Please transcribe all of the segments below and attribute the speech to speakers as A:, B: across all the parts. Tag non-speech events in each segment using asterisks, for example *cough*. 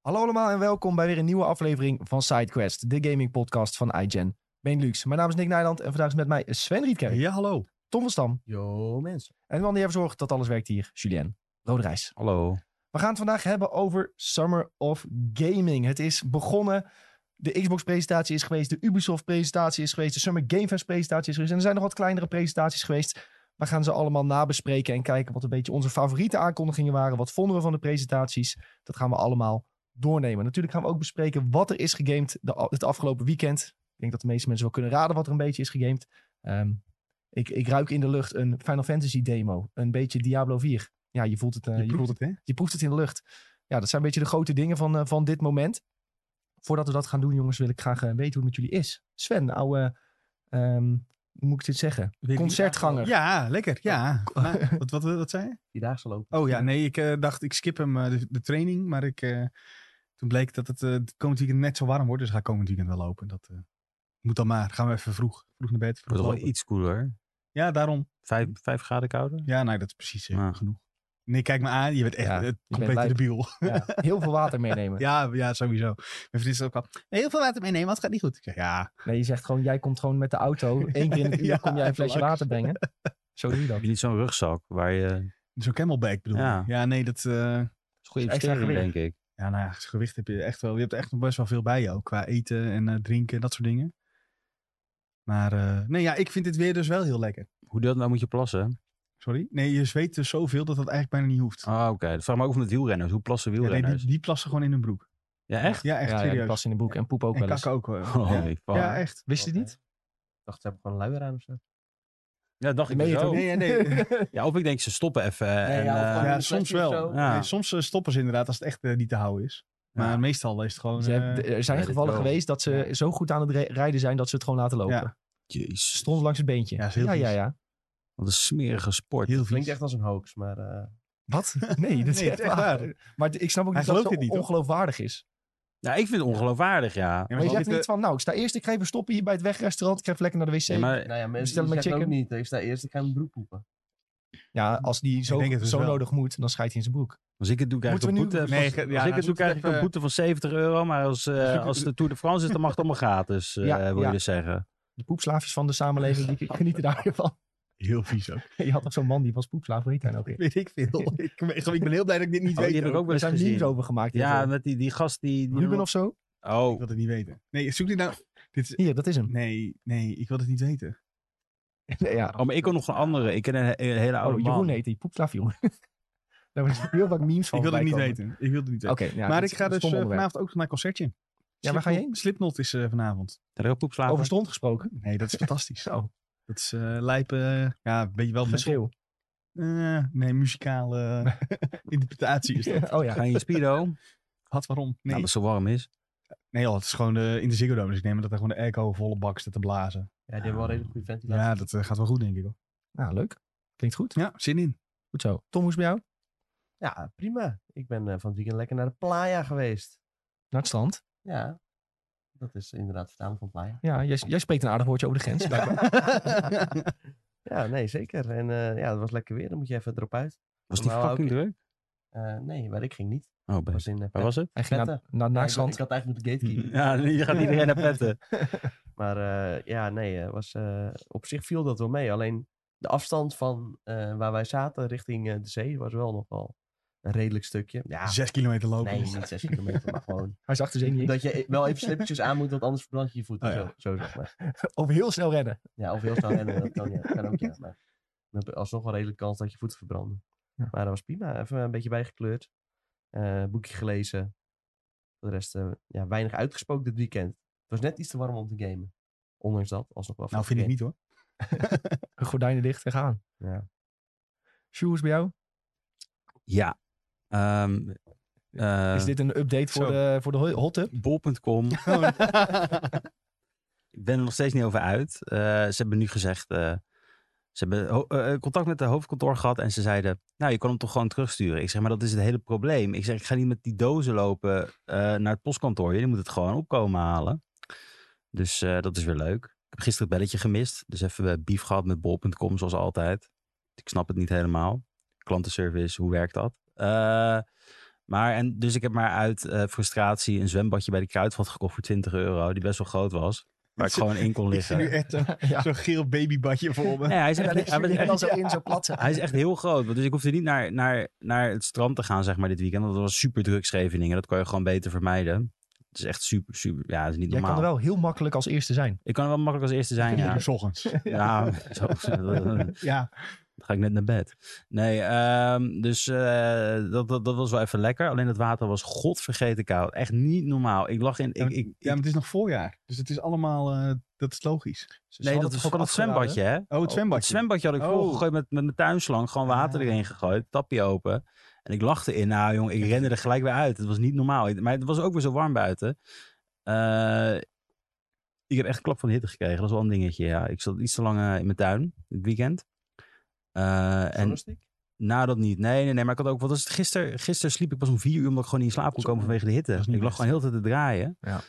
A: Hallo allemaal en welkom bij weer een nieuwe aflevering van SideQuest, de gaming podcast van iGen Benelux. Mijn naam is Nick Nijland en vandaag is met mij Sven Rietkerk,
B: Ja, hallo.
A: Tom van Stam
B: Yo, mensen.
A: en de man die ervoor zorgt dat alles werkt hier, Julien Roderijs.
C: Hallo.
A: We gaan het vandaag hebben over Summer of Gaming. Het is begonnen, de Xbox-presentatie is geweest, de Ubisoft-presentatie is geweest, de Summer Game Fest-presentatie is geweest en er zijn nog wat kleinere presentaties geweest. We gaan ze allemaal nabespreken en kijken wat een beetje onze favoriete aankondigingen waren. Wat vonden we van de presentaties? Dat gaan we allemaal doornemen. Natuurlijk gaan we ook bespreken wat er is gegamed de, het afgelopen weekend. Ik denk dat de meeste mensen wel kunnen raden wat er een beetje is gegamed. Ehm, ik, ik ruik in de lucht een Final Fantasy demo. Een beetje Diablo 4. Ja, je voelt het, eh, je voelt
B: het, hè?
A: je proeft het in de lucht. Ja, dat zijn een beetje de grote dingen van, eh, van dit moment. Voordat we dat gaan doen, jongens, wil ik graag eh, weten hoe het met jullie is. Sven, nou, hoe moet ik dit zeggen? Concertganger.
B: Ja, lekker. Ja.
A: Oh.
B: *laughs* Maar- wat, wat, wat zei je?
C: Die dagen zal lopen.
B: Oh ja, nee, ik eh, dacht ik skip hem eh, de, de training. Maar ik, eh, toen bleek dat het eh, het komend weekend net zo warm wordt. Dus ga ik komend weekend wel lopen. Dat eh, moet dan maar. Gaan we even vroeg, vroeg naar bed.
C: Het
B: Vroeg
C: wordt wel
B: lopen.
C: iets koeler.
B: Ja, daarom.
C: Vijf, vijf graden kouder.
B: Ja, nee, dat is precies eh,
C: Ja.
B: genoeg. Nee, kijk me aan. Je bent echt
A: Ja,
B: eh,
A: je bent
B: compleet
A: lijp.
B: debiel.
A: *laughs* Ja, heel veel water meenemen.
B: Ja, ja, sowieso. Mijn vriendin is ook al. Heel veel water meenemen, want het gaat niet goed. Ik zeg, ja,
A: Nee, je zegt gewoon, jij komt gewoon met de auto. Eén keer in het uur
B: *laughs* Ja,
A: kom jij een
B: even
A: flesje
B: langs.
A: water brengen. Zo doe je dat.
C: Heb je niet zo'n rugzak waar je eh,
B: zo'n camelback bedoel ik. Ja.
C: Ja.
B: nee, dat... eh,
C: goede
A: Is extra
C: investering,
A: gewicht.
C: denk ik.
B: Ja, nou ja, gewicht heb je echt wel. Je hebt er echt nog best wel veel bij je ook. Qua eten en eh, drinken, dat soort dingen. Maar eh, nee, ja, ik vind dit weer dus wel heel lekker.
C: Hoe dat nou moet je plassen?
B: Sorry? Nee, je zweet dus zoveel dat dat eigenlijk bijna niet hoeft.
C: Ah, oké. Dat vraag me ook van de wielrenners. Hoe plassen
B: Ja, nee,
C: wielrenners?
B: die,
C: Ja,
B: die plassen gewoon in hun broek.
C: echt?
B: Ja, echt
A: ja, ja, die
B: serieus.
A: past in de boek en poep ook
B: en
A: wel eens.
B: kakken ook. eh,
C: *laughs* Holy
B: ja.
C: fuck.
B: ja, echt.
A: Wist je het niet?
D: dacht, ze hebben gewoon een luier aan of zo.
C: Ja, dacht ik
A: meen je
C: dus
A: het
C: ook.
B: Nee,
A: *laughs*
B: nee, nee.
C: Ja, of ik denk ze stoppen even. en,
D: ja, of
C: eh,
D: gewoon-
B: ja,
D: een
B: soms
D: flesje of
B: wel.
D: zo.
C: Ja.
B: Nee, soms eh, stoppen ze inderdaad als het echt eh, niet te houden is. Maar
C: Ja.
B: meestal is het gewoon...
A: Ze hebben-
B: eh,
A: er zijn
C: weet ik
A: gevallen
C: wel.
A: geweest dat ze
C: Ja.
A: zo goed aan het re- rijden zijn dat ze het gewoon laten lopen.
B: Ja.
C: jezus.
A: Stront langs het beentje.
B: Ja, is heel
A: ja,
B: vies.
A: ja, ja.
C: Wat een smerige sport.
B: heel
D: Klinkt
B: vies.
D: echt als een hoax, maar eh,
B: *laughs*
A: Wat? Nee, dat is
B: Nee,
A: echt
B: het is echt
A: waar.
B: waar.
A: Maar d- ik snap ook
B: Hij
A: niet dat het
B: gelooft
A: zo
B: dit niet, toch?
A: ongeloofwaardig is.
C: Ja, ik vind het ongeloofwaardig, ja.
B: Ja,
A: Maar je
B: maar
A: zegt
B: dit,
A: niet
B: eh,
A: van, nou, ik sta eerst, ik ga even stoppen hier bij het wegrestaurant. Ik ga even lekker naar de wc.
C: Ja,
A: Ja,
C: maar
D: nou ja, mensen
A: Bestel
D: die
A: maar
D: zeggen ook
A: chicken.
D: niet. eh, Ik sta eerst, ik ga mijn broek poepen.
A: als die zo,
B: denk het dus
A: zo
B: wel.
A: nodig moet, dan scheidt hij in zijn broek.
C: als ik het doe, krijg ik
A: Moeten
C: een
A: we nu-
C: boete.
B: Nee,
C: als
B: ge- ja,
C: als
B: nou,
C: ik het
B: zoek
C: doe, krijg
B: het
C: ik een
B: even-
C: boete van 70 euro. Maar als, eh,
B: Zoek-
C: als de Tour de France is, dan mag het allemaal gratis, eh,
A: Ja,
C: wil
A: ja.
C: je dus zeggen.
A: De poepslaafjes van de samenleving,
B: *laughs*
A: die genieten daar weer van.
B: eh, Heel vies ook.
A: Je had nog zo'n man, die was poepslaaf, hoe heet hij nou weer?
B: *laughs* Weet ik veel. *laughs* ik, ben- ik ben heel blij dat ik dit niet
C: Oh,
B: weet.
C: die heb ik
B: ook.
C: ook wel
A: Er
C: eens
A: zijn memes
C: gezien.
A: over gemaakt.
C: Ja,
A: Ja,
C: met die, die gast die... die
A: Ruben of zo?
B: Ik
C: Oh,
B: wil het niet weten. Nee, zoek dit nou. Dit is...
A: Hier, dat is hem.
B: Nee, nee, ik wil het niet weten.
A: Nee, *laughs* ja.
C: oh, maar ik kon nog een andere. Ik ken een, he- een hele oude
A: Oh,
C: man.
A: Jeroen heet die, poepslaaf Jeroen. *laughs* Daar was heel vaak memes van
B: ik wil het niet
A: voorbij
B: weten. Ik wil het niet
A: komen.
B: weten.
A: Oké, ja,
B: maar
A: dit
B: ik
A: is
B: ga
A: een
B: dus
A: stom
B: eh,
A: onderwerp.
B: vanavond ook naar mijn concertje.
A: Ja, waar ga je heen?
B: Slipknot is eh, vanavond.
C: Daar heel poepslaven.
A: Over stront gesproken. *laughs*
B: Nee, dat is fantastisch.
A: Zo,
B: Dat is eh lijpen. ja, een beetje wel met.
A: geschreeuw.
B: Eh,
A: *laughs*
B: nee, muzikale interpretatie is dat.
A: Oh ja.
C: Ga je in
A: *laughs*
C: Speedo?
B: Had waarom? Nee,
C: Nou, dat het zo warm is.
B: nee joh, het is gewoon eh, in de Ziggo Dome. Dus ik neem aan dat er gewoon de airco volle bak staat te blazen.
D: Ja, die hebben wel redelijk goede ventilatie.
B: Ja, dat eh, gaat wel goed, denk ik. Hoor.
A: Nou, leuk. Klinkt goed.
B: Ja, zin in.
A: Goed zo. Tom, hoe is het bij jou?
D: Ja, prima. Ik ben eh, van het weekend lekker naar de playa geweest.
A: Naar het strand.
D: Ja, dat is inderdaad vertaling van playa.
A: Ja, jij, jij spreekt een aardig woordje over de grens. blijkbaar.
D: ja, nee, zeker. En eh, ja, dat was lekker weer. Dan moet je even erop uit.
C: Was die
D: Nou,
C: fucking
D: ook-
C: druk?
D: Eh, nee, maar ik ging niet.
C: Oh,
D: Ik
C: best.
D: was in eh,
C: Waar
D: Pet-
C: was het?
A: Hij ging naar,
D: Vetten.
A: naar
D: Ja, ik,
A: Naaksland.
D: ik had eigenlijk moeten *laughs* gatekeeper.
C: Ja, *laughs* je gaat iedereen naar
A: *laughs*
C: petten.
D: Maar eh, ja, nee, eh, was, eh, op zich viel dat wel mee. Alleen de afstand van eh, waar wij zaten richting eh, de zee was wel nog wel een redelijk stukje. Ja,
B: Zes kilometer lopen. dus-
D: nee, niet zes kilometer, maar
A: *laughs*
D: gewoon.
A: Hij zag de zee niet.
D: Dat je e- wel even slippertjes aan moet, want anders verbrand je je voeten.
B: Oh ja.
D: zo, zo zeg maar.
A: Of heel snel rennen.
D: Ja, of heel snel rennen, dat kan, ja, dat kan ook, ja. Maar dan heb je alsnog wel redelijk kans dat je voeten verbranden.
A: Ja.
D: Maar dat was prima. Even een beetje bijgekleurd. Eh, boekje gelezen. Voor de rest, eh, ja, weinig uitgesproken dit weekend. Het was net iets te warm om te gamen. Ondanks dat, alsnog wel
B: Nou,
D: veel
B: vind ik
D: gegamed.
A: *laughs*
B: niet hoor.
A: Gordijnen dicht en gaan.
D: Ja.
A: Shoes bij jou?
C: Ja. Ehm eh,
A: Is dit een update voor
B: zo.
A: de, voor de ho- hot
C: *laughs*
A: tub? *laughs*
C: Bol.com. ik ben er nog steeds niet over uit. Eh, ze hebben nu gezegd... eh, ze hebben ho- eh, eh, contact met de hoofdkantoor gehad en ze zeiden... Nou, je kan hem toch gewoon terugsturen. Ik zeg, maar dat is het hele probleem. Ik zeg, ik ga niet met die dozen lopen eh, naar het postkantoor. Jullie moeten het gewoon opkomen halen. Dus eh, dat is weer leuk. Ik heb gisteren het belletje gemist. Dus even eh, beef gehad met bol.com zoals altijd. Ik snap het niet helemaal. Klantenservice, hoe werkt dat? Eh, Maar en dus ik heb maar uit eh, frustratie een zwembadje bij de Kruidvat gekocht voor 20 euro, die best wel groot was. Waar ik gewoon in
B: *laughs*
C: kon
B: Ik zie
C: liggen.
B: nu echt zo'n
A: Ja.
B: zo'n geel babybadje voor me. *laughs*
C: Nee, hij is
A: En
C: echt,
A: daar ligt
C: hij was
A: hij
C: echt-
A: dan zo in, zo plat.
C: hij is echt heel groot. want Dus ik hoefde niet naar, naar, naar het strand te gaan, zeg maar, dit weekend. Want het was super druk Scheveningen. Dat kon je gewoon beter vermijden. Het is echt super, super. Ja, het is niet
A: Jij
C: normaal.
A: kan er wel heel makkelijk als eerste zijn.
C: Ik kan er wel makkelijk als eerste zijn.
B: *laughs*
C: Ja,
B: Ja. S ochtends.
C: ja *laughs* zo, dan
B: Ja,
C: ga ik net naar bed. Nee, ehm, dus eh, dat, dat, dat was wel even lekker. Alleen het water was godvergeten koud. Echt niet normaal. Ik lag in.
B: ja,
C: Ik,
B: maar-
C: ik,
B: ja, maar het is nog voorjaar. Dus het is allemaal, eh, dat is logisch.
C: nee, dat is ook het zwembadje, hè?
B: Oh, het
C: Het
B: zwembadje.
C: zwembadje had ik
B: Oh.
C: volgegooid met, met mijn tuinslang. Gewoon water
B: Ah.
C: erin gegooid. Tapje open. En ik lachte in. Nou jong, ik rende er gelijk weer uit. Het was niet normaal. Ik- Maar het was ook weer zo warm buiten. Eh, ik heb echt een klap van de hitte gekregen. Dat is wel een dingetje, ja. Ik zat iets te lang eh, in mijn tuin. Het weekend. Eh, en
D: Journalistiek?
C: Nou, dat niet. Nee, nee, nee. Maar ik had ook. Want gisteren gister sliep ik pas om vier uur. omdat ik gewoon niet in slaap kon
B: Zo.
C: komen vanwege de hitte.
B: Dat is
C: Ik
B: niet
C: lag
B: best.
C: gewoon heel de tijd te draaien.
A: Ja.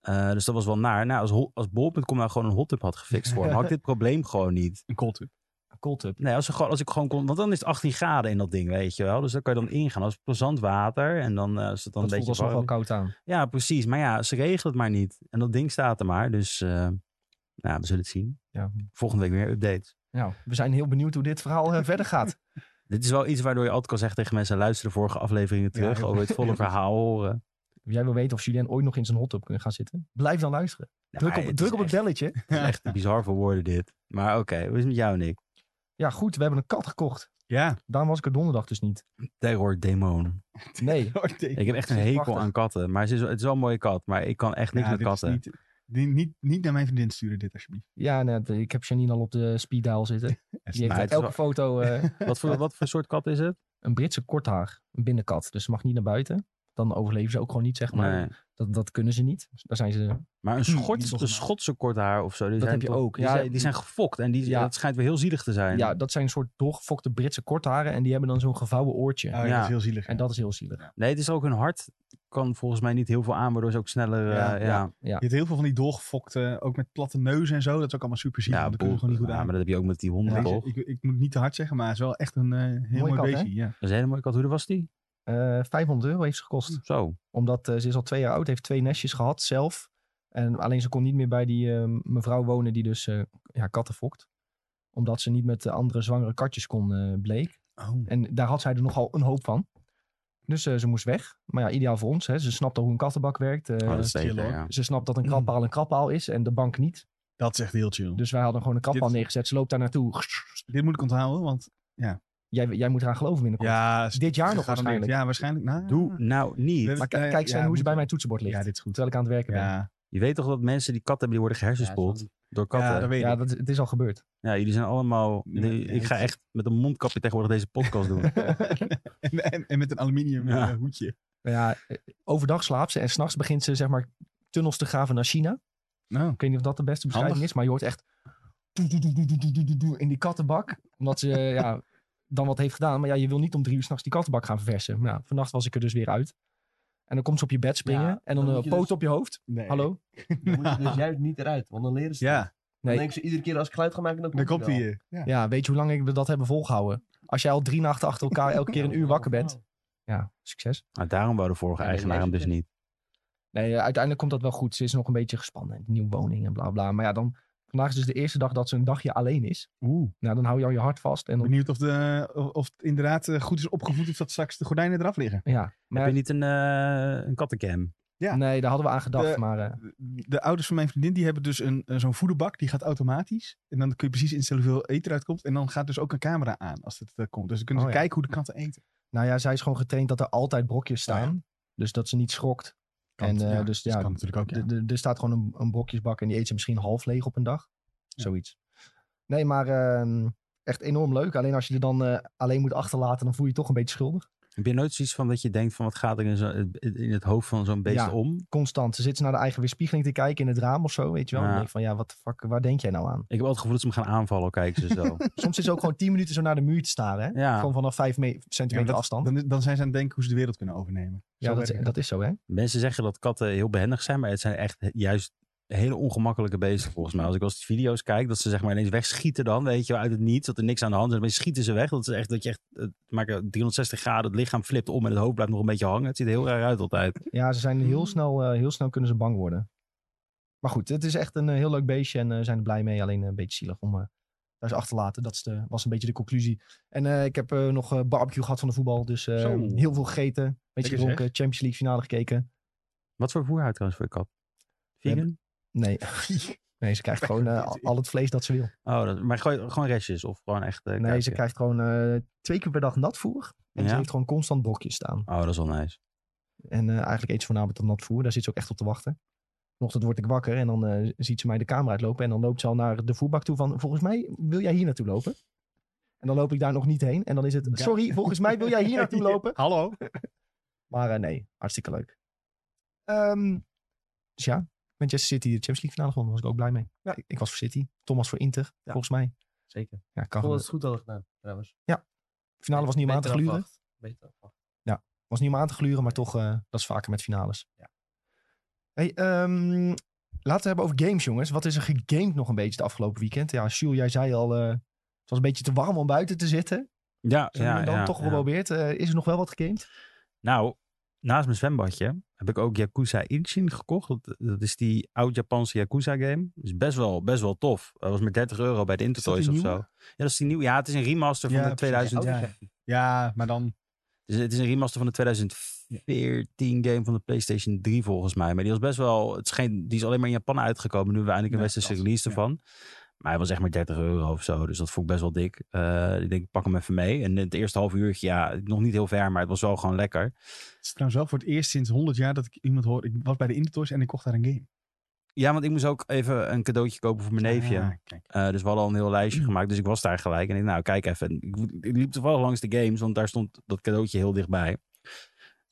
C: Eh, dus dat was wel naar. Nou, als, hol- als Bol.com nou gewoon een hot tub had gefixt voor me, had ik dit probleem gewoon niet.
B: Een cold tub.
A: Cold up.
C: Nee, als, we gewoon, als ik gewoon kon. Want dan is het 18 graden in dat ding, weet je wel. Dus dan kan je dan ingaan. als plezant water. En dan eh, is het dan
A: Dat
C: een
A: voelt
C: beetje.
A: alsnog
C: warm.
A: wel koud aan.
C: Ja, precies. Maar ja, ze regelen het maar niet. En dat ding staat er maar. Dus eh, nou, we zullen het zien.
A: Ja.
C: Volgende week weer updates.
A: Nou, we zijn heel benieuwd hoe dit verhaal eh, *laughs* verder gaat.
C: Dit is wel iets waardoor je altijd kan zeggen tegen mensen: luister de vorige afleveringen
B: Ja,
C: terug.
B: heel
C: over het volle
B: goed.
C: verhaal eh. horen.
A: Jij wil weten of Julien ooit nog in zijn hot tub kunnen gaan zitten? Blijf dan luisteren.
C: Ja,
A: Druk
C: maar
A: op,
C: het
A: druk
C: is
A: op het
C: echt-
A: belletje.
C: het is echt bizar voor woorden dit. Maar oké, hoe is het met jou, Nick?
A: Ja, goed, we hebben een kat gekocht.
B: *laughs* Ja.
A: Daarom was ik er donderdag dus niet.
C: Terror demon.
A: Nee,
B: Oh,
C: Ik heb echt een
A: Ze is
C: hekel
A: prachtig.
C: aan katten. Maar ze is, het is wel een mooie kat. Maar ik kan echt niks
B: Ja,
C: met
B: dit is
C: katten.
B: Niet, die- niet, niet naar mijn vriendin sturen dit, alsjeblieft.
A: ja, nee, d- ik heb Janine al op de speeddial
C: *laughs*
A: zitten. Die
B: Oh,
A: heeft
C: Maar het
A: op
C: is
A: elke
C: wel-
A: foto
C: *laughs*
A: eh,
C: Wat, voor, wat voor soort kat is het?
A: een Britse korthaar, een binnenkat. Dus ze mag niet naar buiten. Dan overleven ze ook gewoon niet, zeg maar.
C: Nee.
A: Dat, dat kunnen ze niet. Dus Daar zijn ze...
C: Maar een,
B: Hm, die
C: schort,
B: is
C: een
B: toch
C: Schotse kort haar of zo. Die
A: Dat
C: zijn
A: heb je
C: toch-
A: ook.
C: Die,
A: Ja,
C: zijn, die zijn gefokt. En die,
A: Ja.
C: dat schijnt weer heel zielig te zijn.
A: Ja, dat zijn een soort doorgefokte Britse kortharen. En die hebben dan zo'n gevouwen oortje.
B: Oh, ja,
C: Ja.
B: Dat is heel zielig.
A: En
B: ja.
A: dat is heel zielig.
C: Nee, het is ook hun hart kan volgens mij niet heel veel aan. Waardoor ze ook sneller... eh, Ja,
B: Ja,
C: ja,
A: ja. ja.
B: Je hebt heel veel van die doorgefokte, ook met platte neuzen en zo. Dat is ook allemaal super zielig. Ja, dat
C: boel.
B: kunnen we gewoon niet goed
C: Ja,
B: aan.
C: maar dat heb je ook met die honden,
B: Ja,
C: toch?
B: ik, ik moet niet te hard zeggen, maar het is wel echt een eh, heel
A: Mooie
B: mooi
A: kat, hè?
B: beestje. Ja.
C: Dat is een hele mooie kat. Hoe was die?
A: Eh, 500 euro heeft ze gekost.
B: Oh,
C: Zo.
A: Omdat eh, ze is al twee jaar oud, heeft twee nestjes gehad zelf. En alleen ze kon niet meer bij die eh, mevrouw wonen die dus eh, ja, katten fokt. Omdat ze niet met de andere zwangere katjes kon, eh, bleek.
B: Oh.
A: En daar had zij er nogal een hoop van. Dus eh, ze moest weg. Maar ja, ideaal voor ons. Hè. Ze snapt al hoe een kattenbak werkt. eh,
C: Oh, dat is
B: chill,
C: zeker,
B: hoor.
C: ja.
A: Ze snapt dat
B: Mm.
A: een krabpaal een krabpaal is en de bank niet.
B: Dat is echt heel chill.
A: Dus wij hadden gewoon een krabpaal
B: Dit-
A: neergezet. Ze loopt daar naartoe.
C: Dus-
B: Dit moet ik onthouden, want
A: Jij, jij moet eraan geloven binnenkort.
B: ja, is
A: Dit jaar nog
B: gegarandeerd.
A: waarschijnlijk.
B: Ja, waarschijnlijk. Nou,
C: Doe nou niet.
A: Maar k- kijk eens
B: naar
A: naar hoe ze bij mijn toetsenbord ligt.
B: Ja, dit is goed.
A: Terwijl ik aan het werken ben.
B: Ja,
C: Je weet toch dat mensen die katten hebben, die worden gehersenspoeld door katten.
B: ja, dat weet
A: Ja,
B: ik.
A: dat, het is al gebeurd.
C: Ja, jullie zijn allemaal.
B: Ja,
C: Nee,
B: ja,
C: ik ga
B: het-
C: echt met een mondkapje tegenwoordig deze
B: *laughs*
C: podcast doen.
B: en, en, en met een aluminium
C: Ja.
B: eh, hoedje.
A: Nou ja, eh, overdag slaapt ze en s'nachts begint ze zeg maar tunnels te graven naar China.
B: Nou,
A: Ik weet niet of dat de beste beschrijving
B: Handig.
A: is, maar je hoort echt doe, doe, doe, doe, doe, doe, doe, doe, doe, in die kattenbak. Omdat ze eh, ja, dan wat heeft gedaan. Maar ja, je wil niet om drie uur s'nachts die kattenbak gaan verversen. Nou, vannacht was ik er dus weer uit. En dan komt ze op je bed springen
D: Ja,
A: en
D: dan
A: dan,
D: moet
A: een
D: je
A: poot
D: dus-
A: op je hoofd.
B: nee.
A: Hallo?
D: Dan moet je dus juist niet eruit, want dan leren ze het.
B: Ja,
D: Dan
A: Nee.
D: denken ze iedere keer als ik geluid ga maken, dan
B: daar
D: komt
B: komt
D: hij wel.
B: hij. eh, Ja.
A: Ja, weet je hoe lang ik dat hebben volgehouden? Als jij al drie nachten achter elkaar elke keer een uur wakker
D: *laughs*
A: bent. Ja, succes.
C: Nou, daarom wou de vorige
D: Ja,
C: eigenaar hem
D: deze
C: dus niet.
A: Nee, eh, uiteindelijk komt dat wel goed. Ze is nog een beetje gespannen. Een nieuwe woning en bla bla. Maar ja, dan, vandaag is dus de eerste dag dat ze een dagje alleen is.
B: Oeh.
A: Nou, dan hou je al je hart vast. En dan,
B: Benieuwd of, de, of, of het inderdaad eh, goed is opgevoed of dat straks de gordijnen eraf liggen.
A: ja, maar
C: Heb je niet een, eh, een kattencam?
B: Ja.
A: Nee, daar hadden we aan gedacht.
B: De-
A: maar eh,
B: De ouders van mijn vriendin die hebben dus een, eh, zo'n voederbak. Die gaat automatisch. En dan kun je precies instellen hoeveel eten eruit komt. En dan gaat dus ook een camera aan als het eh, komt. Dus dan kunnen ze
A: Oh, ja.
B: kijken hoe de katten eten.
A: nou ja, zij is gewoon getraind dat er altijd brokjes
B: Oh ja.
A: staan. Dus dat ze niet schrokt.
B: Kan,
A: En,
B: het,
A: eh, dus ja,
B: dat kan natuurlijk ook. Ja.
A: D- d- Er staat gewoon een, een brokjesbak en die eet ze misschien half leeg op een dag. Zoiets. Nee, maar ehm, echt enorm leuk. Alleen als je er dan eh, alleen moet achterlaten, dan voel je je toch een beetje schuldig.
C: Heb je nooit zoiets van dat je denkt van wat gaat er in, zo, in het hoofd van zo'n beest
A: Ja.
C: om?
A: Constant. Ze zitten naar de eigen weerspiegeling te kijken in het raam of zo, weet je wel.
C: Ja.
A: Dan denk ik van, ja, wat de fuck, waar denk jij nou aan?
C: Ik heb wel het gevoel dat ze hem gaan aanvallen, al kijken ze *laughs* zo.
A: Soms is het ook gewoon tien minuten zo naar de muur te staren, hè.
C: ja,
A: Gewoon vanaf vijf me-
B: Ja, maar
A: centimeter
B: dat-
A: afstand.
B: Dan, dan zijn ze aan het denken hoe ze de wereld kunnen overnemen.
A: ja,
B: Zo
A: dat,
B: werkt
A: dat is zo, hè.
C: mensen zeggen dat katten heel behendig zijn, maar het zijn echt juist hele ongemakkelijke beesten volgens mij. Als ik wel eens video's kijk, dat ze zeg maar ineens wegschieten dan, weet je, wel, uit het niets. Dat er niks aan de hand is. Maar schieten ze weg. Dat is echt, dat je echt, het maken 360 graden, het lichaam flipt om en het hoofd blijft nog een beetje hangen. Het ziet er heel raar uit altijd.
A: Ja, ze zijn heel
D: Mm.
A: snel, eh, heel snel kunnen ze bang worden. Maar goed, het is echt een eh, heel leuk beestje en eh, we zijn er blij mee. Alleen een beetje zielig om eh thuis achter te laten. Dat is de, was een beetje de conclusie. En eh, ik heb eh, nog eh, barbecue gehad van de voetbal. Dus eh,
B: Zo.
A: heel veel gegeten. Beetje
B: Lekker
A: gedronken. Champions League finale gekeken.
C: *laughs* Wat voor voerhuid trouwens voor je kat?
A: We
C: Vegan?
A: Nee, *laughs* nee ze krijgt gewoon eh, al het vlees dat ze wil.
C: Oh, dat, maar gooi- gewoon restjes of gewoon echt... eh,
A: Nee, ze
C: kuipje?
A: krijgt gewoon eh, twee keer per dag natvoer. En ze
C: Ja?
A: heeft gewoon constant brokjes staan.
C: Oh, dat is wel nice.
A: En eh, eigenlijk eet ze voornamelijk dat natvoer. Daar zit ze ook echt op te wachten. Vanochtend word ik wakker en dan eh, ziet ze mij de kamer uitlopen. En dan loopt ze al naar de voerbak toe van, volgens mij wil jij hier naartoe lopen? En dan loop ik daar nog niet heen. En dan is het,
B: Ja.
A: sorry, volgens mij wil jij
D: *laughs*
B: *laughs*
A: hier naartoe lopen?
B: Hallo.
A: Maar eh, nee, hartstikke leuk. Ehm, dus ja, Manchester City, de Champions League finale gewonnen. Daar was ik ook blij mee.
D: Ja.
A: Ik, ik was voor City, Tom was voor Inter, volgens mij.
D: Zeker.
A: Ja,
D: Ik
A: kan
D: vond
A: gebeuren.
D: dat ze het goed hadden gedaan, trouwens.
A: De finale was niet om aan te
D: Beter
A: gluren.
D: afwacht. Beter afwacht.
A: Was niet om aan te gluren, maar toch, eh, dat is vaker met finales.
D: Ja.
A: Hey, ehm, laten we het hebben over games, jongens. Wat is er gegamed nog een beetje het afgelopen weekend? Ja, Jules, jij zei al, eh, het was een beetje te warm om buiten te zitten.
C: Ja,
A: Zo nu
C: ja,
A: en dan
C: ja,
A: toch
C: ja.
A: geprobeerd. Eh, is er nog wel wat gegamed?
C: Nou, naast mijn zwembadje heb ik ook Yakuza Inchin gekocht. Dat, dat is die oud-Japanse Yakuza game. Dat is best wel, best wel tof. Dat was met 30 euro bij de Intertoys
B: die
C: of zo.
B: nieuwe?
C: Ja, dat is die nieuwe. Ja, het is een remaster van
B: Ja,
C: de
B: precies. Oh,
C: 2000.
B: Ja. Ja, maar dan...
C: Dus het is een remaster van de 2014 game van de PlayStation 3 volgens mij. Maar die was best wel. Het is geen, die is alleen maar in Japan uitgekomen. Nu hebben we eindelijk een
B: Ja,
C: westerse
B: dat,
C: release
B: ja.
C: ervan. Maar hij was echt maar 30 euro of zo. Dus dat vond ik best wel dik. Eh, ik denk, ik pak hem even mee. En het eerste half uurtje, ja, nog niet heel ver, maar het was wel gewoon lekker.
B: Het is trouwens wel voor het eerst sinds 100 jaar dat ik iemand hoor... Ik was bij de Intertoys en ik kocht daar een game.
C: Ja, want ik moest ook even een cadeautje kopen voor mijn neefje.
B: Ah, kijk.
C: Eh, dus we hadden al een heel
D: *clears throat*
C: lijstje gemaakt. Dus ik was daar gelijk. En ik, nou, kijk even. Ik, ik liep toevallig langs de games, want daar stond dat cadeautje heel dichtbij.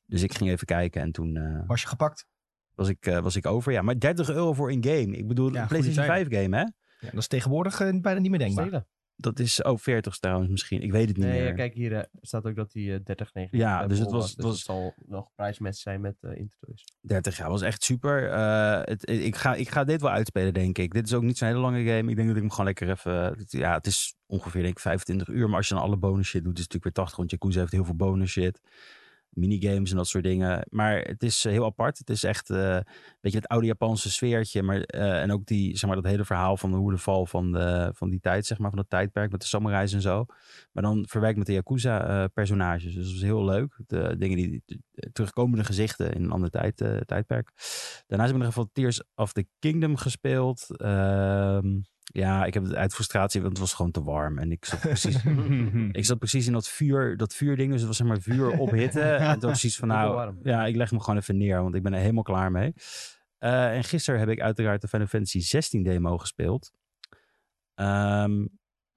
C: Dus ik ging even kijken en toen eh,
A: Was je gepakt?
C: was, ik, eh, was ik over. Ja, maar 30 euro voor een game. Ik
B: Ja,
C: bedoel, een
B: goede
C: PlayStation 5 game, hè?
A: Ja, dat is tegenwoordig eh, bijna niet meer denkbaar.
D: Stelen.
C: Dat is ook 40 trouwens misschien. Ik weet het niet
D: Nee,
C: meer.
D: ja, kijk hier eh, staat ook dat die eh, 30 90
C: Ja,
D: bij
C: dus het
D: Bol
C: was-
D: Dus
C: was-
D: het zal nog prijsmatch zijn met eh Intertoys.
C: 30 jaar was echt super. Eh, het, ik, ga, ik ga dit wel uitspelen, denk ik. Dit is ook niet zo'n hele lange game. Ik denk dat ik hem gewoon lekker even... Ja, het is ongeveer denk ik 25 uur. Maar als je dan alle bonus shit doet, is het natuurlijk weer 80. Want Yakuza heeft heel veel bonus shit. Minigames en dat soort dingen. Maar het is eh, heel apart. Het is echt eh, een beetje het oude Japanse sfeertje. Maar, eh, en ook die, zeg maar, dat hele verhaal van hoe de val van, de, van die tijd, zeg maar, van dat tijdperk met de samurais en zo. Maar dan verwerkt met de Yakuza-personages. dus dat is heel leuk. De dingen die, de terugkomende gezichten in een ander tijd, eh, tijdperk. Daarnaast heb ik nog even wat Tears of the Kingdom gespeeld. Ehm, ja, ik heb het uit frustratie, want het was gewoon te warm. En ik zat *laughs* *laughs* precies, ik zat precies in dat, vuur, dat vuurding. Dus het was zeg maar
B: *laughs*
C: vuur ophitte. en toen was precies van
D: Dubbel
C: nou,
D: warm.
C: ja, ik leg me gewoon even neer. Want ik ben er helemaal klaar mee. Eh, en gisteren heb ik uiteraard de Final Fantasy 16 demo gespeeld. Ehm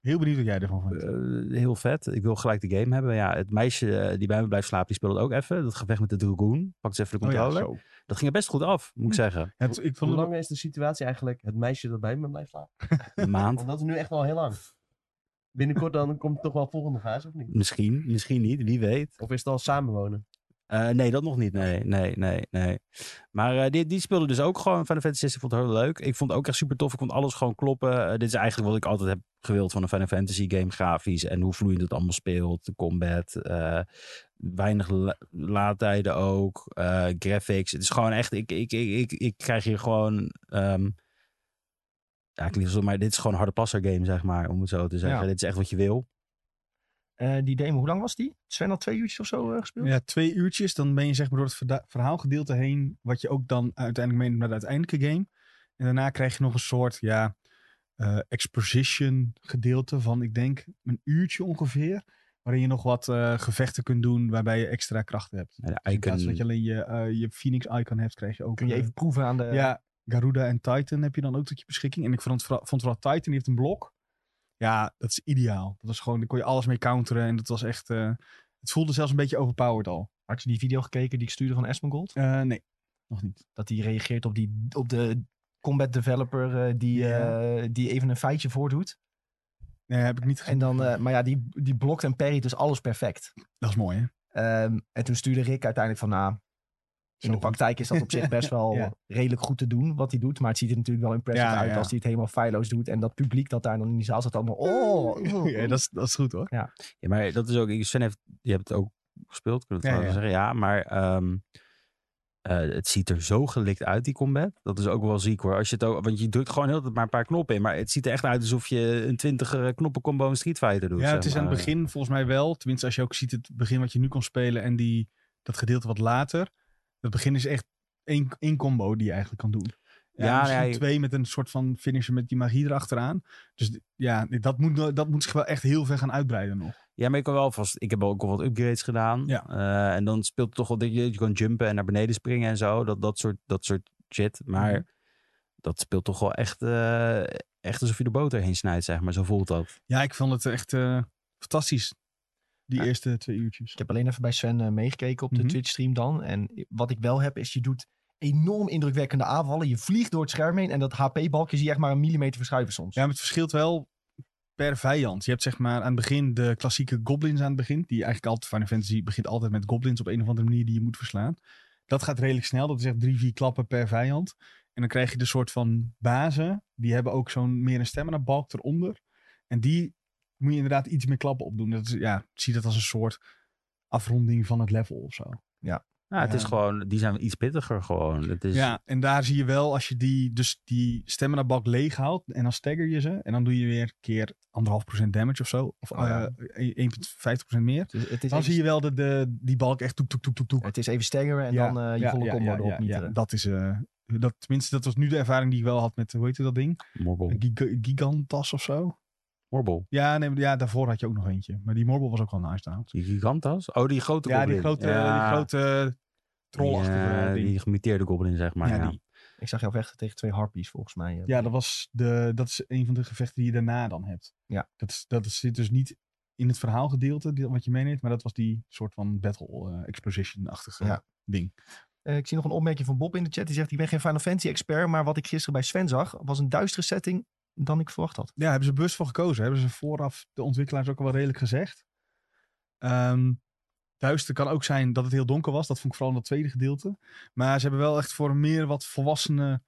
B: Heel benieuwd wat jij ervan vond.
C: eh, heel vet. Ik wil gelijk de game hebben. Ja, het meisje eh, die bij me blijft slapen, die speelde het ook even. Dat gevecht met de Dragoon. Pakt ze even de
B: Oh ja,
C: controller.
B: zo.
C: dat ging er best goed af, moet ik zeggen.
B: Ja, het- ik vond
D: Hoe
B: het
D: lang is de situatie eigenlijk het meisje dat bij me blijft slapen?
C: Een maand.
B: *laughs*
D: Want dat is nu echt wel heel
C: *laughs*
D: lang. Binnenkort dan komt toch wel volgende fase, of niet?
C: Misschien, misschien niet, wie weet.
D: Of is het al samenwonen?
C: Eh, nee, dat nog niet. Nee, nee, nee, nee. Maar eh, die, die speelde dus ook gewoon Final Fantasy 16. Vond het heel leuk. Ik vond het ook echt super tof. Ik vond alles gewoon kloppen. Eh, dit is eigenlijk wat ik altijd heb gewild van een Final Fantasy game grafisch. En hoe vloeiend het allemaal speelt. De combat. eh, weinig la- laadtijden ook. eh, graphics. Het is gewoon echt... Ik, ik, ik, ik, ik krijg hier gewoon... ehm ja, klinkt zo, maar dit is gewoon een harde passer game, zeg maar. Om het zo te zeggen.
A: Ja.
C: Dit is echt wat je wil.
A: Eh, die demo, hoe lang was die? Sven al twee uurtjes of zo eh, gespeeld?
B: Ja, twee uurtjes. Dan ben je zeg maar door het verda- verhaalgedeelte heen. Wat je ook dan uiteindelijk meeneemt naar de uiteindelijke game. En daarna krijg je nog een soort, ja, eh, exposition gedeelte van, ik denk, een uurtje ongeveer. Waarin je nog wat eh, gevechten kunt doen waarbij je extra krachten hebt.
C: Ja, de
B: Dus in plaats van dat je
C: icon-
B: alleen je, eh, je Phoenix Icon hebt, krijg je ook...
A: Kun je
B: eh,
A: even proeven aan de...
B: ja, Garuda en Titan heb je dan ook tot je beschikking. En ik vond vooral, vond vooral Titan, die heeft een blok. Ja, dat is ideaal. Dat was gewoon, daar kon je alles mee counteren. En dat was echt, eh, het voelde zelfs een beetje overpowered al.
A: Had je die video gekeken die ik stuurde van Esmongold?
B: Eh, nee, nog niet.
A: Dat die reageert op, die, op de combat developer eh, die,
B: Ja.
A: eh, die even een feitje voordoet.
B: Nee, heb ik niet gezien.
A: En dan, eh, maar ja, die, die blokt en parryt dus alles perfect.
B: Dat is mooi, hè?
A: Ehm, en toen stuurde Rick uiteindelijk van, nou, In de
B: goed.
A: praktijk is dat op zich
B: *laughs*
A: best wel
B: Ja.
A: redelijk goed te doen wat hij doet. Maar het ziet er natuurlijk wel impressive
B: Ja,
A: uit
B: ja.
A: als hij het helemaal feilloos doet. En dat publiek dat daar dan in die zaal zat allemaal... Oh, oh,
B: *laughs* Ja, dat, is, dat is goed hoor.
C: Ja, maar dat is ook. Sven heeft. Je hebt het ook gespeeld, kunnen we
B: Ja,
C: het wel zeggen. Ja, maar. ehm, eh, het ziet er zo gelikt uit, die combat. Dat is ook wel ziek hoor. Als je het ook, want je drukt gewoon heel de tijd maar een paar knoppen in. Maar het ziet er echt uit alsof je een 20 eh, knoppen combo in Street Fighter doet.
B: Ja,
C: zeg
B: het is aan het
C: maar.
B: begin volgens mij wel. Tenminste, als je ook ziet het begin wat je nu kon spelen en die, dat gedeelte wat later. Dat begin is echt één, één combo die je eigenlijk kan doen. Ja,
C: Ja,
B: misschien
C: ja, je-
B: twee met een soort van finisher met die magie erachteraan. Dus d- ja, dat moet, no- dat moet zich wel echt heel ver gaan uitbreiden nog.
C: Ja, maar ik kan wel vast. Ik heb ook al wat upgrades gedaan.
B: Ja.
C: Eh, en dan speelt het toch wel dat je, je kan jumpen en naar beneden springen en zo. Dat, dat, soort, dat soort shit. Maar
B: Mhm.
C: dat speelt toch wel echt, eh, echt alsof je de boter heen snijdt, zeg maar. Zo voelt dat.
B: Ja, ik vond het echt eh, fantastisch. Die
A: Ja.
B: eerste twee uurtjes.
A: Ik heb alleen even bij Sven eh, meegekeken op de
B: Mhm.
A: Twitch-stream dan. En wat ik wel heb, is je doet enorm indrukwekkende aanvallen. Je vliegt door het scherm heen en dat HP-balkje zie je echt maar een millimeter verschuiven soms.
B: Ja, maar het verschilt wel per vijand. Je hebt zeg maar aan het begin de klassieke goblins aan het begin. Die eigenlijk altijd, Final Fantasy begint altijd met goblins op een of andere manier die je moet verslaan. Dat gaat redelijk snel. Dat is echt drie, vier klappen per vijand. En dan krijg je de soort van bazen. Die hebben ook zo'n meer een stamina balk eronder. En die moet je inderdaad iets meer klappen opdoen. Dat is, ja, zie dat als een soort afronding van het level of zo.
C: Nou, het
B: Ja.
C: is gewoon, die zijn iets pittiger gewoon. Het
A: Dus
C: is,
B: Ja, en daar zie je wel, als je die, dus die stamina balk leeg houdt en dan stagger je ze. En dan doe je weer keer 1,5% damage of zo. Of
A: Oh ja.
B: eh, 1,50% meer.
A: Dus het, is
B: Dan
A: even,
B: zie je wel de, de, die balk echt toek, toek, toek, toek, toek.
A: het is even staggeren en
B: Ja,
A: dan eh, je
B: Ja,
A: volle
B: ja,
A: combo
B: ja,
A: erop
B: ja,
A: mieteren.
B: ja. Dat is, eh, dat, tenminste, dat was nu de ervaring die ik wel had met, hoe heette dat ding?
C: Morbel.
B: Giga- Gigantas of zo?
C: Morbel.
B: Ja, nee, maar ja, daarvoor had je ook nog eentje. Maar die Morbel was ook wel nice trouwens.
C: Die gigantas? Oh, die grote
B: Ja,
C: goblin.
B: die grote,
C: Ja.
B: die grote trollachtige
C: Ja,
B: ding.
C: die gemuteerde goblin, zeg maar.
B: Ja,
C: Ja,
B: die.
A: Ik zag jou vechten tegen twee harpies volgens mij. eh.
B: Ja, dat, was de, dat is een van de gevechten die je daarna dan hebt.
A: Ja.
B: Dat, is, dat is- zit dus niet in het verhaalgedeelte die- wat je meeneemt, maar dat was die soort van battle eh, exposition-achtige
A: Ja.
B: ding.
A: Eh, ik zie nog een opmerking van Bob in de chat. Die zegt, ik ben geen Final Fantasy expert, maar wat ik gisteren bij Sven zag, was een duistere setting dan ik verwacht had.
B: Ja, hebben ze bewust voor gekozen. Hebben ze vooraf de ontwikkelaars ook al wel redelijk gezegd. Ehm duister kan ook zijn dat het heel donker was. Dat vond ik vooral in dat tweede gedeelte. Maar ze hebben wel echt voor een meer wat volwassene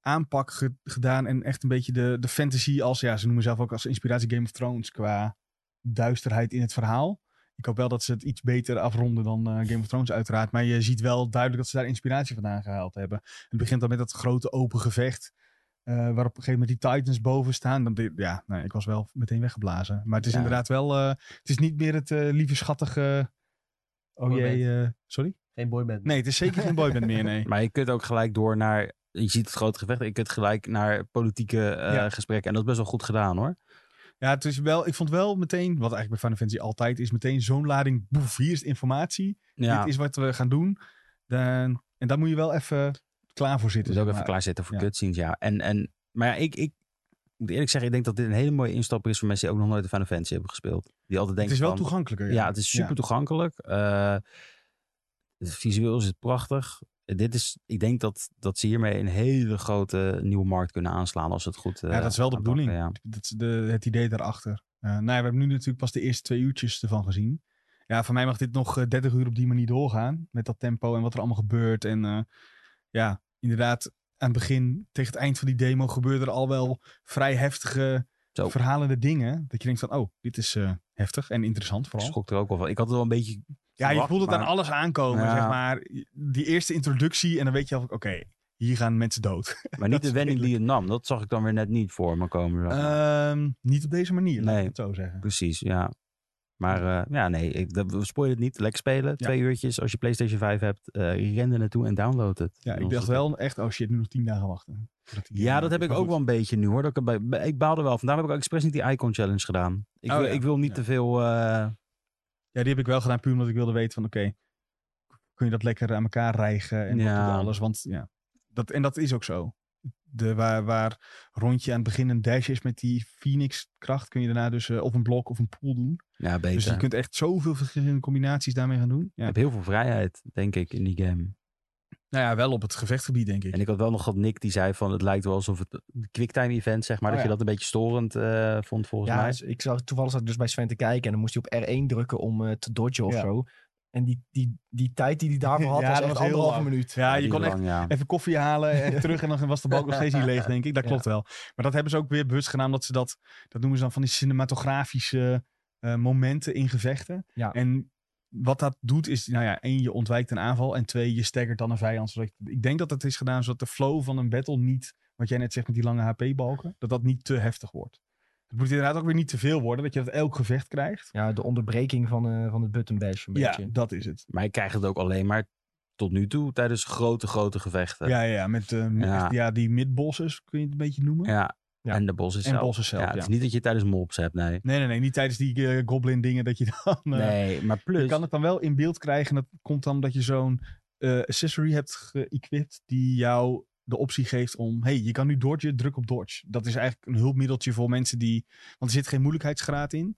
B: aanpak ge- gedaan. En echt een beetje de, de fantasy als, ja, ze noemen zelf ook als inspiratie Game of Thrones qua duisterheid in het verhaal. Ik hoop wel dat ze het iets beter afronden dan eh, Game of Thrones uiteraard. Maar je ziet wel duidelijk dat ze daar inspiratie vandaan gehaald hebben. Het begint dan met dat grote open gevecht. eh, waarop op een gegeven moment die Titans boven staan. Dan, de- ja, nou, ik was wel meteen weggeblazen. Maar het is
C: Ja.
B: inderdaad wel... eh, het is niet meer het eh, lieve schattige... Oh
D: Boyband.
B: jee, eh, sorry?
D: Geen boyband.
B: Nee, het is zeker geen boyband meer, *laughs* nee.
C: Maar je kunt ook gelijk door naar, je ziet het grote gevecht, je kunt gelijk naar politieke eh,
B: Ja.
C: gesprekken. En dat is best wel goed gedaan hoor.
B: Ja, het is wel, ik vond wel meteen, wat eigenlijk bij Final Fantasy altijd is, meteen zo'n lading, boef, hier is de informatie.
C: Ja.
B: Dit is wat we gaan doen. Dan, en daar moet je wel even klaar voor zitten.
C: Dus ook
B: zeg
C: even
B: maar.
C: klaarzetten voor
B: ja.
C: cutscenes, ja. En, en, maar ja, ik, ik moet eerlijk zeggen, ik denk dat dit een hele mooie instap is voor mensen die ook nog nooit de Final Fantasy hebben gespeeld. Die altijd
B: Het
C: denken
B: is wel
C: van,
B: toegankelijker.
C: Ja, het is super
B: Ja.
C: toegankelijk. Eh, visueel is het prachtig. Eh, Dit is, ik denk dat, dat ze hiermee een hele grote nieuwe markt kunnen aanslaan als ze het goed eh,
B: Ja, dat is wel de
C: aanpakken,
B: bedoeling.
C: ja.
B: Dat is de, het idee daarachter. Eh, nou ja, we hebben nu natuurlijk pas de eerste twee uurtjes ervan gezien. Ja, voor mij mag dit nog eh, 30 uur op die manier doorgaan. Met dat tempo en wat er allemaal gebeurt. En eh, ja, inderdaad, aan het begin, tegen het eind van die demo, gebeurden er al wel vrij heftige,
C: Zo.
B: verhalende dingen. Dat je denkt van, oh, dit is eh, heftig en interessant
C: Ik
B: vooral.
C: schrok er ook wel van. Ik had het wel een
B: *laughs*
C: beetje...
B: Ja, je
C: verwacht,
B: voelt het aan
C: maar-
B: alles aankomen,
C: Ja.
B: zeg maar. Die eerste introductie en dan weet je al, van, oké, hier gaan mensen dood.
C: Maar
B: Dat
C: niet de
B: is
C: wending die het nam. Dat zag ik dan weer net niet voor me komen. zeg maar.
B: Ehm, niet op deze manier, laat ik
C: Nee.
B: het zo zeggen.
C: Precies, ja. Maar eh, ja, nee, ik, dat, spoil het niet. Lekker spelen. Twee uurtjes als je PlayStation 5 hebt. eh ren er naartoe en download het.
B: Ja,
C: En
B: ik
C: ons
B: dacht
C: dat-
B: wel echt, oh shit, nu nog tien dagen wachten. voordat die
C: Ja,
B: game
C: dat heb
B: uit
C: ik
B: is.
C: ook wel
B: Maar
C: een beetje nu hoor. Dat ik, erbij- ik baalde wel. Vandaar heb ik ook expres niet die Icon Challenge gedaan. Ik,
B: Oh,
C: wil,
B: ja.
C: ik wil niet
B: Ja.
C: te veel... eh,
B: goed. Ja, die heb ik wel gedaan puur omdat ik wilde weten van, oké, kun je dat lekker aan elkaar rijgen en wat
C: Ja.
B: doet alles. Want ja, dat, en dat is ook zo. De, waar, waar rondje aan het begin een dash is met die Phoenix-kracht, kun je daarna dus eh, of een blok of een pool doen.
C: ja, beter.
B: Dus je kunt echt zoveel verschillende combinaties daarmee gaan doen.
C: Ik
B: Ja.
C: heb heel veel vrijheid, denk ik, in die game.
B: Nou ja, wel op het gevechtgebied, denk ik.
C: En ik had wel nog wat Nick die zei van... Het lijkt wel alsof het een quicktime event, zeg maar.
B: Oh,
C: dat
B: ja.
C: je dat een beetje storend eh, vond, volgens
A: ja,
C: mij.
A: dus ik zag, toevallig zat ik dus bij Sven te kijken en dan moest hij op R1 drukken om eh, te dodgen of
B: Ja.
A: zo. En die, die, die tijd die hij
B: *laughs*
A: daarvoor had,
B: Ja,
A: was
B: dat
A: echt
B: was heel
A: anderhalve
B: lang.
A: minuut.
B: Ja, je kon echt
C: lang, ja.
B: even koffie halen
A: *laughs*
B: en terug. En dan was de balk nog steeds niet leeg, denk ik. Dat
A: Ja.
B: klopt wel. Maar dat hebben ze ook weer bewust gedaan. Dat ze dat, dat noemen ze dan van die cinematografische eh, momenten in gevechten.
A: Ja.
B: En wat dat doet is, nou ja, één, je ontwijkt een aanval. En twee, je staggert dan een vijand. Zodat je- ik denk dat dat is gedaan zodat de flow van een battle niet, wat jij net zegt met die lange HP-balken, dat dat niet te heftig wordt. Het moet inderdaad ook weer niet te veel worden, dat je dat elk gevecht krijgt.
A: Ja, de onderbreking van, eh, van het button bash een
B: Ja,
A: beetje.
B: dat is het.
C: Maar ik krijg het ook alleen maar tot nu toe tijdens grote, grote gevechten.
B: Ja, ja, met eh, met
C: Ja.
B: echt, ja, die midbosses, kun je het een beetje noemen.
C: Ja.
A: Ja.
C: En de bossen
B: En
C: zelf.
B: bossen zelf,
C: ja,
B: ja.
C: het is niet dat je tijdens mobs hebt, nee.
B: Nee, nee, nee. Niet tijdens die eh, goblin dingen dat je dan... eh,
C: Nee, maar
B: Je
A: dus-
C: plus...
B: kan het dan wel in beeld krijgen. Dat komt dan omdat je zo'n eh, accessory hebt geëquipt die jou de optie geeft om... hey, je kan nu dodgen, druk op dodge. Dat is eigenlijk een hulpmiddeltje voor mensen die... Want er zit geen moeilijkheidsgraad in.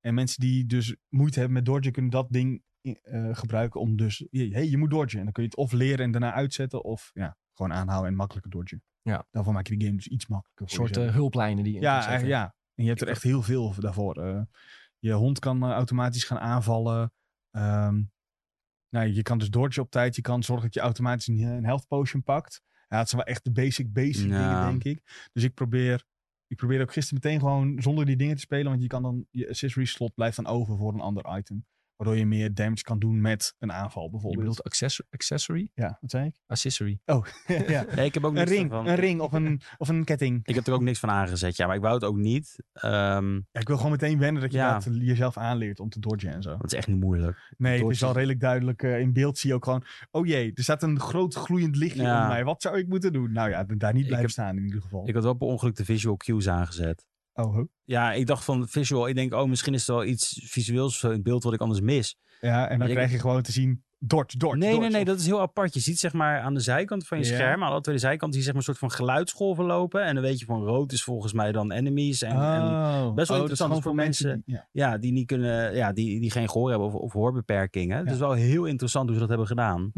B: En mensen die dus moeite hebben met dodgen kunnen dat ding eh, gebruiken om dus... hey, je moet dodgen. En dan kun je het of leren en daarna uitzetten of ja, gewoon aanhouden en makkelijker dodgen.
A: Ja.
B: Daarvoor maak je de game dus iets makkelijker.
A: Een
B: voor
A: soort
B: jezelf.
A: eh, hulplijnen die je in
B: Ja,
A: kunt zetten.
B: eigenlijk ja. En je hebt er echt heel veel daarvoor. Eh, je hond kan eh, automatisch gaan aanvallen. Ehm, nou, je kan dus dodgen op tijd. Je kan zorgen dat je automatisch een, een health potion pakt. Ja, dat zijn wel echt de basic, basic dingen,
C: Ja.
B: denk ik. Dus ik probeer, ik probeer ook gisteren meteen gewoon zonder die dingen te spelen. Want je kan dan, je accessory slot blijft dan over voor een ander item. Waardoor je meer damage kan doen met een aanval
A: Je
B: bijvoorbeeld.
A: bedoelt access- accessory?
B: Ja, wat zei ik?
A: *laughs* Accessory.
B: *laughs* ja.
C: Nee, ik heb ook
B: Een
C: niks
B: ring,
C: van.
B: een ring of een, of een ketting.
C: Ik heb er ook niks van aangezet, ja. Maar ik wou het ook niet. ehm, want
B: Ja, ik wil gewoon meteen wennen dat je
C: Ja.
B: dat jezelf aanleert om te dodgen en zo.
C: het is echt niet moeilijk.
B: Nee, het is
C: Dodge.
B: wel redelijk duidelijk. eh, in beeld zie je ook gewoon... Oh jee, er staat een groot gloeiend lichtje
C: Ja.
B: onder mij. Wat zou ik moeten doen? Nou ja, daar niet
C: Ik
B: blijven
C: heb-
B: staan in ieder geval.
C: Ik had wel per ongeluk de visual cues aangezet.
B: Oh, ho.
C: Ja, ik dacht van visual. Ik denk, oh, misschien is er wel iets visueels of zo in het beeld wat ik anders mis.
B: Ja, en dan
C: Ik-
B: krijg je gewoon te zien... Dort, dort,
C: nee,
B: dort.
C: nee, nee, dat is heel apart. Je ziet zeg maar aan de zijkant van je
B: Ja.
C: scherm, aan alle twee zijkanten, zie je zeg maar een soort van geluidsgolven lopen. En dan weet je van rood is volgens mij dan enemies. En,
A: Ah.
C: en
B: Oh,
C: best wel
B: oh, dat is
C: interessant
B: gewoon
C: voor mensen
B: die- ja.
C: ja, die niet kunnen, ja, die, die geen gehoor hebben of, of hoorbeperkingen. Het
B: Ja.
C: is wel heel interessant hoe ze dat hebben gedaan.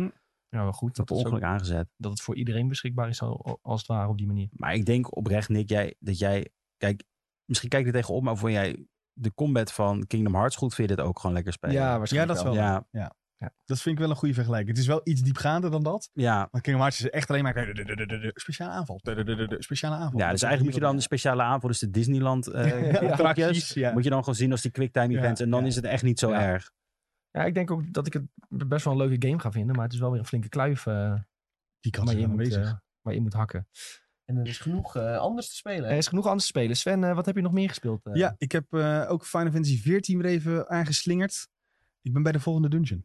A: Ja, wel goed. Hm.
C: Dat
A: Dat,
C: per
A: is ook-
C: ongeluk aangezet.
A: dat het voor iedereen beschikbaar is, al- als het ware, op die manier.
C: Maar ik denk oprecht, Nick, jij, dat jij... Kijk, misschien kijk je er tegenop, maar vond jij de combat van Kingdom Hearts goed? Vind je dit ook gewoon lekker spelen?
B: Ja, dat is wel.
C: Ja,
B: Dat vind ik wel een goede vergelijking. Het is wel iets diepgaander dan dat.
C: ja.
B: Maar Kingdom Hearts is echt alleen maar... Speciale aanval. Speciale aanval.
C: ja, dus eigenlijk moet je dan de
B: de
C: speciale aanval, dus de
B: *laughs*
C: Disneyland eh *laughs* attracties,
B: attracties. Ja.
C: moet je dan gewoon zien als die quicktime
B: Ja,
C: events. en dan
B: ja.
C: is het echt niet zo
A: Ja.
C: erg.
A: Ja, ik denk ook dat ik het best wel een leuke game ga vinden. Maar het is wel weer een flinke kluif eh,
B: Die kans
A: waar,
B: is
A: je in
B: wel
A: moet,
B: aanwezig.
A: eh, waar je in moet hakken.
D: En er is genoeg eh, anders te spelen.
A: Er is genoeg anders te spelen. Sven, eh, wat heb je nog meer gespeeld? eh?
B: Ja, ik heb eh, ook Final Fantasy XIV weer even aangeslingerd. Ik ben bij de volgende dungeon.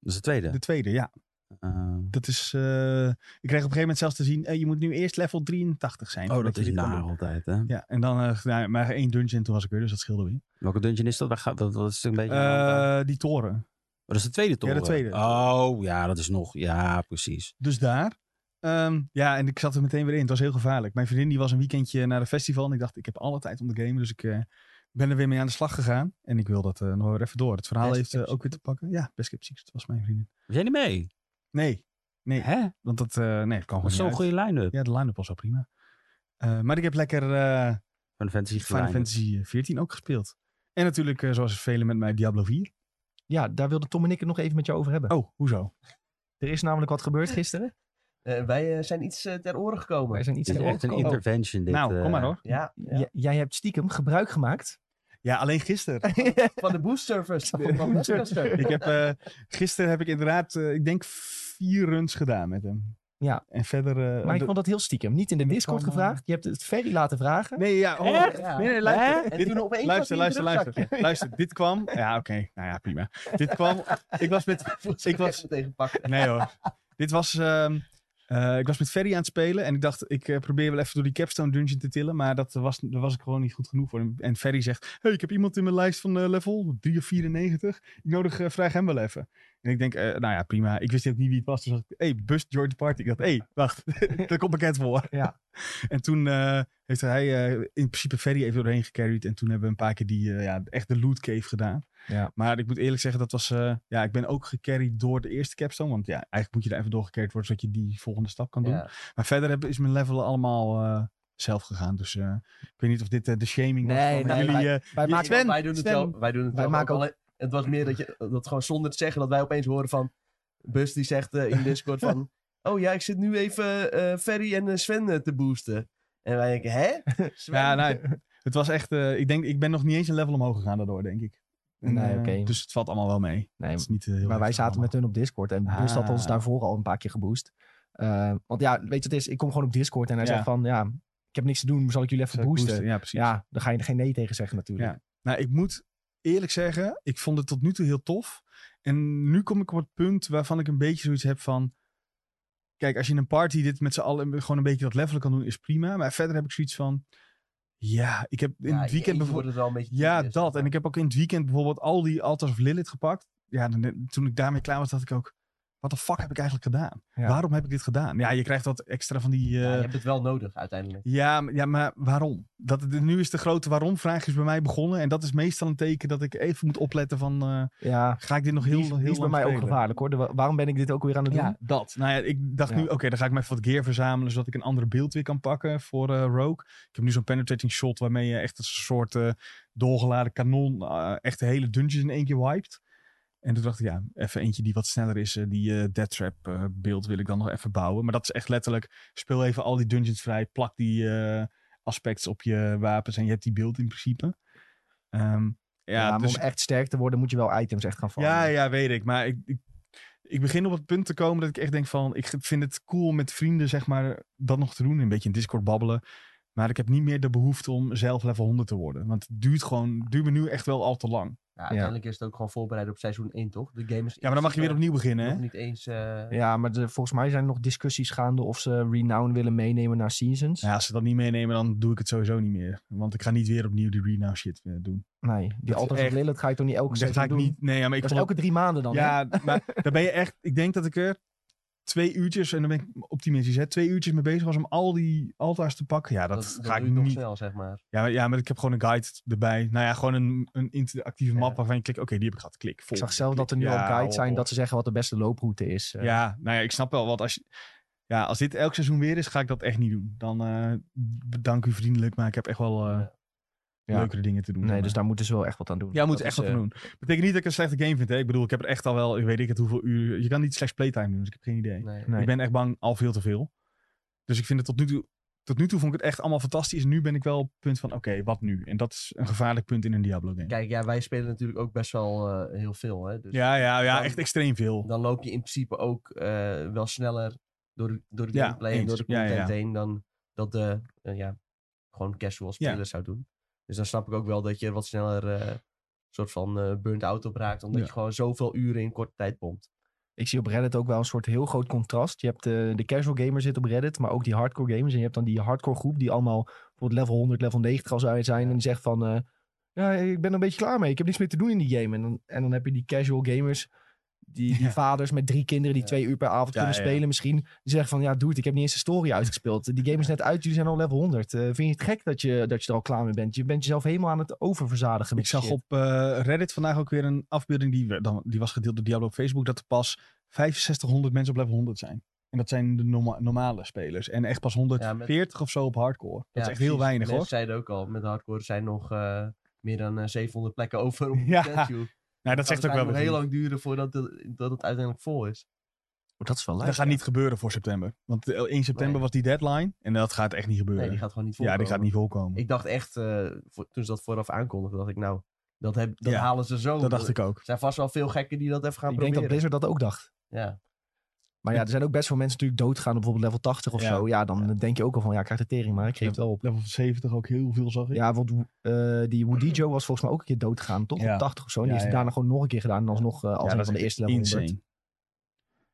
C: Dat is de tweede.
B: De Oh, tweede, ja.
C: Eh,
B: Dat is, eh, ik kreeg op een gegeven moment zelfs te zien, eh, je moet nu eerst level 83 zijn.
C: oh, dat
B: voordat
C: is
B: je dit kan
C: naar
B: doen.
C: altijd, hè?
B: Ja, en dan eh, nou, maar één dungeon, toen was ik weer, dus dat scheelde weer.
C: Welke dungeon is dat? Waar gaat, dat, dat is een beetje...
B: Eh, die toren.
C: Oh, dat is de tweede toren.
B: de tweede.
C: Oh, ja, dat is nog... Ja, precies.
B: Dus daar. Ehm, ja, en ik zat er meteen weer in. Het was heel gevaarlijk. Mijn vriendin die was een weekendje naar een festival en ik dacht, ik heb alle tijd om te gamen. Dus ik eh, ben er weer mee aan de slag gegaan. En ik wil dat eh, nog weer even door. Het verhaal
A: Best
B: heeft eh,
A: Kept
B: ook weer te pakken. Ja, best kept secret was mijn vriendin.
C: Was jij niet mee?
B: Nee, nee.
C: Hè?
B: Want dat, eh, nee, dat kan
C: Dat
B: gewoon
C: is
B: niet
C: zo'n
B: uit.
C: goede line-up.
B: Ja, de line-up was wel prima. Eh, maar ik heb lekker eh,
C: Van de Fantasy
B: Final
C: line-up.
B: Fantasy XIV ook gespeeld. En natuurlijk, eh, zoals velen met mij, Diablo 4.
A: ja, daar wilde Tom en ik het nog even met jou over hebben.
B: Oh, hoezo?
A: Er is namelijk wat
B: *laughs*
A: gebeurd gisteren.
D: Eh, wij eh, zijn iets eh, ter oren
B: Oh,
D: gekomen.
A: Wij zijn iets
C: Dit is
A: te
C: echt een
A: oorlog gekomen.
C: intervention. Dit,
B: nou,
C: eh.
B: kom maar hoor.
D: Ja, ja.
A: J- Jij hebt stiekem gebruik gemaakt.
B: Ja, alleen gisteren.
D: van de boost servers. Van de boost-servers.
B: ik heb, eh, gisteren heb ik inderdaad, eh, ik denk, vier runs gedaan met hem.
A: Ja.
B: En verder... eh,
A: maar ik
B: de-
A: vond dat heel stiekem. Niet in de
B: Dat
A: Discord
B: kwam, eh,
A: gevraagd. Je hebt het Ferry laten vragen.
B: Nee, ja, oh,
D: Echt? Ja.
B: nee, nee, luister.
D: En
B: Dit-
D: toen opeens zat
B: luister,
D: hij in
B: luister,
D: de
B: luister.
D: rugzak.
B: Luister, dit kwam... Ja, oké. Nou ja, prima. Dit kwam... Ik was met...
D: *laughs*
B: Ik was,
D: tegen pakken.
B: Nee hoor. Dit was. ehm, eh, ik was met Ferry aan het spelen en ik dacht, ik eh, probeer wel even door die capstone dungeon te tillen, maar dat was, daar was ik gewoon niet goed genoeg voor. En Ferry zegt, hey, ik heb iemand in mijn lijst van eh, level 3 of 94, ik nodig eh, vraag hem wel even. En ik denk, eh, nou ja, prima. Ik wist ook niet wie het was, dus dacht ik, hey, bust join the party. Ik dacht, hey, wacht, *laughs* dat komt bekend voor.
A: Ja.
B: *laughs* En toen eh, heeft hij eh, in principe Ferry even doorheen gecarried en toen hebben we een paar keer die, eh, ja, echt de loot cave gedaan. Maar ik moet eerlijk zeggen, dat was. eh, ja, ik ben ook gecarried door de eerste capstone. Want ja, eigenlijk moet je er even door gecarried worden zodat je die volgende stap kan doen.
D: Ja.
B: Maar verder heb, is mijn level allemaal eh, zelf gegaan. Dus eh, ik weet niet of dit eh, de shaming was.
A: Nee,
B: van
A: nee,
B: jullie,
A: wij-
B: eh,
A: Wij
B: Je-
A: maken
B: Sven,
D: wij doen het
A: Sven,
D: wel. Wij doen het
A: wij
D: wel.
A: maken
D: ook
A: ook-
D: alleen- Het was meer dat je dat gewoon zonder te zeggen dat wij opeens horen van Bus die zegt eh, in Discord
B: *laughs*
D: van oh ja, ik zit nu even eh Ferry en eh, Sven eh, te boosten. En wij denken, hè?
B: *laughs*
D: Sven?
B: Ja, nou, nee.
A: *laughs*
B: Het was echt, eh, ik denk, ik ben nog niet eens een level omhoog gegaan daardoor, denk ik. En,
A: Nee,
B: eh,
A: oké.
B: Dus het valt allemaal wel mee.
A: Nee,
B: Het is niet, eh, heel
A: Maar wij
B: heftig
A: zaten met hun op Discord en Bus had ons
B: Ah.
A: daarvoor al een paar keer geboost. Eh, want ja, weet je, het is, ik kom gewoon op Discord en hij
B: Ja.
A: zegt van, ja, ik heb niks te doen, zal ik jullie even
B: allemaal.
A: boosten?
B: Ja, precies.
A: Ja, daar ga je er geen nee tegen zeggen natuurlijk.
B: Ja. Nou, ik moet eerlijk zeggen, ik vond het tot nu toe heel tof. En nu kom ik op het punt waarvan ik een beetje zoiets heb van... Kijk, als je in een party dit met z'n allen gewoon een beetje dat levelen kan doen, is prima. Maar verder heb ik zoiets van... Ja, ik heb in het
D: Ja, je eentje
B: weekend bijvoorbeeld...
D: wordt het wel een beetje
B: Ja,
D: tedious,
B: dat.
D: maar-
B: En ik heb ook in het weekend bijvoorbeeld al die altars of Lilith gepakt. Ja, dan- eh, toen ik daarmee klaar was, dacht ik ook... Wat de fuck heb ik eigenlijk gedaan?
A: Ja.
B: Waarom heb ik dit gedaan? Ja, je krijgt dat extra van die... eh,
D: Ja, je hebt het wel nodig uiteindelijk.
B: ja, m- ja, maar waarom? Dat, het- nu is de grote waarom-vraag is bij mij begonnen. En dat is meestal een teken dat ik even moet opletten van... eh,
A: Ja,
B: ga ik dit nog
A: heel,
B: heel,
A: die, is-
B: heel
A: die is bij
B: lang
A: mij ook
B: spelen?
A: gevaarlijk hoor. De- wa- waarom ben ik dit ook weer aan het doen?
B: Ja, dat. Nou ja, ik dacht
A: Ja.
B: nu, oké, dan ga ik me even wat gear verzamelen... zodat ik een andere beeld weer kan pakken voor eh, Rogue. Ik heb nu zo'n penetrating shot waarmee je echt als een soort eh, dolgeladen kanon... eh, echt de hele dungeons in één keer wiped. En toen dacht ik, ja, even eentje die wat sneller is. eh, die eh Death Trap eh, beeld wil ik dan nog even bouwen. Maar dat is echt letterlijk, speel even al die dungeons vrij. Plak die eh, aspects op je wapens en je hebt die beeld in principe. Ehm, ja,
A: Ja, maar
B: dus
A: om echt sterk te worden moet je wel items echt gaan farmen.
B: ja, ja, weet ik. Maar ik, ik, ik begin op het punt te komen dat ik echt denk van... Ik vind het cool om met vrienden, zeg maar, dat nog te doen. Een beetje in Discord babbelen. Maar ik heb niet meer de behoefte om zelf level 100 te worden. Want het duurt gewoon... duurt me nu echt wel al te lang.
D: Ja, uiteindelijk is het ook gewoon voorbereid op seizoen 1, toch? De game is
B: Ja, maar dan mag je weer opnieuw beginnen, hè?
D: Nog niet eens... eh,
A: Ja, maar de- volgens mij zijn er nog discussies gaande of ze Renown willen meenemen naar Seasons.
B: Ja, als ze dat niet meenemen, dan doe ik het sowieso niet meer. Want ik ga niet weer opnieuw die renow shit eh, doen.
A: Nee, die
B: is
A: Altars of
B: echt-
A: Lilith ga je toch niet elke
B: Dat
A: keer
B: ga ik
A: doen?
B: niet... Nee, ja, maar ik
A: dat is
B: vond het-
A: elke drie maanden dan, hè?
B: Ja, maar
A: *laughs*
B: daar ben je echt... Ik denk dat ik er twee uurtjes... En dan ben ik optimistisch, hè? Twee uurtjes mee bezig was om al die altaars te pakken. Ja, dat,
D: dat, dat
B: ga
D: doe
B: ik
D: je nog
B: niet...
D: snel, zeg maar.
B: Ja, maar, ja, maar ik heb gewoon een guide erbij. Nou ja, gewoon een, een interactieve
D: Ja.
B: map waarvan je klikt. Oké, die heb ik gehad. Klik.
A: Ik zag
B: volgende,
A: zelf dat er nu
B: klik.
A: al
B: Ja,
A: guides
B: op,
A: zijn
B: op.
A: dat ze zeggen wat de beste looproute is. eh.
B: Ja, nou ja, ik snap wel. Want als je, ja, als dit elk seizoen weer is, ga ik dat echt niet doen. Dan eh, bedank u vriendelijk, maar ik heb echt wel eh,
A: Ja.
B: leukere dingen te doen.
A: Nee,
B: zeg
A: dus
B: maar.
A: daar moeten ze wel echt wat aan doen.
B: Ja, moet
A: Dat is,
B: echt wat aan
A: eh,
B: doen. Betekent niet dat ik een slechte game vind. Hè? Ik bedoel, ik heb er echt al wel, ik weet ik het hoeveel uur. Je kan niet slechts playtime doen, dus ik heb geen idee.
D: Nee.
A: Nee.
B: Ik ben echt bang al veel te veel. Dus ik vind het tot nu toe. Tot nu toe vond ik het echt allemaal fantastisch. Nu ben ik wel op het punt van, oké, wat nu? En dat is een gevaarlijk punt in een Diablo-game.
D: Kijk, ja, wij spelen natuurlijk ook best wel eh, heel veel, hè. Dus
B: Ja, ja, ja,
D: dan-
B: echt extreem veel.
D: dan loop je in principe ook eh, wel sneller door, door de
B: Ja,
D: gameplay en
B: eens.
D: door de
B: Ja, ja,
D: content
B: ja.
D: heen dan dat de eh, ja, gewoon casual
B: Ja.
D: speler zou doen. Dus dan snap ik ook wel dat je er wat sneller eh, soort van eh burnt out op raakt, omdat
B: Ja.
D: je gewoon zoveel uren in korte tijd pompt.
A: Ik zie op Reddit ook wel een soort heel groot contrast. Je hebt de, de casual gamer zit op Reddit, maar ook die hardcore gamers. En je hebt dan die hardcore groep die allemaal bijvoorbeeld level 100, level 90 al zou zijn. En die zegt van, eh, ja, ik ben er een beetje klaar mee. Ik heb niks meer te doen in die game. En dan, en dan heb je die casual gamers, die, die
B: Ja.
A: vaders met drie kinderen die
D: Ja.
A: twee uur per avond
B: Ja,
A: kunnen
B: ja.
A: spelen misschien. Die zeggen van, ja dude, ik heb niet eens de story uitgespeeld. Die game is net uit, jullie zijn al level 100. Eh, vind je het gek dat je, dat je er al klaar mee bent? Je bent jezelf helemaal aan het oververzadigen. met
B: Ik zag
A: shit.
B: op eh, Reddit vandaag ook weer een afbeelding, die, we- dan, die was gedeeld door Diablo op Facebook, dat er pas 6500 mensen op level 100 zijn. En dat zijn de norma- normale spelers. En echt pas 140 of zo op hardcore. Dat is echt heel weinig
D: Mensen
B: hoor.
D: zeiden ook al, met hardcore zijn nog eh, meer dan eh, 700 plekken
B: *laughs*
D: over op
B: Ja,
D: ja, casual.
B: Nou, dat zegt ook wel
D: dus nog
B: weer
D: heel
B: iets.
D: lang duren voordat de- dat het uiteindelijk vol is.
A: Oh, dat is wel leuk.
B: Dat gaat niet gebeuren voor september. Want eh, 1 september
D: Nee.
B: was die deadline. En dat gaat echt niet gebeuren.
D: Nee, die gaat gewoon niet vol.
B: ja, die gaat niet volkomen.
D: Ik dacht echt, eh, voor- toen ze dat vooraf aankondigden, dacht ik nou, dat, heb, dat
B: Ja,
D: halen ze zo.
B: dat dacht ik ook.
D: Er zijn vast wel veel gekken die dat even gaan
A: Ik denk dat
D: proberen.
A: Blizzard dat ook dacht.
D: Ja.
A: Maar ja, er zijn ook best veel mensen natuurlijk doodgaan op bijvoorbeeld level 80 of
B: Ja.
A: zo. Ja, dan denk je ook al van, ja, ik krijg de tering, maar ik geef het wel op.
B: Level 70 ook heel veel zag ik.
A: Ja, want eh, die Woodyjo was volgens mij ook een keer doodgaan, toch?
B: Ja.
A: Op 80 of zo. En
B: Ja,
A: die heeft het
B: ja.
A: daarna gewoon nog een keer gedaan. En alsnog eh als
B: Ja,
A: een
B: dat
A: van de
B: is
A: eerste level 100.
B: insane.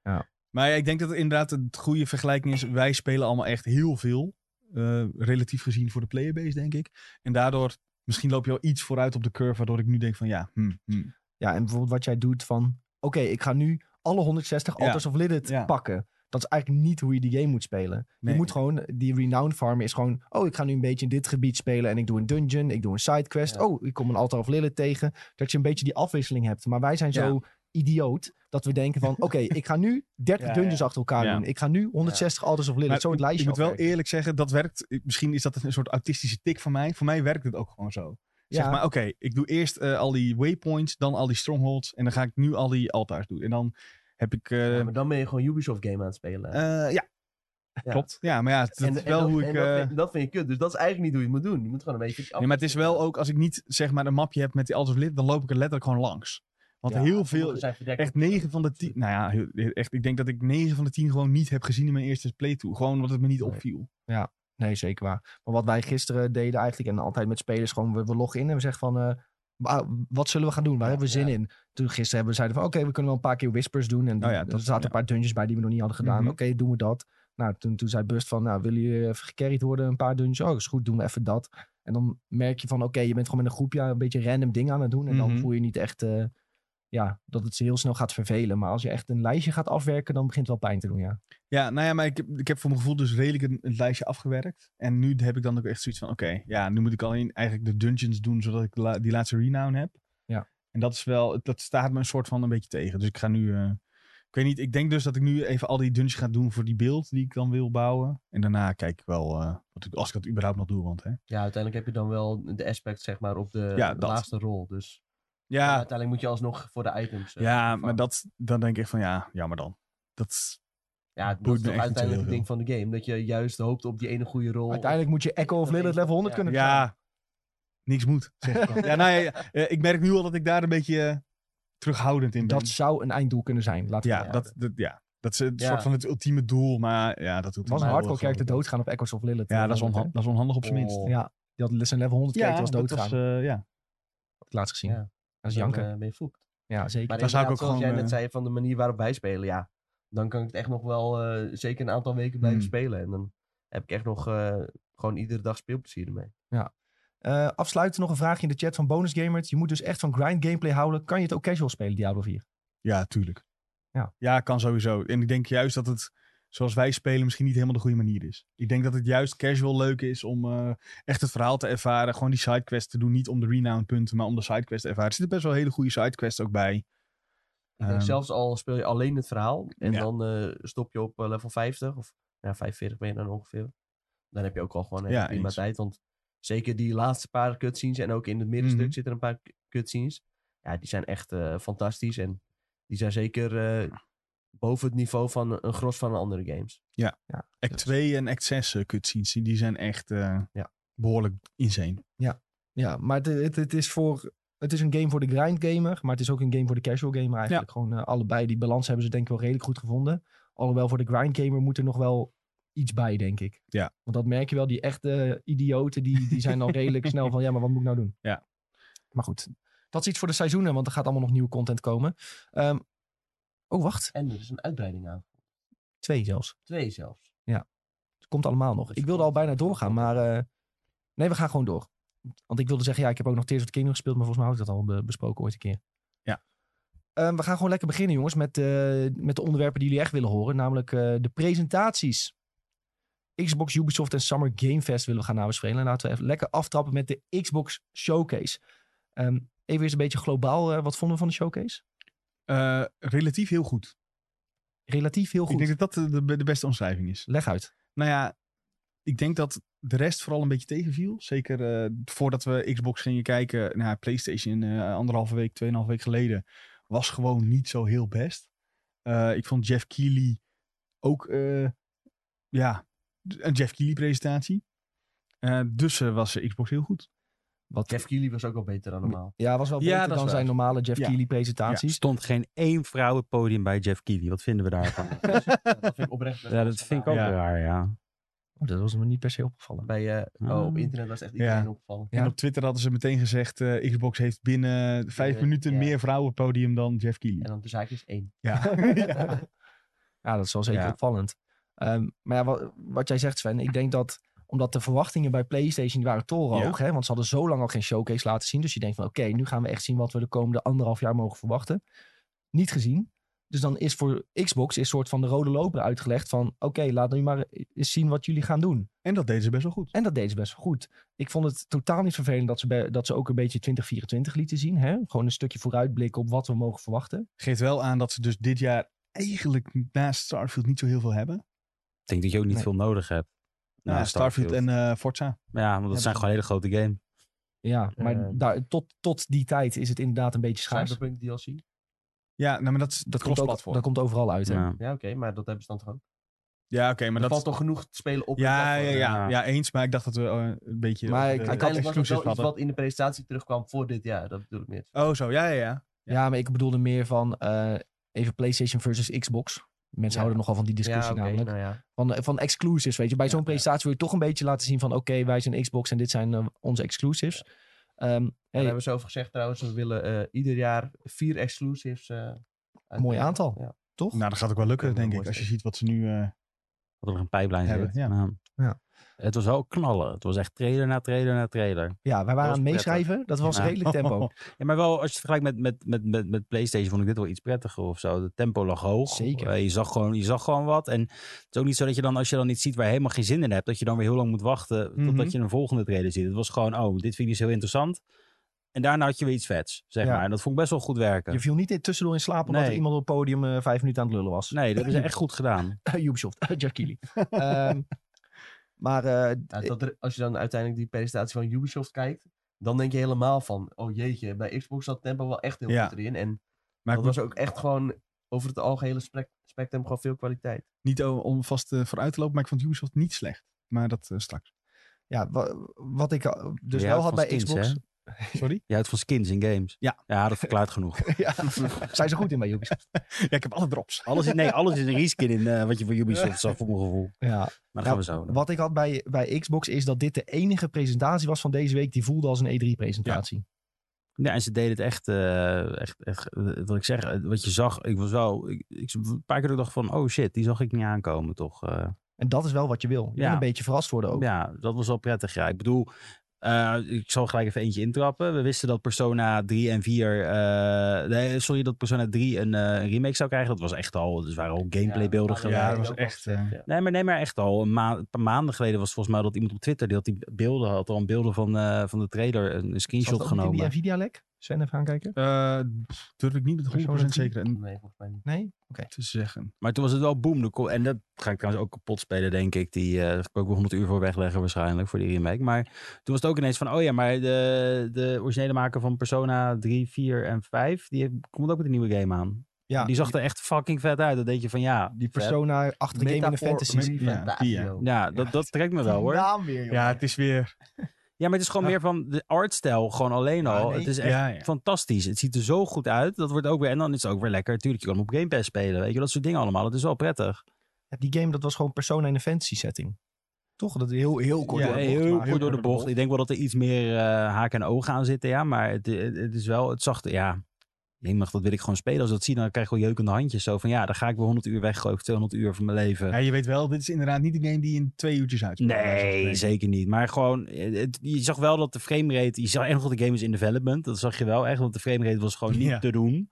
A: Ja.
B: Maar ja, ik denk dat het inderdaad een goede vergelijking is. Wij spelen allemaal echt heel veel. eh, relatief gezien voor de playerbase, denk ik. En daardoor, misschien loop je wel iets vooruit op de curve. Waardoor ik nu denk van ja, hmm, hmm.
A: Ja, en bijvoorbeeld wat jij doet van... Oké, ik ga nu alle 160
B: Ja.
A: Altars of Lilith
B: Ja.
A: pakken. Dat is eigenlijk niet hoe je die game moet spelen.
B: Nee.
A: Je moet gewoon... Die renown farm is gewoon... Oh, ik ga nu een beetje in dit gebied spelen. En ik doe een dungeon. Ik doe een sidequest.
D: Ja.
A: Oh, ik kom een Altar of Lilith tegen. Dat je een beetje die afwisseling hebt. Maar wij zijn
B: Ja.
A: zo idioot dat we denken van...
B: *laughs*
A: Oké, ik ga nu 30
B: Ja,
A: dungeons
B: ja.
A: achter elkaar
B: Ja.
A: doen. Ik ga nu 160 Altars of Lilith.
B: Maar
A: zo het
B: ik-
A: lijstje
B: Ik moet wel
A: afwerken.
B: eerlijk zeggen, dat werkt. ik- Misschien is dat een soort autistische tik van mij. Voor mij werkt het ook gewoon zo. Zeg maar, oké, ik doe eerst eh, al die waypoints, dan al die strongholds. En dan ga ik nu al die altaars doen. En dan heb ik... eh,
D: Ja, maar dan ben je gewoon Ubisoft game aan het spelen.
B: eh, ja.
D: Ja.
B: klopt. Ja, maar ja, het- dat
D: En-
B: is
D: en
B: wel
D: dat-
B: hoe
D: en
B: ik...
D: dat,
B: eh,
D: vind, dat vind je kut. Dus dat is eigenlijk niet hoe je het moet doen. Je moet gewoon een beetje... die
B: Nee, maar het is wel
D: afwisseling
B: ook, als ik niet zeg maar een mapje heb met die Alters Lid, dan loop ik er letterlijk gewoon langs. Want
D: hebben. Ja,
B: heel
D: sommige
B: veel,
D: zijn verdekt.
B: echt 9 van de 10, nou ja, heel- echt, ik denk dat ik 9 van de 10 gewoon niet heb gezien in mijn eerste playthrough. Gewoon omdat het me niet
A: Nee.
B: opviel.
A: Nee, zeker waar. Maar wat wij gisteren deden eigenlijk, en altijd met spelers, gewoon we, we loggen in en we zeggen van, eh, wa- wat zullen we gaan doen? Waar hebben we zin in? Toen gisteren hebben we zeiden van, oké, we kunnen wel een paar keer whispers doen. En die-
B: Oh ja, dat-
A: er zaten
B: ja.
A: een paar dungeons bij die we nog niet hadden gedaan.
B: Mhm.
A: Oké, doen we dat. Nou, toen, toen zei Bust van, nou, wil je even gecarried worden? Een paar dungeons? Oh, is goed, doen we even dat. En dan merk je van, oké, je bent gewoon met een groepje een beetje random dingen aan het doen. En dan
B: Mhm.
A: voel je niet echt, eh, ja, dat het ze heel snel gaat vervelen. Maar als je echt een lijstje gaat afwerken, dan begint het wel pijn te doen, ja.
B: Ja, nou ja, maar ik heb, ik heb voor mijn gevoel dus redelijk een, een lijstje afgewerkt. En nu heb ik dan ook echt zoiets van, oké, ja, nu moet ik alleen eigenlijk de dungeons doen, zodat ik la- die laatste renown heb.
A: Ja.
B: En dat is wel, dat staat me een soort van een beetje tegen. Dus ik ga nu, eh, ik weet niet, ik denk dus dat ik nu even al die dungeons ga doen voor die beeld die ik dan wil bouwen. En daarna kijk ik wel, eh, wat ik, als ik dat überhaupt nog doe, want hè.
D: Ja, uiteindelijk heb je dan wel de aspect, zeg maar, op de,
B: Ja,
D: de
B: dat.
D: laatste rol. Dus
B: Ja,
D: uiteindelijk moet je alsnog voor de items... eh,
B: ja maar
D: vervangen.
B: dat, dan denk ik van, ja, jammer dan. Dat is,
D: Ja, dat
B: boeit
D: is
B: me
D: toch
B: echt niet zo heel
D: uiteindelijk het ding
B: veel.
D: van de game. Dat je juist hoopt op die ene goede rol.
A: Uiteindelijk moet je Echo of
D: Dat
A: Lilith
D: is-
A: level 100
D: ja.
A: kunnen verslaan.
B: ja, niks moet, zeg ik dan. ja, nou ja, ja, eh, ik merk nu al dat ik daar een beetje eh, terughoudend in ben.
A: Dat zou een einddoel kunnen zijn. Laten we
B: Ja,
D: Ja,
B: dat, dat, ja. dat is een
D: Ja.
B: soort van het ultieme doel, maar ja, dat
A: Het
B: doet
A: was een
B: mij wel
A: hardcore
B: gewoon-
A: character doodgaan op Echoes of Lilith.
B: Ja,
A: eh,
B: dat is,
A: hè?
B: onhan- dat is onhandig op zijn minst.
D: Oh.
A: Ja, die had zijn level 100 character was
B: dat
A: doodgaan.
B: was, eh, ja.
A: heb ik laatst gezien.
D: Ja.
A: Dat is
D: dan,
A: janken.
D: eh, ben je foekt.
A: ja, zeker.
D: Maar
B: Dan zou ik
D: inderdaad,
B: ook
D: zoals jij
B: gewoon,
D: net
B: eh,
D: zei, van de manier waarop wij spelen, ja. Dan kan ik het echt nog wel eh, zeker een aantal weken blijven
B: Hmm.
D: spelen. En dan heb ik echt nog eh, gewoon iedere dag speelplezier ermee.
A: Eh afsluiten nog een vraagje in de chat van Bonus Gamers. Je moet dus echt van grind gameplay houden. Kan je het ook casual spelen, Diablo 4?
B: ja, tuurlijk.
A: Ja.
B: kan sowieso. En ik denk juist dat het, zoals wij spelen, misschien niet helemaal de goede manier is. Ik denk dat het juist casual leuk is om eh, echt het verhaal te ervaren. Gewoon die sidequest te doen. Niet om de renown punten, maar om de sidequest te ervaren. Er zitten best wel hele goede sidequests ook bij.
D: Ik denk
B: Ehm.
D: zelfs al speel je alleen het verhaal. En
B: Ja.
D: dan eh, stop je op eh, level 50 of ja, 45 ben je dan ongeveer. Dan heb je ook al gewoon een
B: Ja,
D: prima
B: eens.
D: tijd. Want zeker die laatste paar cutscenes en ook in het middenstuk
B: Mhm.
D: zitten er een paar cu- cutscenes. Ja, die zijn echt eh, fantastisch. En die zijn zeker eh, boven het niveau van een gros van de andere games.
B: Act 2 en Act 6 eh, cutscenes, die die zijn echt eh,
D: Ja.
B: behoorlijk insane.
A: Ja, maar het, het, het is voor... Het is een game voor de grind gamer, maar het is ook een game voor de casual gamer eigenlijk. Gewoon eh, allebei. Die balans hebben ze denk ik wel redelijk goed gevonden. Alhoewel voor de grind gamer moet er nog wel iets bij, denk ik.
B: Ja.
A: Want dat merk je wel. Die echte idioten, die, die zijn al
B: *laughs*
A: redelijk snel van... Ja, maar wat moet ik nou doen?
B: Ja.
A: Maar goed, dat is iets voor de seizoenen, want er gaat allemaal nog nieuwe content komen. Ehm, oh, wacht.
D: En er is een uitbreiding aan.
A: Twee zelfs.
D: Twee zelfs.
A: Het komt allemaal nog. Ik wilde al bijna doorgaan, maar... eh, nee, we gaan gewoon door. Want ik wilde zeggen, ja, ik heb ook nog Tears of the Kingdom gespeeld... maar volgens mij had ik dat al be- besproken ooit een keer.
B: Ja.
A: Ehm, we gaan gewoon lekker beginnen, jongens, met, eh, met de onderwerpen die jullie echt willen horen. Namelijk eh, de presentaties. Xbox, Ubisoft en Summer Game Fest willen we gaan nabespreken. En laten we even lekker aftrappen met de Xbox Showcase. Ehm, even eerst een beetje globaal. eh, wat vonden we van de showcase?
B: Eh, relatief heel goed.
A: Relatief heel goed.
B: Ik denk dat dat de, de, de beste omschrijving is.
A: Leg uit.
B: Nou ja, ik denk dat de rest vooral een beetje tegenviel. Zeker eh, voordat we Xbox gingen kijken naar PlayStation eh, anderhalve week, tweeënhalve week geleden, was gewoon niet zo heel best. Eh, ik vond Jeff Keighley ook, eh, ja, d- een Jeff Keighley presentatie. Eh, dus eh, was Xbox heel goed.
A: Wat,
D: Jeff Keighley was ook al beter dan normaal.
A: Ja, was wel
B: Ja,
A: beter
B: dat
A: dan
B: is waar.
A: zijn normale Jeff
B: Ja.
A: Keighley presentaties.
C: stond geen één vrouw op het podium bij Jeff Keighley. Wat vinden we daarvan?
D: Ja, dat vind ik oprecht.
A: *laughs*
D: best
C: ja,
D: wel
C: dat vind ik ook
D: schandalig.
C: raar, ja.
A: Oh, dat was me niet per se opgevallen.
D: Bij, eh,
C: Ah.
D: oh, op internet was echt iedereen
B: Ja.
D: opgevallen.
A: Ja.
B: En op Twitter hadden ze meteen gezegd, eh, Xbox heeft binnen vijf
D: Eh,
B: minuten
D: ja.
B: meer vrouwen podium dan Jeff Keighley.
D: En dan de zaak is één. *laughs*
B: Ja. ja.
A: Ja, dat is wel zeker
C: Ja.
A: opvallend. Ehm, maar ja, wat, wat jij zegt Sven, ik denk dat omdat de verwachtingen bij PlayStation die waren torenhoog, hè, want ze hadden zo lang al geen showcase laten zien. Dus je denkt van oké, nu gaan we echt zien wat we de komende anderhalf jaar mogen verwachten. Niet gezien. Dus dan is voor Xbox is soort van de rode loper uitgelegd van oké, laat nu maar eens zien wat jullie gaan doen.
B: En dat deden ze best wel goed.
A: En dat deden ze best wel goed. Ik vond het totaal niet vervelend dat ze, bij, dat ze ook een beetje 2024 lieten zien. Hè? Gewoon een stukje vooruitblik op wat we mogen verwachten.
B: geeft wel aan dat ze dus dit jaar eigenlijk naast Starfield niet zo heel veel hebben.
C: Ik denk dat je ook niet
A: Nee.
C: veel nodig hebt.
B: Ja,
C: Nou,
B: Starfield en eh, Forza.
C: Ja, want dat
B: Hebben
C: zijn
B: ze-
C: gewoon hele grote games.
A: Ja, maar
D: Ehm.
A: daar, tot, tot die tijd is het inderdaad een beetje schaars. Dat
D: Cyberpunk DLC.
B: Ja, nou, maar dat, is- dat
A: komt, ook,
B: cross-platform.
A: dat komt overal uit. Hè?
C: Ja.
D: Ja, oké, maar dat hebben ze dan toch ook.
B: Ja, oké,
D: Maar
B: maar
D: dat
B: dat...
D: valt toch genoeg te spelen op.
B: Ja, ja,
D: het platform?
B: ja,
C: Ja.
B: ja, eens. Maar ik dacht dat we eh, een beetje...
A: Maar
B: eh,
A: ik- ik had
D: Uiteindelijk was
B: exclusives
D: het wel iets
B: hadden.
D: wat in de presentatie terugkwam voor dit jaar. Dat bedoel ik niet.
B: Oh, zo. Ja, ja, ja.
A: Ja. maar ik bedoelde meer van eh, even PlayStation versus Xbox. Mensen
D: Ja.
A: houden nogal van die discussie
D: ja, oké,
A: namelijk.
D: nou ja.
A: Van, van exclusives, weet je. Bij
B: Ja,
A: zo'n
B: ja.
A: presentatie wil je toch een beetje laten zien van... oké, wij zijn Xbox en dit zijn eh, onze exclusives. Ehm,
D: We
A: hey,
D: hebben ze over gezegd trouwens, we willen eh, ieder jaar vier exclusives. eh, uitbrengen.
A: Mooi aantal.
D: Ja.
A: toch?
B: Nou, dat gaat ook wel lukken,
D: Ja,
B: denk ik.
D: mooi
B: Als je
D: steeds.
B: ziet wat ze nu... eh,
C: Wat er nog een pijplijn
B: Hebben,
C: zit.
B: ja.
A: Ja.
C: Het was wel knallen. Het was echt trailer na trailer na trailer.
A: ja, wij waren
C: was
A: aan het
C: prettig.
A: meeschrijven. Dat was
C: Ja.
A: redelijk
B: *laughs*
A: tempo.
C: Ja, maar wel als je het vergelijkt met, met, met, met, met PlayStation vond ik dit wel iets prettiger of zo. De tempo lag hoog.
A: Zeker.
C: Eh, je, zag gewoon, je zag gewoon wat. En het is ook niet zo dat je dan, als je dan iets ziet waar je helemaal geen zin in hebt, dat je dan weer heel lang moet wachten totdat
B: Mhm.
C: je een volgende trailer ziet. Het was gewoon, oh, dit vind ik dus heel interessant. En daarna had je weer iets vets, zeg
A: Ja.
C: maar. En dat vond ik best wel goed werken.
A: Je viel niet in- tussendoor in slaap omdat
C: Nee.
A: er iemand op het podium eh, vijf minuten aan het lullen was.
C: Nee, dat
A: *laughs*
C: hebben ze echt goed *laughs* gedaan.
A: Ubisoft, *laughs* Jack Keighley. Ehm, maar eh,
D: Ja, dat er- als je dan uiteindelijk die presentatie van Ubisoft kijkt, dan denk je helemaal van, oh jeetje, bij Xbox zat tempo wel echt heel
B: Ja.
D: goed erin. En
B: maar
D: dat
B: ik was
D: was ook echt gewoon over het algehele spec- spectrum gewoon veel kwaliteit.
B: niet o- om vast eh, vooruit te lopen, maar ik vond Ubisoft niet slecht. Maar dat eh,
D: *laughs*
B: straks.
A: ja, wa- wat ik eh, dus
C: Jij
A: wel
C: houdt
A: had
C: van
A: bij
C: skins,
A: Xbox.
B: Sorry?
C: Je houdt van skins in games.
B: Ja.
C: Ja, dat verklaart genoeg.
A: *laughs* ja, zijn ze goed in bij Ubisoft.
B: ja, ik heb alle drops.
C: *laughs* Alles is, nee, alles is een reskin in eh, wat je *laughs* voor Ubisoft zag, voor mijn gevoel.
A: Ja.
C: Maar
A: Ja,
C: dat gaan we zo. doen.
A: Wat ik had bij, bij Xbox is dat dit de enige presentatie was van deze week die voelde als een E E3-presentatie.
C: Ja, en ze deden het echt, eh, echt, echt eh, wat ik zeg, eh, wat je zag, ik was wel, ik, ik- een paar keer dat ik dacht van, oh shit, die zag ik niet aankomen toch. eh.
A: En dat is wel wat je wil. Je
C: Ja.
A: wil een beetje verrast worden ook.
C: ja, dat was wel prettig, ja. Ik bedoel, eh, ik zal gelijk even eentje intrappen. We wisten dat Persona 3 en 4, eh, nee, sorry, dat Persona 3 een eh, remake zou krijgen. Dat was echt al, dus waren al gameplay beelden
B: Ja,
D: Ja, maar
C: gelaten.
B: dat was
D: ook wel
B: echt,
D: gezegd,
B: eh,
D: ja.
C: Nee, maar, nee, maar echt al. Een, ma- een paar maanden geleden was het volgens mij dat iemand op Twitter die had die beelden had. Al een beelden van, eh, van de trailer, een, een
A: Zat dat
C: screenshot
A: ook
C: genomen.
A: in die Nvidia-lek? Sven, even aankijken.
B: Eh, pff, durf ik niet met 100% zeker en
D: Nee, volgens mij niet.
A: Nee?
B: te zeggen.
C: Maar toen was het wel boom. De co- En dat ga ik trouwens ook kapot spelen, denk ik. Die eh, daar kan ik ook wel 100 uur voor wegleggen waarschijnlijk, voor die remake. Maar toen was het ook ineens van, oh ja, maar de, de originele maker van Persona 3, 4 en 5, die heeft- komt ook met een nieuwe game aan.
A: Ja,
C: die zag er echt fucking vet uit. Dat deed je van, ja,
A: die
C: vet.
A: persona achter Game in de
D: Metafor-
A: Fantasy.
B: Ja, die, ja.
C: Ja, dat, dat trekt me wel hoor. Ja,
A: naam weer, joh.
B: Ja, het is weer...
C: maar het is gewoon
B: Ja.
C: meer van de artstijl gewoon alleen
A: Ja,
C: al.
A: nee.
C: Het is echt
B: Ja, ja.
C: fantastisch. Het ziet er zo goed uit. Dat wordt ook weer, en dan is het ook weer lekker. Tuurlijk, je kan hem op Game Pass spelen, weet je. Dat soort dingen allemaal. Dat is wel prettig.
A: Ja, die game, dat was gewoon persona in een fantasy setting. Toch? Dat heel, heel kort
B: Ja,
A: door de bocht,
C: heel
A: maar-
C: kort door de bocht. Ik denk wel dat er iets meer eh, haken en ogen aan zitten, ja. Maar het, het, het is wel, het zachte, ja. Jemig, dat wil ik gewoon spelen. Als ik dat zie, dan krijg ik wel jeukende handjes. Zo van, ja, dan ga ik weer 100 uur weggooien of 200 uur van mijn leven.
B: Ja, je weet wel, dit is inderdaad niet de game die in twee uurtjes uit.
C: Nee, zeker niet. Maar gewoon, eh, het- je zag wel dat de framerate... Je zag echt nog dat de game is in development. Dat zag je wel echt, want de framerate was gewoon niet
B: Ja.
C: te doen.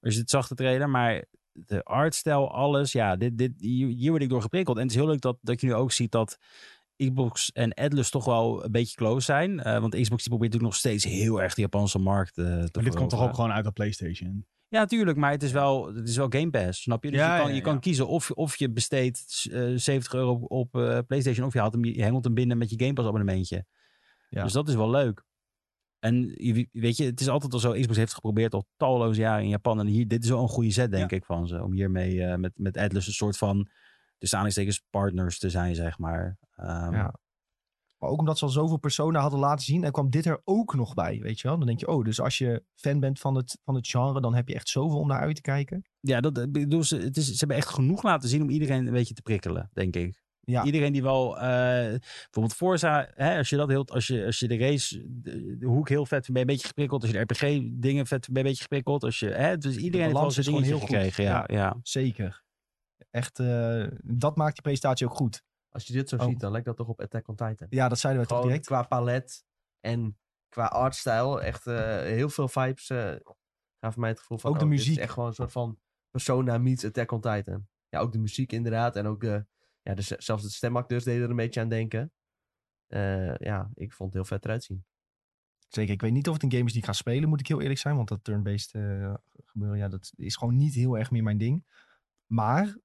C: Dus het zag de trailer, maar... De artstijl, alles. Ja, dit, dit, hier hier word ik door geprikkeld. En het is heel leuk dat, dat je nu ook ziet dat Xbox en Atlus toch wel een beetje close zijn. Eh, want Xbox die probeert natuurlijk nog steeds heel erg de Japanse markt eh, te
B: Maar dit komt toch
C: veroveren.
B: ook gewoon uit op PlayStation?
C: Ja, natuurlijk. Maar het is wel, het is wel Game Pass, snap je? Dus
B: Ja,
C: je kan,
B: ja,
C: je
B: ja.
C: kan kiezen of, of je besteedt eh, 70 euro op, op, eh, PlayStation... of je, haalt hem, je hengelt hem binnen met je Game Pass abonnementje.
A: Ja.
C: Dus dat is wel leuk. En je- weet je, het is altijd al zo. Xbox heeft geprobeerd al talloze jaren in Japan. En hier, dit is wel een goede zet, denk ik, van ze. Om hiermee eh, met, met Atlus een soort van... tussen aanhalingstekens partners te zijn, zeg maar. Ehm,
A: Ja. Maar ook omdat ze al zoveel personen hadden laten zien. En kwam dit er ook nog bij, weet je wel. Dan denk je, oh, dus als je fan bent van het, van het genre... dan heb je echt zoveel om naar uit te kijken.
C: Ja, dat, eh, ik bedoel, ze, het is, ze hebben echt genoeg laten zien om iedereen een beetje te prikkelen, denk ik.
A: Ja.
C: Iedereen die wel, eh, bijvoorbeeld Forza, hè, als je dat heel, als je, als je de race, de, de hoek heel vet vindt, ben je een beetje geprikkeld. Als je de RPG dingen vet vindt, ben je een beetje geprikkeld. Als je, hè, dus iedereen heeft wel
A: balans
C: zijn
A: is gewoon
C: dingetje
A: heel goed.
C: gekregen. Ja, ja.
A: Zeker. Echt, eh, dat maakt die presentatie ook goed.
D: Als je dit zo
A: Oh.
D: ziet, dan lijkt dat toch op Attack on Titan.
A: Ja, dat zeiden we toch
D: Gewoon
A: direct.
D: qua palet en qua artstijl. Echt eh, heel veel vibes eh gaven mij het gevoel van...
A: Ook de
D: oh, dit is
A: muziek.
D: echt gewoon een soort van Persona meets Attack on Titan. Ja, ook de muziek inderdaad. En ook eh, ja, dus zelfs de stemacteurs deden er een beetje aan denken. Eh, ja, ik vond het heel vet eruit zien.
A: Zeker. Ik weet niet of het een game is die ik ga spelen, moet ik heel eerlijk zijn. Want dat turn-based eh, gebeuren, ja, dat is gewoon niet heel erg meer mijn ding. Maar,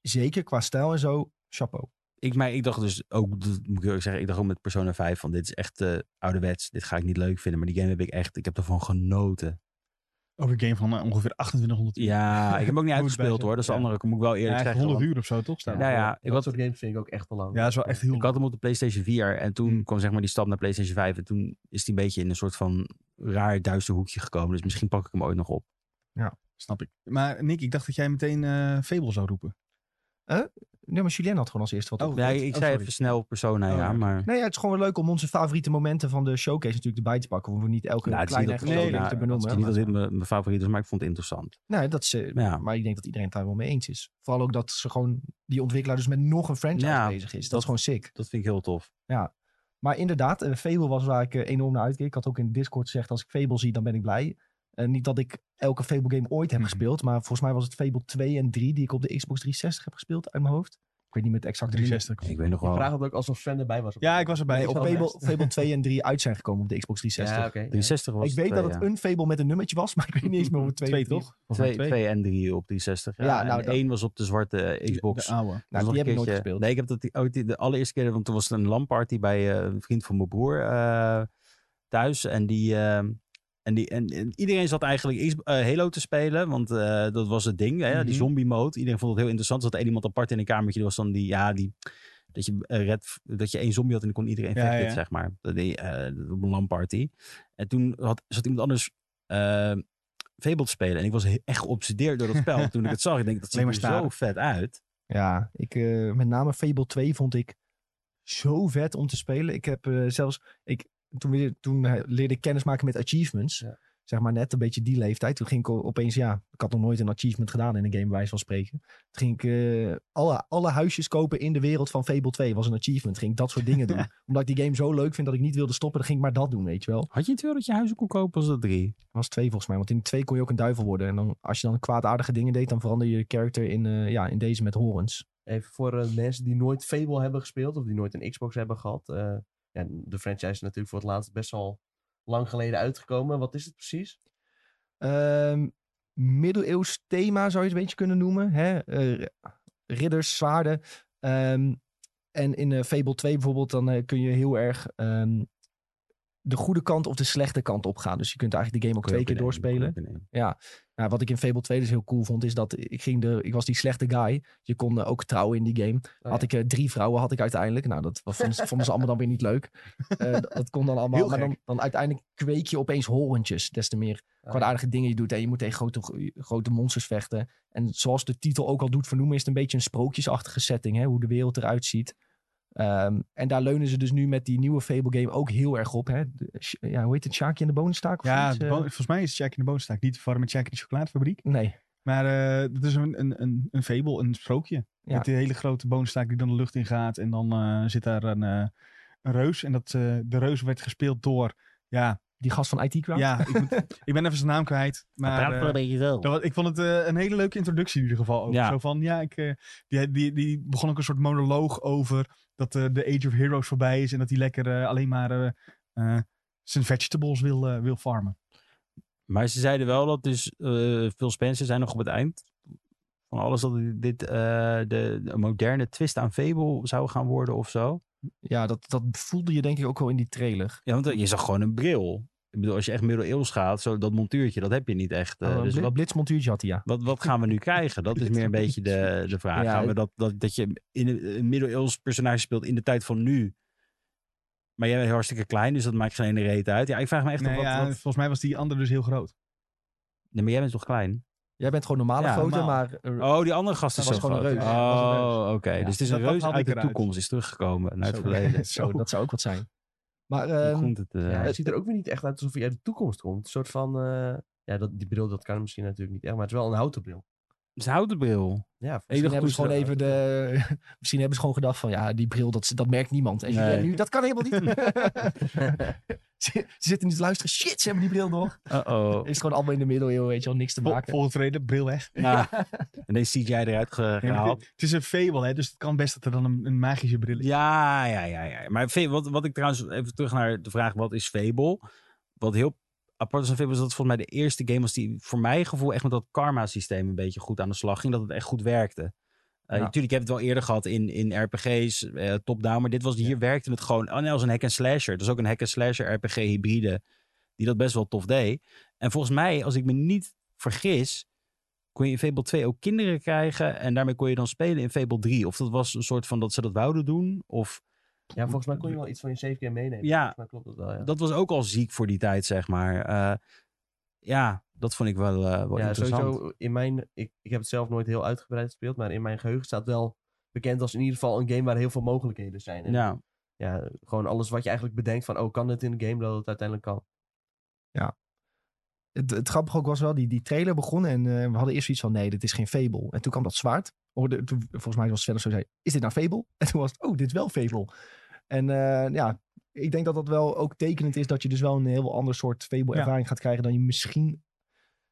A: zeker qua stijl en zo, chapeau.
C: ik, maar ik dacht dus ook, dat moet ik eerlijk zeggen, ik dacht ook met Persona 5 van dit is echt eh, ouderwets. Dit ga ik niet leuk vinden. Maar die game heb ik echt, ik heb ervan genoten.
B: Ook een game van eh, ongeveer 2800 uur.
C: Ja, ik heb *laughs* hem
B: Moet
C: ook niet
B: ik bij
C: uitgespeeld hoor. Dat is de
B: zeggen.
C: andere, moet ik wel eerlijk
B: eigenlijk
C: zeggen.
B: 100
C: want-
B: uur of zo, toch? Staan
C: Nou ja, ik
D: dat
C: had,
D: soort games vind ik ook echt te lang.
B: ja, dat is wel echt heel...
C: ik had hem op de PlayStation 4 en toen
B: Hmm.
C: kwam zeg maar die stap naar PlayStation 5. En toen is die een beetje in een soort van raar duister hoekje gekomen. Dus misschien pak ik hem ooit nog op.
B: Snap ik. Maar Nick, ik dacht dat jij meteen eh Fable zou roepen.
A: Nee, maar Julien had gewoon als eerste wat
B: Oh,
A: op.
C: Ja,
B: dat-
C: ik
B: oh,
C: zei
B: sorry.
C: even snel Persona,
B: Oh,
C: ja,
B: ja.
C: maar...
A: Nee, ja, het is gewoon leuk om onze favoriete momenten van de showcase natuurlijk erbij te pakken. We hoeven niet elke
C: Nou, het is niet
A: kleine
C: dat-
A: grote
B: nee,
A: ding
B: nou,
A: te
B: dat is
A: benoemen.
C: Het
A: hè,
C: is niet
A: maar-
C: dat dit mijn mijn favoriet is, maar ik vond het interessant.
A: Nee, dat is, eh,
C: Ja.
A: Maar ik denk dat iedereen het daar wel mee eens is. Vooral ook dat ze gewoon die ontwikkelaar dus met nog een franchise
C: Ja,
A: bezig is. Dat,
C: dat-
A: is gewoon sick.
C: Dat vind ik heel tof.
A: Maar inderdaad, eh, Fable was waar ik eh, enorm naar uitkeek. Ik had ook in Discord gezegd, als ik Fable zie, dan ben ik blij. Eh, niet dat ik elke Fable game ooit heb
B: Mhm.
A: gespeeld. Maar volgens mij was het Fable 2 en 3 die ik op de Xbox 360 heb gespeeld uit mijn hoofd. Ik weet niet met exacte nummer.
B: 360.
C: Ik weet nog
D: Ik
C: wel.
D: vraag het ook alsof Sven erbij was.
B: Ja, ik was erbij.
A: Nee,
B: Ik
A: op
B: was erbij.
A: Fable,
C: *laughs*
A: Fable 2 en 3 uit zijn gekomen op de Xbox 360.
D: Ja, oké.
C: 63 was
A: ik weet dat
C: twee,
A: het
C: ja.
A: een Fable met een nummertje was, *laughs* maar ik weet niet eens meer hoe het twee,
B: Twee,
A: of drie-
B: toch?
C: Twee, twee en drie op 360. Ja,
A: Ja,
C: en
A: nou, dat-
C: één was op de zwarte eh, Xbox.
B: De oude.
A: Nou,
C: Dat was
A: die
C: nog
A: heb ik
C: een
A: nooit
C: keertje-
A: gespeeld.
C: Nee, ik heb dat die, ook die- de allereerste keer, want toen was er een LAN-party bij eh, een vriend van mijn broer eh, thuis. En die, eh, en die en, en iedereen zat eigenlijk X- eh, Halo te spelen, want eh, dat was het ding, hè, die
B: Mhm.
C: zombie-mode. Iedereen vond het heel interessant. Er zat één iemand apart in een kamertje, die was dan die, ja, die... Dat je, eh, red, dat je één zombie had en dan kon iedereen
B: Ja,
C: vechten,
B: ja.
C: zeg maar. Dat die, eh, op een LAN-party. En toen had, zat iemand anders eh Fable te spelen. En ik was he- echt geobsedeerd door dat
A: *laughs*
C: spel. toen ik het zag, ik denk, dat ziet
B: Alleen
C: er
B: maar staren.
C: zo vet uit.
A: Ja, ik, eh, met name Fable 2 vond ik zo vet om te spelen. Ik heb eh, zelfs, ik, toen, we- toen eh, leerde ik kennis maken met achievements.
D: Ja.
A: Zeg maar net een beetje die leeftijd. Toen ging ik o- opeens, ja, ik had nog nooit een achievement gedaan in een game, bij wijze van spreken. Toen ging ik eh, alle, alle huisjes kopen in de wereld van Fable 2. was een achievement. Ging ik dat soort
C: *laughs*
A: dingen doen. Omdat ik die game zo leuk vind dat ik niet wilde stoppen, dan ging ik maar dat doen, weet je wel.
C: Had je het wel dat je huizen kon kopen als dat drie?
A: Dat was twee volgens mij. Want in twee kon je ook een duivel worden. En dan, als je dan kwaadaardige dingen deed, dan verander je je character in, eh, ja, in deze met horens.
D: Even voor eh, mensen die nooit Fable hebben gespeeld of die nooit een Xbox hebben gehad. eh, ja, de franchise is natuurlijk voor het laatst best wel lang geleden uitgekomen. Wat is het precies?
A: Ehm, middeleeuws thema zou je het een beetje kunnen noemen. Hè? Eh, ridders, zwaarden. Ehm, en in eh, Fable 2 bijvoorbeeld, dan eh, kun je heel erg ehm, de goede kant of de slechte kant op gaan. Dus je kunt eigenlijk de game ook twee keer doorspelen. Nou, wat ik in Fable 2 dus heel cool vond, is dat ik, ging de, ik was die slechte guy. Je kon eh, ook trouwen in die game.
D: Oh, ja.
A: Had ik eh, drie vrouwen had ik uiteindelijk. Nou, dat was- vonden ze, vonden ze allemaal dan weer niet leuk. Eh, dat- dat kon dan allemaal.
B: Heel
A: maar dan,
B: gek.
A: dan uiteindelijk kweek je opeens horentjes. Des te meer
D: Ah.
A: kwaadaardige dingen je doet. En je moet tegen grote, grote monsters vechten. En zoals de titel ook al doet vernoemen, is het een beetje een sprookjesachtige setting. Hè? Hoe de wereld eruit ziet. Ehm, en daar leunen ze dus nu met die nieuwe Fable game ook heel erg op. Hè? De- sh- ja, hoe heet het? Sjaakje in de bonenstaak? Of
B: Ja,
A: zoiets,
B: de
A: eh?
B: bo- volgens mij is Jack in de Boonstaak niet te verwarren met Jack in de Chocoladefabriek.
A: Nee.
B: Maar eh dat is een, een, een, een fable, een sprookje.
A: Ja.
B: Met die hele grote boonstaak die dan de lucht in gaat. En dan eh, zit daar een, eh, een reus. En dat, eh, de reus werd gespeeld door... Ja,
A: Die gast van IT Crowd?
B: ja ik, moet-
C: *laughs*
B: ik ben even zijn naam kwijt. Maar, eh,
C: beetje zo.
B: dat wa- ik vond het eh, een hele leuke introductie in ieder geval. Ook.
C: Ja.
B: Zo van, ja, ik, eh, die, die, die begon ook een soort monoloog over dat eh, de Age of Heroes voorbij is. En dat hij lekker eh, alleen maar eh, eh, zijn vegetables wil, eh, wil farmen.
C: Maar ze zeiden wel dat dus eh Phil Spencer zijn nog op het eind van alles dat dit eh, de, de moderne twist aan Fable zou gaan worden of zo.
A: Ja, dat, dat voelde je denk ik ook wel in die trailer.
C: Ja, want je zag gewoon een bril. Ik bedoel, als je echt middeleeuws gaat, zo dat montuurtje, dat heb je niet echt. eh,
A: Oh, een
C: dus
A: bli-
C: wat,
A: Blitzmontuurtje had hij, ja.
C: wat, wat gaan we nu krijgen? Dat is meer een beetje de, de vraag.
A: Ja,
C: gaan we
A: ik-
C: dat, dat, dat je in een, een middeleeuws personage speelt in de tijd van nu. Maar jij bent hartstikke klein, dus dat maakt geen ene reet uit. Ja, ik vraag me echt af
B: Nee,
C: wat,
B: ja,
C: wat-
B: Volgens mij was die andere dus heel groot.
C: Nee, maar jij bent toch klein?
A: Jij bent gewoon normale
C: Ja,
A: foto,
B: normaal.
A: maar eh,
C: Oh, *laughs* die andere gast is
A: Dat was
C: zo
A: gewoon een
C: groot.
A: reus.
B: Ja, dat was een
C: Oh, oké.
A: Ja.
C: Dus het is
B: Dat-
C: een
B: dat
C: reus
B: haalde
C: uit
B: ik
C: de
B: eruit.
C: toekomst, is teruggekomen uit het
B: Zo. *laughs*
A: *laughs*
C: verleden.
A: zo, dat zou ook wat zijn. Maar
C: Hoe
A: ehm,
C: komt het? eh?
D: Ja,
A: Ja,
D: het
A: het-
D: ziet er ook weer niet echt uit alsof hij uit de toekomst komt. Een soort van... eh, ja, dat, die bril dat kan misschien natuurlijk niet echt, maar het is wel een houten bril.
C: Het is een houten bril.
D: Ja,
C: Ik
A: misschien
C: dacht
A: hebben ze
C: toen
A: gewoon even de. *laughs* Misschien hebben ze gewoon gedacht van ja, die bril, dat, dat merkt niemand. En
C: Nee.
A: Julien nu, dat kan helemaal
C: *laughs*
A: niet. *laughs* ze, ze zitten nu te luisteren. Shit, ze hebben die bril nog.
B: *laughs*
C: Uh-oh.
A: Is gewoon allemaal in de middeleeuwen, weet je wel, niks te
B: Vol,
A: maken.
B: volgend reden, bril weg.
C: Ja. Nou, En deze ziet jij eruit
B: *laughs*
C: ge-
B: Nee, maar
C: gehaald.
B: dit- het is een fable, hè, dus het kan best dat er dan een, een magische bril is.
C: Ja, ja, ja, ja. Maar Fe- wat, wat ik trouwens, even terug naar de vraag, wat is Fable? Wat heel apart is aan Fable, is dat het volgens mij de eerste game was die voor mijn gevoel echt met dat karma systeem een beetje goed aan de slag ging. Dat het echt goed werkte. Eh,
A: Ja.
C: Natuurlijk, ik heb het wel eerder gehad in, in RPG's, eh, top-down. Maar dit was, hier
B: Ja.
C: werkte het gewoon oh nee, als een hack-and-slasher. Dus ook een hack-and-slasher RPG-hybride. Die dat best wel tof deed. En volgens mij, als ik me niet vergis, kon je in Fable 2 ook kinderen krijgen. En daarmee kon je dan spelen in Fable 3. Of dat was een soort van dat ze dat wouden doen. Of
D: Ja, volgens mij kon je wel iets van je save game meenemen.
C: ja,
D: Maar klopt dat wel, ja.
C: dat was ook al ziek voor die tijd, zeg maar. Eh, ja, dat vond ik wel, eh, wel
D: ja,
C: interessant.
D: sowieso in mijn... Ik, ik heb het zelf nooit heel uitgebreid gespeeld, maar in mijn geheugen staat wel bekend als in ieder geval een game waar heel veel mogelijkheden zijn. En
C: Ja,
D: ja, gewoon alles wat je eigenlijk bedenkt van, oh, kan dit in de game, dat het uiteindelijk kan.
A: Het, het grappige ook was wel, die, die trailer begon en eh, we hadden eerst zoiets van, nee, dit is geen Fable. En toen kwam dat zwaard. Hoorde, toen, volgens mij was Sven of zo zei, is dit nou Fable? *laughs* En toen was het, oh, dit is wel Fable. En eh, ja, ik denk dat dat wel ook tekenend is dat je dus wel een heel ander soort Fable
B: Ja.
A: ervaring gaat krijgen dan je misschien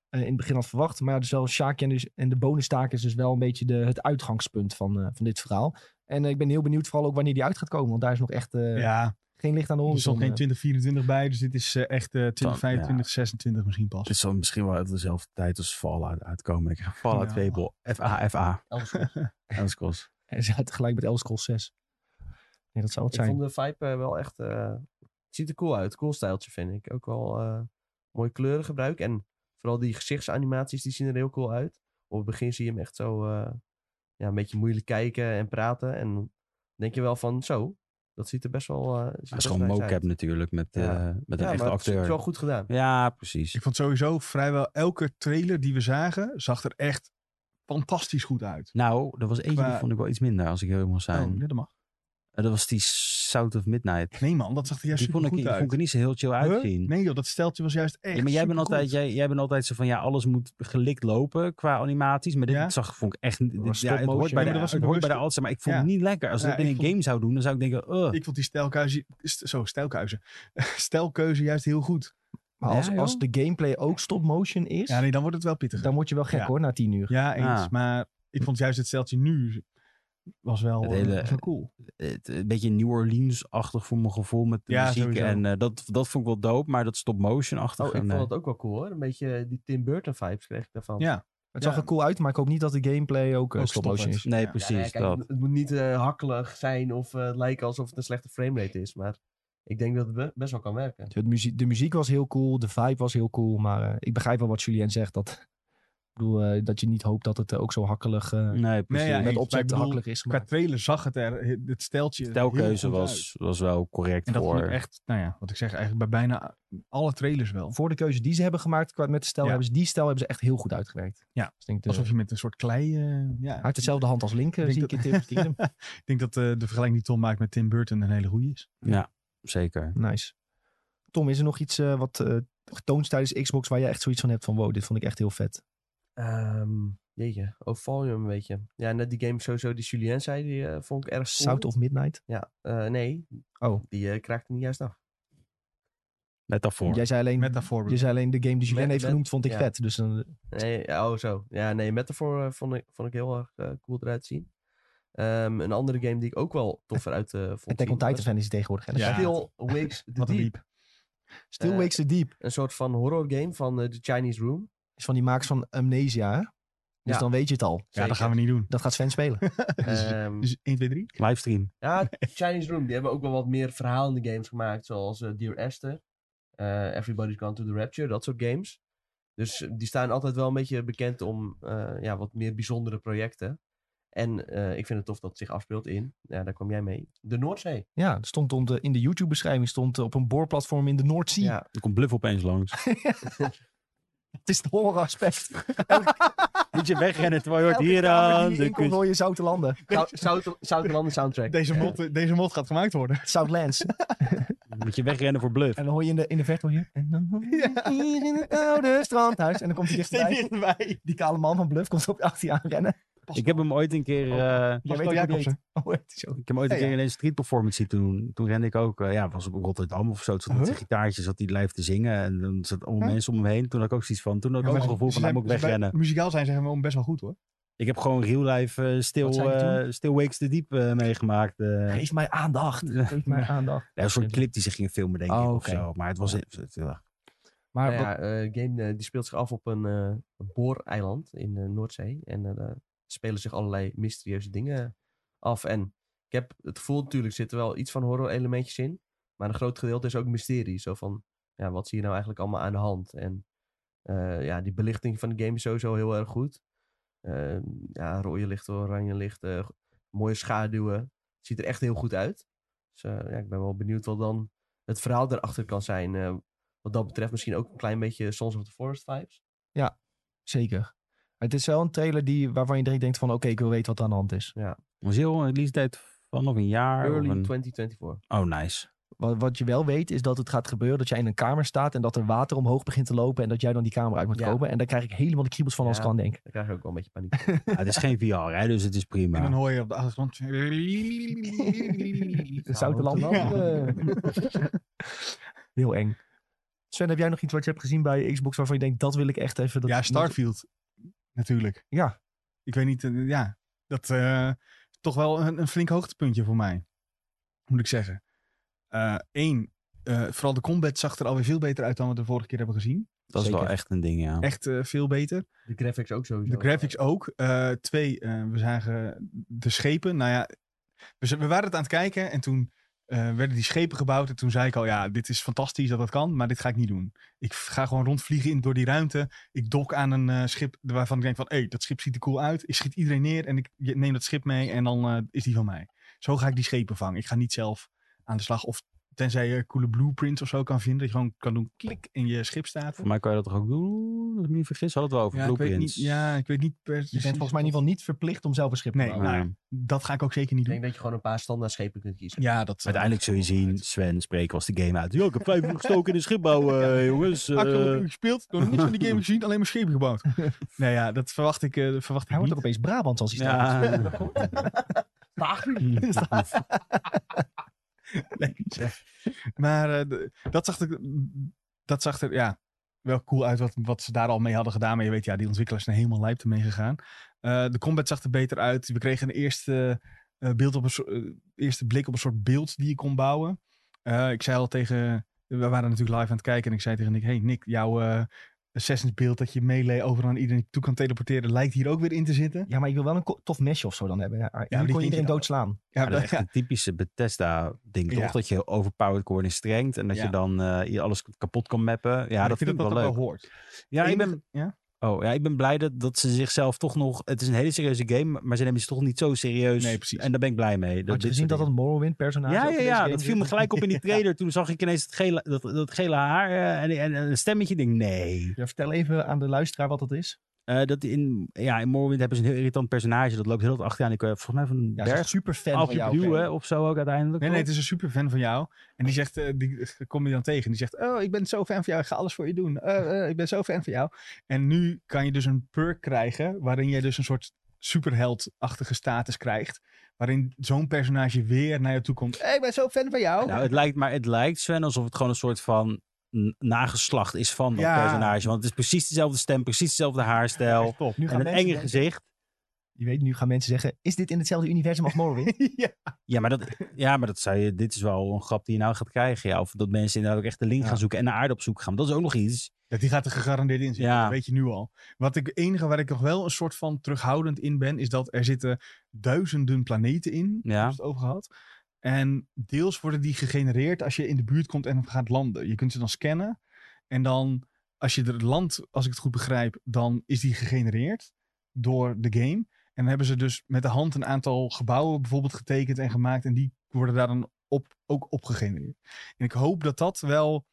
A: eh, in het begin had verwacht. Maar dus wel Sjaakje en, dus, en de bonustaak is dus wel een beetje de, het uitgangspunt van, eh, van dit verhaal. En eh, ik ben heel benieuwd vooral ook wanneer die uit gaat komen, want daar is nog echt eh,
B: ja,
A: geen licht aan de
B: er
A: horizon.
B: stond geen
A: eh.
B: 2024 bij, dus dit is eh, echt eh 2025, 26 misschien pas.
A: Dus-
C: Het zal misschien wel uit dezelfde tijd als Fallout uitkomen. Ik krijg Fallout
B: Ja.
C: Fable, FA, FA.
D: *laughs* Elder Scrolls.
C: Elskos.
A: En ze had tegelijk met Elder Scrolls 6. Nee, dat zou het
D: ik
A: zijn.
D: vond de vibe eh, wel echt... eh, het ziet er cool uit. Cool stijltje vind ik. Ook wel eh mooi kleurengebruik. En vooral die gezichtsanimaties, die zien er heel cool uit. Op het begin zie je hem echt zo eh, ja, een beetje moeilijk kijken en praten. En dan denk je wel van, zo, dat ziet er best wel... eh, ziet er
C: Dat is
D: best
C: gewoon
D: nice uit.
C: mocap natuurlijk met, eh,
D: Ja.
C: met een
D: Ja,
C: echte
D: maar het is
C: acteur.
D: wel goed gedaan.
C: Ja, precies.
B: Ik vond sowieso vrijwel elke trailer die we zagen, zag er echt fantastisch goed uit.
C: Nou, er was eentje die
B: Qua-
C: vond ik wel iets minder, als ik heel mag zijn.
B: Oh, ja, dat mag.
C: Eh, Dat was die South of Midnight.
B: Nee man, dat zag er juist
C: Die vond,
B: super
C: ik, die
B: goed uit.
C: vond ik er niet zo heel chill uitzien.
B: Huh? Nee joh, dat steltje was juist echt
C: Ja, maar jij bent,
B: supergoed.
C: altijd, jij, jij bent altijd zo van, ja, alles moet gelikt lopen qua animaties. Maar dit
B: Ja.
C: zag, vond ik echt... niet- Dit,
A: was
C: ja, het
A: stop
C: hoort
A: motion. Ja,
C: bij de,
A: maar dat
B: was
C: het hoort bij de
B: bewuste-
C: Alster, maar ik vond
B: Ja.
C: het niet lekker. Als ze
B: Ja,
C: dat in
B: ik
C: een
B: vond-
C: game zou doen, dan zou ik denken, eh,
B: Ik vond die stijlkeuze, st- zo, stijlkeuze, *laughs* stijlkeuze juist heel goed.
A: Maar als,
C: Ja, joh.
A: als de gameplay ook stop motion is,
B: Ja, nee, dan wordt het wel pittiger.
A: dan word je wel gek
B: Ja.
A: hoor, na 10 uur.
B: Ja, eens.
C: Ah.
B: Maar ik vond juist het steltje nu was wel,
C: Het
B: eh,
C: hele-
B: was wel cool.
C: het, een beetje New Orleans-achtig voor mijn gevoel met de
B: Ja,
C: muziek.
B: sowieso.
C: En eh, dat, dat vond ik wel dope, maar dat
D: Oh,
C: stop-motion-achtig. eh,
D: ik vond dat ook wel cool hoor. Een beetje die Tim Burton vibes kreeg ik daarvan. nou
B: Ja,
A: Het zag
B: Ja.
A: er cool uit, maar ik hoop niet dat de gameplay ook, eh,
B: Ook
A: stop
B: stop
A: motion
B: werd.
A: is.
C: Nee,
B: Ja.
C: precies.
D: Ja, nee, kijk,
C: dat.
D: Het, het moet niet eh, hakkelig zijn of eh, het lijken alsof het een slechte framerate is. Maar ik denk dat het be- best wel kan werken.
A: Het muziek, de muziek was heel cool, de vibe was heel cool, maar eh, ik begrijp wel wat Julien zegt. Dat, ik bedoel, eh, dat je niet hoopt dat het eh, ook zo hakkelig, eh,
C: Nee, precies.
B: ja,
C: Nee,
B: ik-
A: met
B: maar
A: opzet
B: bedoel,
A: hakkelig is.
B: Qua
A: Maar,
B: trailer zag het er, het steltje. er
C: Telkeuze
B: heel goed uit.
C: was, was wel correct
B: En dat
C: voor...
B: vond ik echt, nou ja, wat ik zeg, eigenlijk bij bijna alle trailers wel.
A: voor de keuze die ze hebben gemaakt qua, met de stijl,
B: Ja.
A: hebben ze, die stijl hebben ze echt heel goed uitgewerkt.
B: Ja.
A: Dus ik denk de,
B: Alsof je met een soort klei. eh, ja.
A: hij heeft dezelfde hand als Link, eh,
B: Ik denk
A: zie ik in Tears of the Kingdom.
B: *laughs* ik denk dat eh, de vergelijking die Tom maakt met Tim Burton een hele goede is.
C: Zeker.
A: *laughs* Nice. Tom, is er nog iets eh, wat eh, getoond tijdens Xbox waar jij echt zoiets van hebt van wow, dit vond ik echt heel vet.
D: Ehm jeetje, overval je hem een beetje. Ja, net die game sowieso die Julien zei, die eh, vond ik erg cool.
A: South of Midnight.
D: Ja, eh, nee,
A: Oh,
D: die eh kraakte niet juist af.
C: Net daarvoor.
A: jij zei alleen,
B: Met daarvoor. *laughs*
A: je zei alleen de game die Julien
D: Met-
A: heeft
D: met-
A: genoemd vond ik
D: ja.
A: vet. Dus dan,
D: Nee, ja, oh zo. Ja, nee, Metaphor eh, vond, ik, vond ik heel erg eh, cool eruit zien. Ehm, een andere game die ik ook wel toffer uit eh vond
A: Attack on
D: zien,
A: Titan
D: was
A: fan is hij tegenwoordig. hè? Dus
B: Ja.
D: Still Wakes the
B: Wat een
D: Deep.
B: diep.
A: Still
D: Eh,
A: Wakes the Deep
D: Een soort van horror game van eh, The Chinese Room.
A: is van die makers van Amnesia. hè? Dus
D: Ja.
A: dan weet je het al.
B: Ja,
D: Zeker.
B: dat gaan we niet
C: *laughs*
B: doen. *laughs*
A: Dat gaat Sven spelen. *laughs*
B: *laughs*
D: Ehm,
B: Dus 1, 2, 3.
C: Livestream.
B: *laughs*
D: Ja, Chinese Room. Die hebben ook wel wat meer verhalende games gemaakt. Zoals eh, Dear Esther, eh, Everybody's Gone to the Rapture, dat soort games. Dus eh, die staan altijd wel een beetje bekend om eh, ja, wat meer bijzondere projecten. En eh, ik vind het tof dat het zich afspeelt in, ja, daar kwam jij mee, de Noordzee.
A: ja, er stond om de- in de YouTube-beschrijving stond eh, op een boorplatform in de Noordzee.
D: Ja,
C: Er komt Bluff opeens langs.
A: Het is het horror aspect.
C: Moet je wegrennen terwijl je hoort
A: Elke
C: hier
A: kamer
C: aan
A: die je
C: de
A: inkomt,
C: kust.
A: hoor je Zoute Landen.
D: Zou- Zout- Zouterlanden
B: *laughs*
D: soundtrack.
B: Deze
D: Eh,
B: mod, deze mod gaat gemaakt worden.
A: *laughs* Southlands.
C: Moet je wegrennen voor Bluff.
A: En dan hoor je in de, in de verte hoor je... En dan hoor je *laughs* hier in het oude strandhuis. En dan *laughs* komt hij dichterbij.
B: dichterbij.
A: Die kale man van Bluff komt op je achter je aanrennen.
C: Ik heb hem ooit een keer... eh,
A: Je
B: Pascal
A: weet ook hoe die
B: Jacobsen.
A: heet. Oh, heet hij zo.
C: Ik heb hem ooit een
B: Ja,
C: keer in een street performance zien doen. Toen rende ik ook, eh, ja, was op Rotterdam of zo. Toen zat met
B: Huh?
C: zijn gitaartje, zat hij live te zingen. En dan zat allemaal
B: Uh-huh. Huh?
C: mensen om hem heen. Toen had ik ook zoiets van, toen had ik ook het gevoel van, hij moet ik wegrennen.
B: Muzikaal zijn ze gewoon best wel goed hoor.
C: Ik heb gewoon real life eh,
A: Wat
C: still,
A: zei je
C: eh, still Wakes the Deep eh, meegemaakt. eh.
A: Geef mij aandacht. Geef mij aandacht.
C: Ja, een soort clip die ze gingen filmen, denk
A: Oh,
C: ik,
A: oké.
C: of zo. Maar het was... het- ja.
A: Maar
D: nou
A: wat-
D: ja, eh, game eh, die speelt zich af op een eh, een booreiland in de Noordzee. En eh, daar spelen zich allerlei mysterieuze dingen af. En ik heb het gevoel, natuurlijk zit er wel iets van horror elementjes in. Maar een groot gedeelte is ook mysterie. Zo van, ja, wat zie je nou eigenlijk allemaal aan de hand? En eh, ja, die belichting van de game is sowieso heel erg goed. Eh, ja, rode lichten, oranje lichten, g- mooie schaduwen. Het ziet er echt heel goed uit. Dus eh, ja, ik ben wel benieuwd wat dan het verhaal daarachter kan zijn. Eh, wat dat betreft misschien ook een klein beetje Sons of the Forest vibes.
A: Zeker. Het is wel een trailer die, waarvan je direct denkt van... Oké, ik wil weten wat er aan de hand is.
C: Was heel een release date van nog een jaar? of
D: Early
C: een-
D: 2024.
C: Oh, nice.
A: Wat, wat je wel weet is dat het gaat gebeuren dat jij in een kamer staat... en dat er water omhoog begint te lopen en dat jij dan die kamer uit moet
D: Ja.
A: komen. En daar krijg ik helemaal de kriebels van als ik
D: Ja.
A: aan denk.
D: Daar krijg je ook wel een beetje paniek. van.
C: Ja, het is geen VR, hè, dus het is
B: En dan
A: Nou.
C: prima.
B: hoor je op de
A: *laughs*
B: achtergrond...
A: De zoute
D: Zoute
A: lamp. *laughs* Heel eng. Sven, heb jij nog iets wat je hebt gezien bij Xbox waarvan je denkt... dat wil ik echt even... Dat
B: ja, Starfield. Natuurlijk.
A: Ja.
B: Ik weet niet, eh, ja. Dat eh, is toch wel een, een flink hoogtepuntje voor mij. Moet ik zeggen. Eén, vooral de combat zag er alweer veel beter uit dan we de vorige keer hebben gezien.
C: Dat is wel
A: Zeker.
C: echt een ding, ja.
B: Echt eh, veel beter.
D: De graphics ook sowieso.
B: De graphics ook. Eh, twee, eh, we zagen de schepen. Nou ja, we, z- we waren het aan het kijken en toen eh, werden die schepen gebouwd. En toen zei ik al, ja, dit is fantastisch dat dat kan, maar dit ga ik niet doen. Ik v- ga gewoon rondvliegen in, door die ruimte. Ik dok aan een eh, schip waarvan ik denk van, hé, hey, dat schip ziet er cool uit. Ik schiet iedereen neer en ik je- neem dat schip mee en dan eh, is die van mij. Zo ga ik die schepen vangen. Ik ga niet zelf aan de slag of... Tenzij je coole blueprints of zo kan vinden. Dat je gewoon kan doen klik en je schip staat.
C: Voor mij kan je dat toch ook doen? Als ik me niet vergis, hadden we het wel
B: Ja,
C: over
B: ik weet niet,
C: blueprints.
B: ja, ik weet niet precies.
A: Je bent volgens mij in ieder geval niet verplicht om zelf een schip te
B: Nee,
A: bouwen.
B: nou,
C: Maar ehm,
B: dat ga ik ook zeker niet
D: Ik
B: doen.
D: denk dat je gewoon een paar standaard schepen kunt kiezen.
B: Ja, dat, eh,
C: Uiteindelijk zul je zien, Sven spreken was de game uit. Yo, ik heb vijf uur gestoken in een schipbouw, eh, jongens. eh.
B: 800 uur gespeeld, ik heb nog niets van die game gezien, alleen maar schepen
C: *laughs*
B: gebouwd. nou ja, dat verwacht ik, eh, dat verwacht
A: Hij
B: ik
A: wordt
B: niet.
A: ook opeens Brabant als hij staat.
C: ja. *laughs*
B: *laughs*
C: Hmm.
B: *laughs* Maar eh, d- dat zag er, dat zag er ja, wel cool uit wat, wat ze daar al mee hadden gedaan. Maar je weet, ja, die ontwikkelaars zijn helemaal lijp ermee gegaan. Eh, de combat zag er beter uit. We kregen een eerste, eh, beeld op een soort- eh, eerste blik op een soort beeld die je kon bouwen. Eh, ik zei al tegen... We waren natuurlijk live aan het kijken. En ik zei tegen Nick, hey Nick, jouw eh Assassin's beeld dat je melee overal aan iedereen toe kan teleporteren... lijkt hier ook weer in te zitten.
A: Ja, maar ik wil wel een ko- tof mesje of zo dan hebben. Ja, hier
B: die
A: kon je
B: vind je nou-
A: iedereen
B: dan-
A: doodslaan.
B: *laughs* Ja,
C: Maar dat is echt een typische Bethesda-ding, toch?
B: Ja.
C: Dat je overpowered wordt in strengt en dat je
B: Ja.
C: dan eh, je alles kapot kan mappen. Ja, dat vind ik wel leuk.
B: hoort.
C: Ja, ik
B: Enig-
C: ben,
B: ja?
C: oh, ja, ik ben blij dat, dat ze zichzelf toch nog... Het is een hele serieuze game, maar ze nemen ze toch niet zo serieus.
B: Nee, precies.
C: En daar ben ik blij mee.
A: Had je
C: dit
A: gezien
C: soort
A: dat dat
C: dingen-
A: Morrowind personage
C: Ja,
A: ook in
C: ja,
A: deze
C: ja,
A: game
C: dat
A: zit?
C: viel me gelijk op in die trailer. Toen zag ik ineens het gele, dat, dat gele haar eh, en, en, en een stemmetje. Ik denk, nee.
A: Ja, vertel even aan de luisteraar wat dat is.
C: Eh, dat in, ja, in Morrowind hebben ze een heel irritant personage. Dat loopt heel wat achteraan. Ik, eh, volgens mij van een
A: Ja, ze is
C: berg
A: super fan van jou.
C: afduwen
A: Oké.
C: of zo ook uiteindelijk.
B: Nee, nee, het
C: toch?
B: is een super fan van jou. En die zegt, eh, die kom je dan tegen. Die zegt, oh, ik ben zo fan van jou. Ik ga alles voor je doen. Eh, eh, ik ben zo fan van jou. En nu kan je dus een perk krijgen. Waarin jij dus een soort superheldachtige status krijgt. Waarin zo'n personage weer naar je toe komt. Eh, ik ben zo fan van jou.
C: Nou, het lijkt, maar het lijkt, Sven, alsof het gewoon een soort van n- nageslacht is van dat
B: Ja.
C: personage. Want het is precies dezelfde stem, precies dezelfde haarstijl.
B: Echt top.
A: Nu gaan
C: En een
A: mensen
C: enge
A: denken-
C: gezicht.
A: je weet, nu gaan mensen zeggen, is dit in hetzelfde universum als
B: *laughs*
A: Morrowind?
B: ja.
C: Ja maar, dat, ja, maar dat zou je. Dit is wel een grap die je nou gaat krijgen. Ja. Of dat mensen inderdaad ook echt de link
B: Ja.
C: gaan zoeken en naar aarde op zoek gaan. Dat is ook nog iets.
B: Ja, die gaat er gegarandeerd in zitten.
C: Ja.
B: Dat weet je nu al. Wat ik enige waar ik nog wel een soort van terughoudend in ben, is dat er zitten duizenden planeten in. Daar hebben we het over gehad. En deels worden die gegenereerd als je in de buurt komt en gaat landen. Je kunt ze dan scannen. En dan, als je er landt, als ik het goed begrijp, dan is die gegenereerd door de game. En dan hebben ze dus met de hand een aantal gebouwen bijvoorbeeld getekend en gemaakt. En die worden daar dan op, ook op gegenereerd. En ik hoop dat dat wel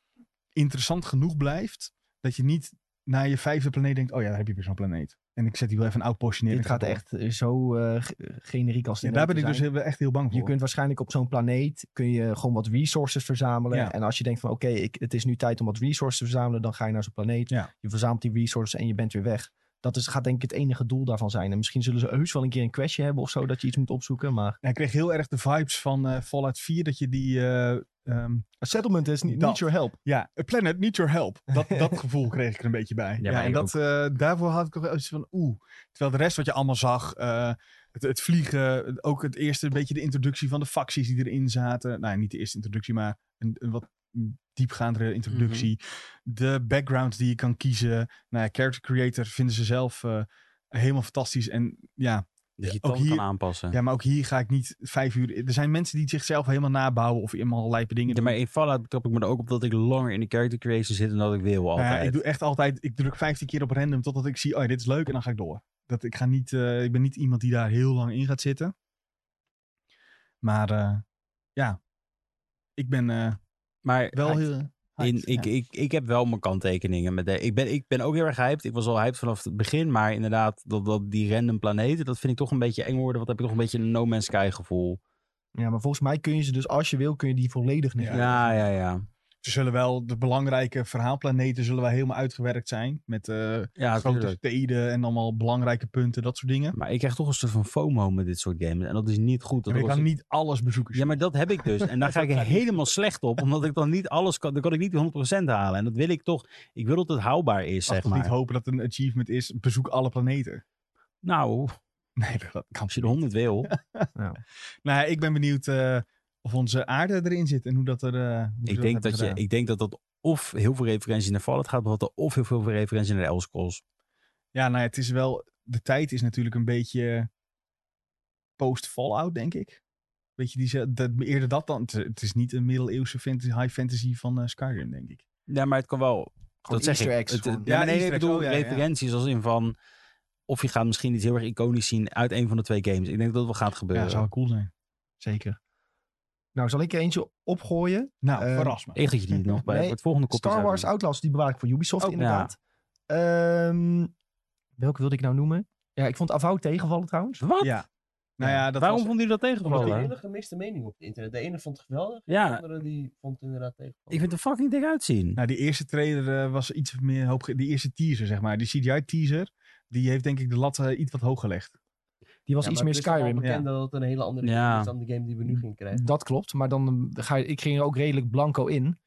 B: interessant genoeg blijft. Dat je niet naar je vijfde planeet denkt, oh ja, daar heb je weer zo'n planeet. En ik zet die wel even een oud postje neer.
A: dit
B: en ik
A: gaat
B: ga door.
A: echt eh, zo eh, g- generiek als
B: Ja,
A: dit.
B: daar ben ik dus
A: zijn.
B: heel- echt heel bang voor.
A: Je kunt waarschijnlijk op zo'n planeet kun je gewoon wat resources verzamelen.
B: Ja.
A: En als je denkt van oké, ik- het is nu tijd om wat resources te verzamelen, dan ga je naar zo'n planeet.
B: Ja.
A: Je verzamelt die resources en je bent weer weg. Dat is, gaat denk ik het enige doel daarvan zijn. En misschien zullen ze heus wel een keer een questje hebben of zo dat je iets moet opzoeken. Maar
B: Hij kreeg heel erg de vibes van eh, Fallout 4, dat je die... eh, ehm,
A: a settlement is niet
B: Dat.
A: your help.
B: ja, a planet, need your help. Dat, dat gevoel kreeg ik er een beetje bij. Ja,
C: maar
B: en
C: ik
B: dat, eh, daarvoor had ik nog wel iets van oeh. Terwijl de rest wat je allemaal zag, eh, het, het vliegen, ook het eerste beetje de introductie van de facties die erin zaten. Nou, niet de eerste introductie, maar een, een wat diepgaandere introductie. De backgrounds die je kan kiezen. Nou ja, character creator vinden ze zelf eh, helemaal fantastisch. En ja,
C: Dat je
B: ook
C: toon
B: hier-
C: kan aanpassen.
B: ja, maar ook hier ga ik niet vijf uur... Er zijn mensen die zichzelf helemaal nabouwen of helemaal lijpe dingen
C: Ja,
B: doen.
C: maar in Fallout betrap ik me er ook op dat ik langer in de character creation zit dan dat ik wil
B: Nou
C: altijd.
B: ja, ik doe echt altijd, ik druk 15 keer op random totdat ik zie, oh, dit is leuk en dan ga ik door. Dat, ik, ga niet, eh, ik ben niet iemand die daar heel lang in gaat zitten. Maar eh, ja, ik ben eh,
C: maar
B: wel heel...
C: in,
B: hyped,
C: ik,
B: ja.
C: ik, ik heb wel mijn kanttekeningen. Met de, ik, ben, ik ben ook heel erg hyped. Ik was al hyped vanaf het begin. Maar inderdaad, dat, dat, die random planeten, dat vind ik toch een beetje eng worden. Want dan heb ik toch een beetje een No Man's Sky gevoel.
A: Ja, maar volgens mij kun je ze dus, als je wil, kun je die volledig
B: Ja,
A: negeren.
C: Ja, ja, ja.
B: Ze zullen wel, de belangrijke verhaalplaneten zullen wel helemaal uitgewerkt zijn. Met eh,
C: Ja,
B: grote
C: tuurlijk.
B: steden en allemaal belangrijke punten, dat soort dingen.
C: Maar ik krijg toch een soort van FOMO met dit soort games. En dat is niet goed. Dat
B: Maar ik
C: was-
B: kan niet alles bezoeken.
C: Ja, maar dat heb ik dus.
B: *laughs*
C: En daar ga ik helemaal slecht op. Omdat ik dan niet alles kan. Dan kan ik niet 100% halen. En dat wil ik toch. Ik wil dat het houdbaar is,
B: Mag
C: zeg
B: toch niet
C: maar.
B: hopen dat een achievement is, bezoek alle planeten. *laughs*
C: Nou,
B: Nee, dat kan
C: als je de 100 wil.
B: Nou, ja, ik ben benieuwd eh, of onze aarde erin zit en hoe dat er. eh, hoe ze
C: Ik denk
B: hebben
C: dat, je,
B: gedaan.
C: ik denk dat dat of heel veel referenties naar Fallout gaat bevatten, of heel veel referenties naar de Elder Scrolls.
B: Ja, nou, ja, het is wel. De tijd is natuurlijk een beetje post-Fallout, denk ik. Weet je, die, ze- dat, eerder dat dan. Het, het is niet een middeleeuwse fantasy, high fantasy van eh, Skyrim, denk ik.
C: Ja, maar het kan wel.
A: Gewoon
C: dat zeg
A: easter
C: ik.
A: eggs,
C: Het-
A: gewoon.
C: ja, maar nee, nee,
B: easter
C: ik
B: eggs,
C: bedoel
B: oh, ja, ja.
C: referenties als in van. Of je gaat misschien iets heel erg iconisch zien uit een van de twee games. Ik denk dat dat wel gaat
B: Ja,
C: gebeuren.
B: zou wel cool zijn.
A: Zeker. Nou, zal ik er eentje opgooien?
B: Nou,
C: Ehm,
A: Eh,
B: verras me.
C: Echt dat je die nog bij
A: Nee,
C: voor het volgende kopje
A: Star
C: zou
A: Wars
C: doen.
A: Outlaws, die bewaar ik voor Ubisoft
C: Oh, ja.
A: inderdaad. Ehm, welke wilde ik nou noemen? Ja, ik vond Avou tegenvallen trouwens.
C: Wat?
B: Ja. Nou ja, dat
C: Waarom
B: was-
C: vond u dat
D: Omdat er
C: tegenvallen?
D: hele gemixte meningen op het internet. De ene vond het geweldig, de
C: Ja,
D: andere die vond het inderdaad tegenvallen.
C: ik vind het er fucking dik uitzien.
B: Nou, die eerste trailer eh, was iets meer hoop. Die eerste teaser, zeg maar. Die CGI-teaser. Die heeft denk ik de lat eh, iets wat hoog gelegd.
A: Die was
D: Ja,
A: iets
D: maar
A: meer
D: het is toch wel
A: Skyrim.
D: bekend dat het een hele andere
C: Ja.
D: game is dan de game die we nu gingen krijgen.
A: Dat klopt, maar dan eh, ga je, ik ging er ook redelijk blanco in.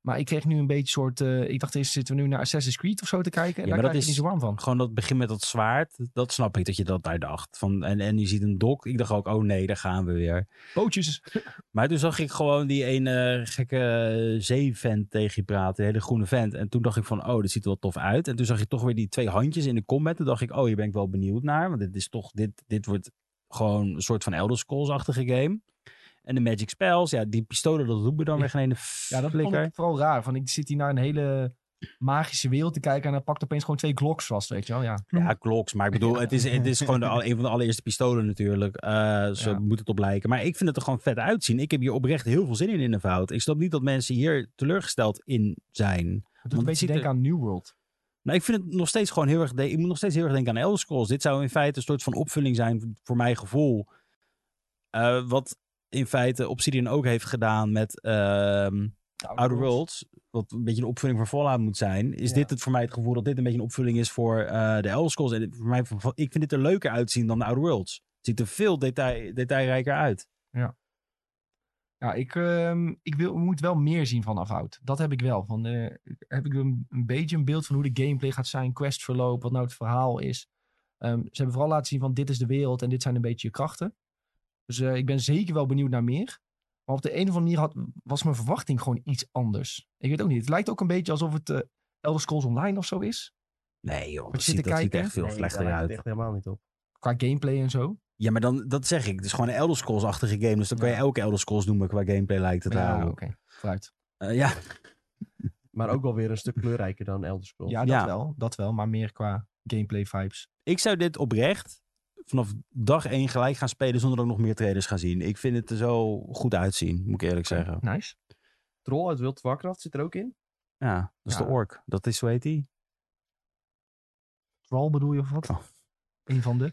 A: Maar ik kreeg nu een beetje soort... eh, ik dacht eerst zitten we nu naar Assassin's Creed of zo te kijken. En
C: Ja,
A: daar
C: maar
A: krijg
C: dat
A: je niet
C: is-
A: zo warm van.
C: Gewoon dat begin met dat zwaard, dat snap ik dat je dat daar dacht. Van, en, en je ziet een dok, ik dacht ook, oh nee, daar gaan we weer.
A: Bootjes.
C: Maar toen zag ik gewoon die ene gekke eh, zeevent tegen je praten, een hele groene vent. En toen dacht ik van, oh, dit ziet er wel tof uit. En toen zag je toch weer die twee handjes in de combat. Toen dacht ik, oh, hier ben ik wel benieuwd naar. Want dit is toch, dit, dit wordt gewoon een soort van Elder Scrolls-achtige game. En de Magic Spells, ja, die pistolen, dat roepen dan weer geen ene
A: Ja, dat vond
C: flikker.
A: ik vooral raar. Van, ik zit hier naar een hele magische wereld te kijken... en dan pakt opeens gewoon twee Glocks vast, weet je wel. Ja.
C: Ja, kloks. Maar ik bedoel, het, is, het is gewoon de, alle- een van de allereerste pistolen natuurlijk. Eh, ze
A: Ja.
C: moeten het op lijken. Maar ik vind het er gewoon vet uitzien. Ik heb hier oprecht heel veel zin in in de fout. Ik snap niet dat mensen hier teleurgesteld in zijn.
A: Het doet
C: het
A: een beetje
C: ziet er-
A: denken aan New World.
C: Nou, ik vind het nog steeds gewoon heel erg. de- Ik moet nog steeds heel erg denken aan Elder Scrolls. Dit zou in feite een soort van opvulling zijn voor mijn gevoel. Eh, wat in feite Obsidian ook heeft gedaan met ehm Outer Worlds. Wat een beetje een opvulling voor Fallout moet zijn. Is
D: Ja.
C: dit het voor mij het gevoel dat dit een beetje een opvulling is voor eh, de Elder Scrolls? En dit- voor mij, ik vind dit er leuker uitzien dan de Outer Worlds. Het ziet er veel detail, detailrijker uit.
A: Ja, ik, ehm, ik wil, moet wel meer zien van Afhout. Dat heb ik wel. Van, eh, heb ik een, een beetje een beeld van hoe de gameplay gaat zijn, questverloop, wat nou het verhaal is. Ehm, ze hebben vooral laten zien van dit is de wereld en dit zijn een beetje je krachten. Dus eh, ik ben zeker wel benieuwd naar meer. Maar op de een of andere manier had, was mijn verwachting gewoon iets anders. Ik weet ook niet. Het lijkt ook een beetje alsof het eh, Elder Scrolls Online of zo is.
C: Nee joh,
A: Wat
C: dat
A: je
C: ziet,
A: te
C: dat ziet er
A: kijken?
C: echt veel
D: Nee,
C: slechter
D: daar lijkt het
C: uit.
D: echt helemaal niet op.
A: Qua gameplay en zo.
C: Ja, maar dan, dat zeg ik. Het is gewoon een Elder Scrolls-achtige game. Dus dan kan je
A: Ja.
C: elke Elder Scrolls noemen qua gameplay lijkt het
A: ja, oké.
C: aan.
A: Vooruit.
C: Eh, ja,
D: Maar ook wel weer een stuk kleurrijker dan Elder Scrolls.
A: Ja, dat
C: Ja.
A: wel. Dat wel. Maar meer qua gameplay vibes.
C: ik zou dit oprecht vanaf dag één gelijk gaan spelen zonder dat ik nog meer trailers ga zien. Ik vind het er zo goed uitzien, moet ik eerlijk zeggen.
A: Nice.
D: Troll uit World of Warcraft zit er ook in.
C: Ja, dat is
A: Ja.
C: de ork. Dat is, hoe heet die?
A: Troll bedoel je of wat?
C: Oh.
A: Een van de.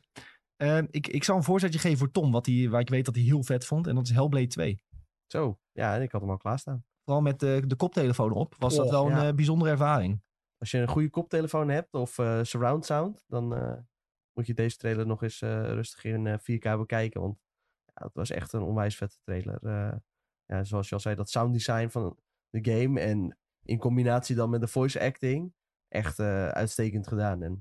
A: Ehm, ik, ik zal een voorzetje geven voor Tom, wat hij, waar ik weet dat hij heel vet vond. En dat is Hellblade 2.
D: Zo, ja, en ik had hem al klaarstaan.
A: Vooral met eh, de koptelefoon op, was dat
D: Och,
A: wel een
D: ja.
A: eh, bijzondere ervaring.
D: Als je een goede koptelefoon hebt of eh, surround sound, dan eh, moet je deze trailer nog eens eh, rustig in eh, 4K bekijken. Want ja, het was echt een onwijs vette trailer. Eh, ja, zoals je al zei, dat sound design van de game en in combinatie dan met de voice acting, echt eh, uitstekend gedaan. En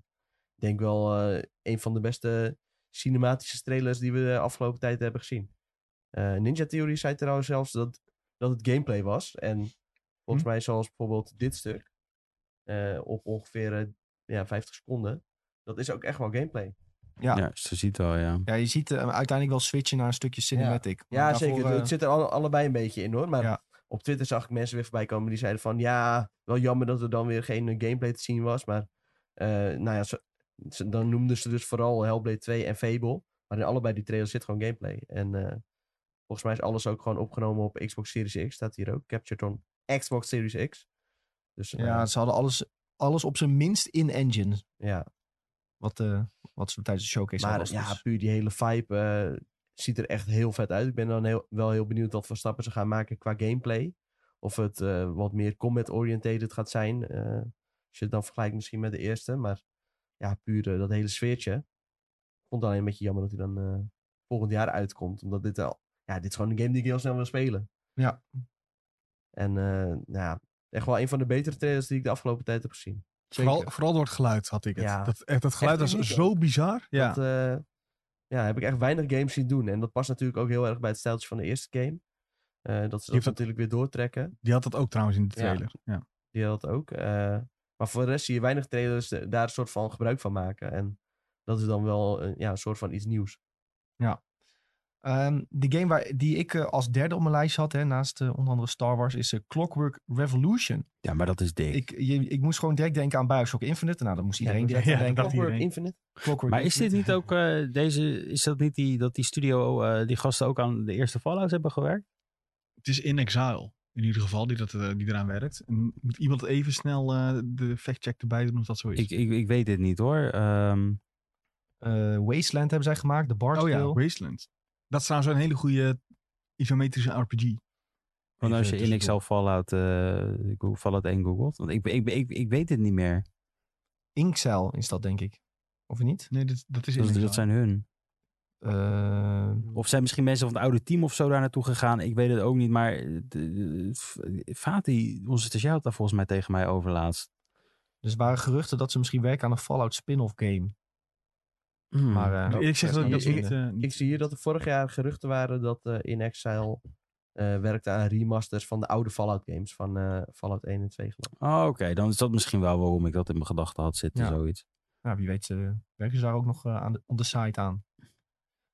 D: ik denk wel eh, een van de beste cinematische trailers die we de afgelopen tijd hebben gezien. Eh, Ninja Theory zei trouwens zelfs dat, dat het gameplay was. En volgens mij zoals bijvoorbeeld dit stuk. eh, op ongeveer eh, ja, 50 seconden. Dat is ook echt wel gameplay.
A: Ja.
C: Ja, ze ziet al, ja.
A: Ja, je ziet eh, uiteindelijk wel switchen naar een stukje cinematic. Maar
D: Ja,
A: daarvoor,
D: zeker.
A: eh,
D: Het zit er alle- allebei een beetje in hoor. Maar
A: Ja.
D: op Twitter zag ik mensen weer voorbij komen die zeiden van ja, wel jammer dat er dan weer geen eh, gameplay te zien was. Maar eh, nou ja, ze- ze- dan noemden ze dus vooral Hellblade 2 en Fable. Maar in allebei die trailers zit gewoon gameplay. En eh, volgens mij is alles ook gewoon opgenomen op Xbox Series X. Staat hier ook. Captured on Xbox Series X. Dus eh,
A: ja, ze hadden alles, alles op zijn minst in-engine.
D: ja.
A: Wat, eh, wat ze tijdens de showcase
D: Maar
A: hadden.
D: ja,
A: Dus-
D: puur die hele vibe eh, ziet er echt heel vet uit. Ik ben dan heel, wel heel benieuwd wat voor stappen ze gaan maken qua gameplay. Of het eh, wat meer combat-oriented gaat zijn. eh, als je het dan vergelijkt misschien met de eerste. Maar ja, puur eh, dat hele sfeertje. Ik vond het alleen een beetje jammer dat hij dan eh, volgend jaar uitkomt. Omdat dit al... Ja, dit is gewoon een game die ik heel snel wil spelen.
A: Ja.
D: En eh, nou ja, echt wel een van de betere trailers die ik de afgelopen tijd heb gezien.
B: Vooral, vooral door het geluid had ik het.
D: Ja.
B: Dat, echt, dat geluid
D: Echt
B: was
D: uniek
B: zo bizar. Ja.
D: Dat, eh, ja, heb ik echt weinig games zien doen. En dat past natuurlijk ook heel erg bij het stijltje van de eerste game. Eh, dat ze
B: hebt
D: dat
B: dat-
D: natuurlijk weer doortrekken.
B: Die had dat ook trouwens in de
D: Ja.
B: trailer. Ja.
D: Die had dat ook. eh, maar voor de rest zie je weinig trailers eh, daar een soort van gebruik van maken. En dat is dan wel eh, ja, een soort van iets nieuws.
A: Ehm, de game waar, die ik eh, als derde op mijn lijst had, hè, naast eh, onder andere Star Wars, is eh, Clockwork Revolution.
C: Ja, maar dat is dik.
A: Ik, je- ik moest gewoon direct denken aan Bioshock Infinite. Nou, dat moest iedereen
D: dat
A: direct *laughs*
B: ja,
A: aan denken.
B: dat
D: Clockwork
B: iedereen.
D: Infinite.
A: Clockwork
C: maar is dit
A: Infinite.
C: niet ook eh, deze, is dat niet die, dat die studio, eh, die gasten ook aan de eerste Fallout hebben gewerkt?
B: Het is In Exile in ieder geval die, dat, eh, die eraan werkt. En moet iemand even snel eh, de factcheck erbij doen of dat zo is.
C: Ik, ik, ik weet dit niet hoor. Ehm,
A: Eh, Wasteland hebben zij gemaakt, The Bard's
B: oh ja,
A: Tale.
B: Wasteland. Dat is trouwens een hele goede isometrische RPG.
C: want als
B: Even
C: je in Excel
B: tussendoor.
C: Fallout, eh, Go- Fallout 1 googelt. Want ik, ik, ik, ik weet dit niet meer.
A: Inkcell is dat, denk ik. Of niet?
B: Nee, dat, dat is In
C: Dat,
B: Exile.
C: dat zijn hun.
A: Eh,
C: Of zijn misschien mensen van het oude team of zo daar naartoe gegaan. Ik weet het ook niet. Maar eh, de- de- Fatih, onze stagiair, had daar volgens mij tegen mij overlaatst.
A: dus er waren geruchten dat ze misschien werken aan een Fallout spin-off game. Maar, eh,
B: Hmm. Ik- Ik zeg dat,
D: dat
B: dat
D: is
B: niet, eh, niet-
D: Ik zie hier dat er vorig jaar geruchten waren dat eh, In Exile eh, werkte aan remasters van de oude Fallout games. Van eh, Fallout 1 en 2 geloof ik.
C: Oh, oké. Dan is dat misschien wel waarom ik dat in mijn gedachten had zitten,
A: Ja.
C: zoiets.
A: Nou, wie weet eh, werken ze daar ook nog eh, aan de, on the site aan.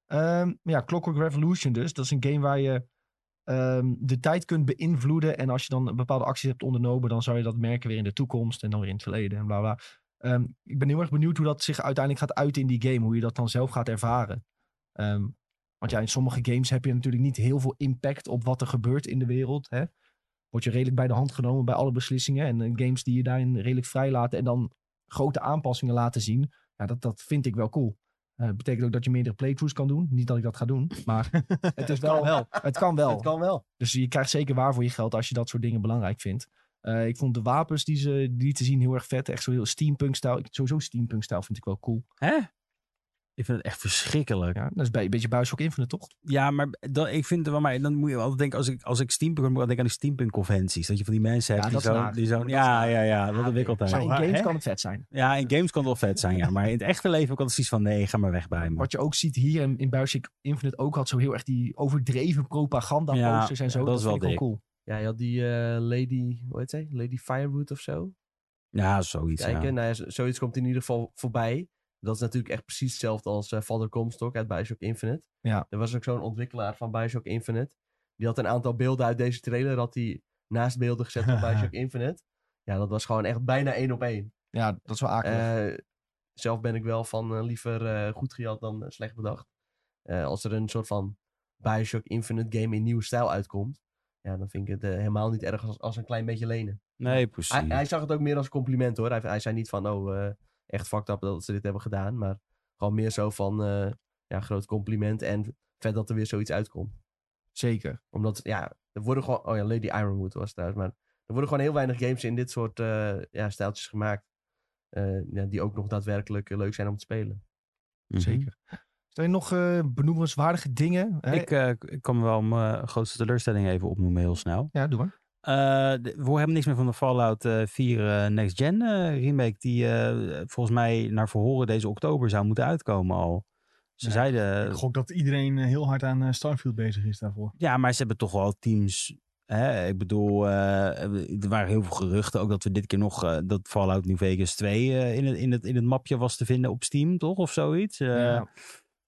A: Ehm, ja, Clockwork Revolution dus. Dat is een game waar je ehm, de tijd kunt beïnvloeden. En als je dan bepaalde acties hebt ondernomen, dan zou je dat merken weer in de toekomst en dan weer in het verleden en bla bla. Ehm, ik ben heel erg benieuwd hoe dat zich uiteindelijk gaat uiten in die game. Hoe je dat dan zelf gaat ervaren. Ehm, want ja, in sommige games heb je natuurlijk niet heel veel impact op wat er gebeurt in de wereld. Hè? Word je redelijk bij de hand genomen bij alle beslissingen. En eh, games die je daarin redelijk vrij laten en dan grote aanpassingen laten zien. Ja, dat, dat vind ik wel cool. Eh, Dat betekent ook dat je meerdere playthroughs kan doen. Niet dat ik dat ga doen, *laughs* maar het is wel...
B: wel.
A: Het kan wel.
D: *laughs* Het kan wel.
A: Dus je krijgt zeker waar voor je geld als je dat soort dingen belangrijk vindt. Eh, ik vond de wapens die ze die te zien heel erg vet. Echt zo heel steampunk-stijl. Ik- Sowieso steampunk-stijl vind ik wel cool.
C: Hè? Ik vind het echt verschrikkelijk.
A: Ja, dat is bij, een beetje Bioshock Infinite, toch?
C: Ja, maar dat, ik vind het wel, maar dan moet je altijd denken, als ik, als ik steampunk hoor, moet ik altijd denken aan die steampunk conventies. Dat je van die mensen
A: Ja,
C: hebt
A: dat
C: die
A: is
C: zo,
A: naar.
C: die zo
A: Dat is
C: ja,
A: naar.
C: ja, ja,
A: Ja,
C: dat ontwikkelt
A: Maar
C: hij.
A: in
B: waar,
A: games
B: hè?
A: kan het vet zijn.
C: Ja, in games kan het wel vet zijn, ja. Maar in het echte leven kan het zoiets van, nee, ga maar weg bij me.
A: Wat je ook ziet hier in, in Bioshock Infinite ook had zo heel erg die overdreven propaganda posters
C: Ja,
A: en zo.
C: dat is
A: vind
C: wel
A: ik cool.
D: Ja, je had die eh, Lady, hoe heet zij? Lady Firewood of zo.
C: Ja, zoiets, ja.
D: kijken. Nou ja, z- zoiets komt in ieder geval voorbij. Dat is natuurlijk echt precies hetzelfde als eh Father Comstock uit Bioshock Infinite.
A: Ja.
D: Er was ook zo'n ontwikkelaar van Bioshock Infinite. Die had een aantal beelden uit deze trailer had hij naast beelden gezet
A: *laughs*
D: van Bioshock Infinite. Ja, dat was gewoon echt bijna één op één.
A: Ja, dat is wel akelig.
D: Eh, zelf ben ik wel van eh, liever eh, goed gejat dan eh, slecht bedacht. Eh, als er een soort van Bioshock Infinite game in nieuwe stijl uitkomt. Ja, dan vind ik het eh, helemaal niet erg als, als een klein beetje lenen.
C: Nee, precies.
D: Hij, hij zag het ook meer als compliment hoor. Hij, hij zei niet van, oh, eh, echt fucked up dat ze dit hebben gedaan. Maar gewoon meer zo van, eh, ja, groot compliment. En vet dat er weer zoiets uitkomt.
A: Zeker.
D: Omdat, ja, er worden gewoon, oh ja, Lady Ironwood was het trouwens. Maar er worden gewoon heel weinig games in dit soort eh, ja, stijltjes gemaakt. eh, ja, die ook nog daadwerkelijk eh, leuk zijn om te spelen.
C: Mhm.
A: Zeker. Zijn er nog eh, benoemenswaardige dingen? Hè?
C: Ik, eh, ik kan wel mijn grootste teleurstelling even opnoemen, heel snel.
A: Ja, doe maar.
C: Eh, de- we hebben niks meer van de Fallout eh, 4 eh, Next Gen eh, remake. Die eh, volgens mij naar verhoren deze oktober zou moeten uitkomen al. Ze
B: Ja,
C: zeiden...
B: Ik gok dat iedereen eh, heel hard aan eh, Starfield bezig is daarvoor.
C: Ja, maar ze hebben toch wel teams Hè, ik bedoel, eh, er waren heel veel geruchten ook dat we dit keer nog eh, dat Fallout New Vegas 2 eh, in, het, in, het, in het mapje was te vinden op Steam, toch? Of zoiets. Eh,
A: Ja.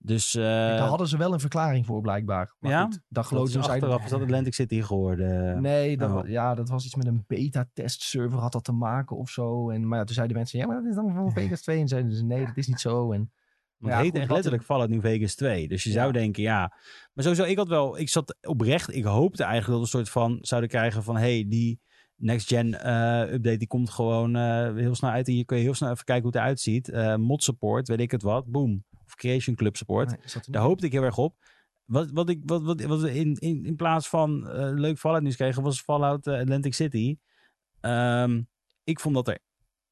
C: Dus eh,
A: Daar hadden ze wel een verklaring voor, blijkbaar. Maar
C: Ja?
A: goed, dat
C: dat
A: geloofde
C: is
A: dus eigenlijk
C: achteraf is dat Atlantic City geworden.
A: Nee, dat,
C: Oh.
A: wa- ja, dat was iets met een beta-test server, had dat te maken of zo. En, maar ja, toen zeiden mensen, ja, maar dat is dan voor Vegas 2. En zeiden ze, nee, dat is niet zo. *laughs* En,
C: Want
A: Ja,
C: het heet
A: goed,
C: echt
A: wat-
C: letterlijk Fallout New Vegas 2. Dus je
A: Ja.
C: zou denken, ja. Maar sowieso, ik had wel... Ik zat oprecht... Ik hoopte eigenlijk dat we een soort van zouden krijgen van... hey, die next-gen eh, update die komt gewoon eh, heel snel uit. En hier kun je heel snel even kijken hoe het eruit ziet. Eh, mod support, weet ik het wat. Boom. Of Creation Club support.
A: Nee, is dat er
C: Daar
A: niet?
C: hoopte ik heel erg op. Wat, wat, ik, wat, wat, wat we in, in, in plaats van eh, leuk Fallout nieuws kregen, was Fallout eh, Atlantic City. Ehm, ik vond dat er...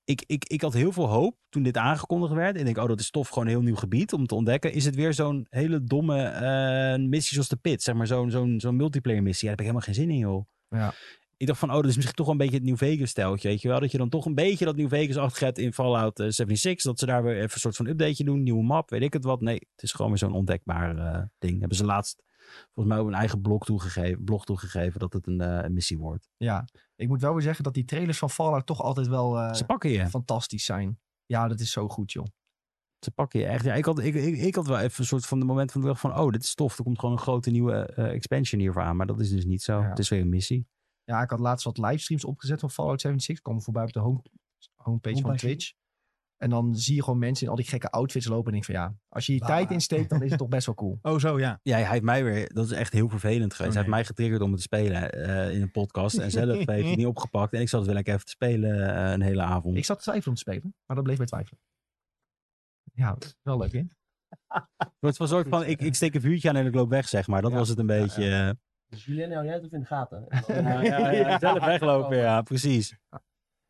C: Ik, ik, ik had heel veel hoop toen dit aangekondigd werd. En ik denk, oh, dat is tof, gewoon een heel nieuw gebied om te ontdekken. Is het weer zo'n hele domme eh, missie zoals de Pit, zeg maar, zo'n zo'n zo'n multiplayer missie. Ja, daar heb ik helemaal geen zin in, joh.
A: Ja.
C: Ik dacht van, oh, dat is misschien toch wel een beetje het New Vegas-steltje, weet je wel? Dat je dan toch een beetje dat New Vegas-achtig hebt in Fallout eh, 76. Dat ze daar weer even een soort van updateje doen, nieuwe map, weet ik het wat. Nee, het is gewoon weer zo'n ontdekbaar eh, ding. Hebben ze laatst volgens mij op een eigen blog toegegeven, blog toegegeven dat het een, eh, een missie wordt.
A: Ja, ik moet wel weer zeggen dat die trailers van Fallout toch altijd wel eh,
C: Ze pakken je.
A: fantastisch zijn. Ja, dat is zo goed, joh.
C: Ze pakken je echt. Ja, ik, had, ik, ik, ik had wel even een soort van de moment van de dag van... oh, dit is tof, er komt gewoon een grote nieuwe eh, expansion hiervoor aan. Maar dat is dus niet zo.
A: Ja.
C: Het is weer een missie.
A: Ja, ik had laatst wat livestreams opgezet van Fallout 76. Komen voorbij op de home, homepage van
D: Homepage.
A: Twitch. En dan zie je gewoon mensen in al die gekke outfits lopen. En denk van ja, als je je
B: Bah.
A: tijd insteekt, dan is *laughs* het toch best wel cool.
B: Oh, zo ja.
C: Ja, hij heeft mij weer... Dat is echt heel vervelend geweest.
B: Oh,
C: Hij heeft
B: nee.
C: mij getriggerd om het te spelen eh, in een podcast. En zelf heeft hij het *laughs* niet opgepakt. En ik zat wel lekker even te spelen eh, een hele avond.
A: Ik zat te twijfelen om te spelen, maar dat bleef bij twijfelen. Ja, wel leuk, hè?
C: Het was een soort van, ik, ik steek een vuurtje aan en ik loop weg, zeg maar. Dat
A: Ja.
C: was het een beetje... eh,
D: Dus Julien, hou jij het even in de gaten. En dan-
C: ja, *laughs* ja, ja, zelf weglopen, ja, precies.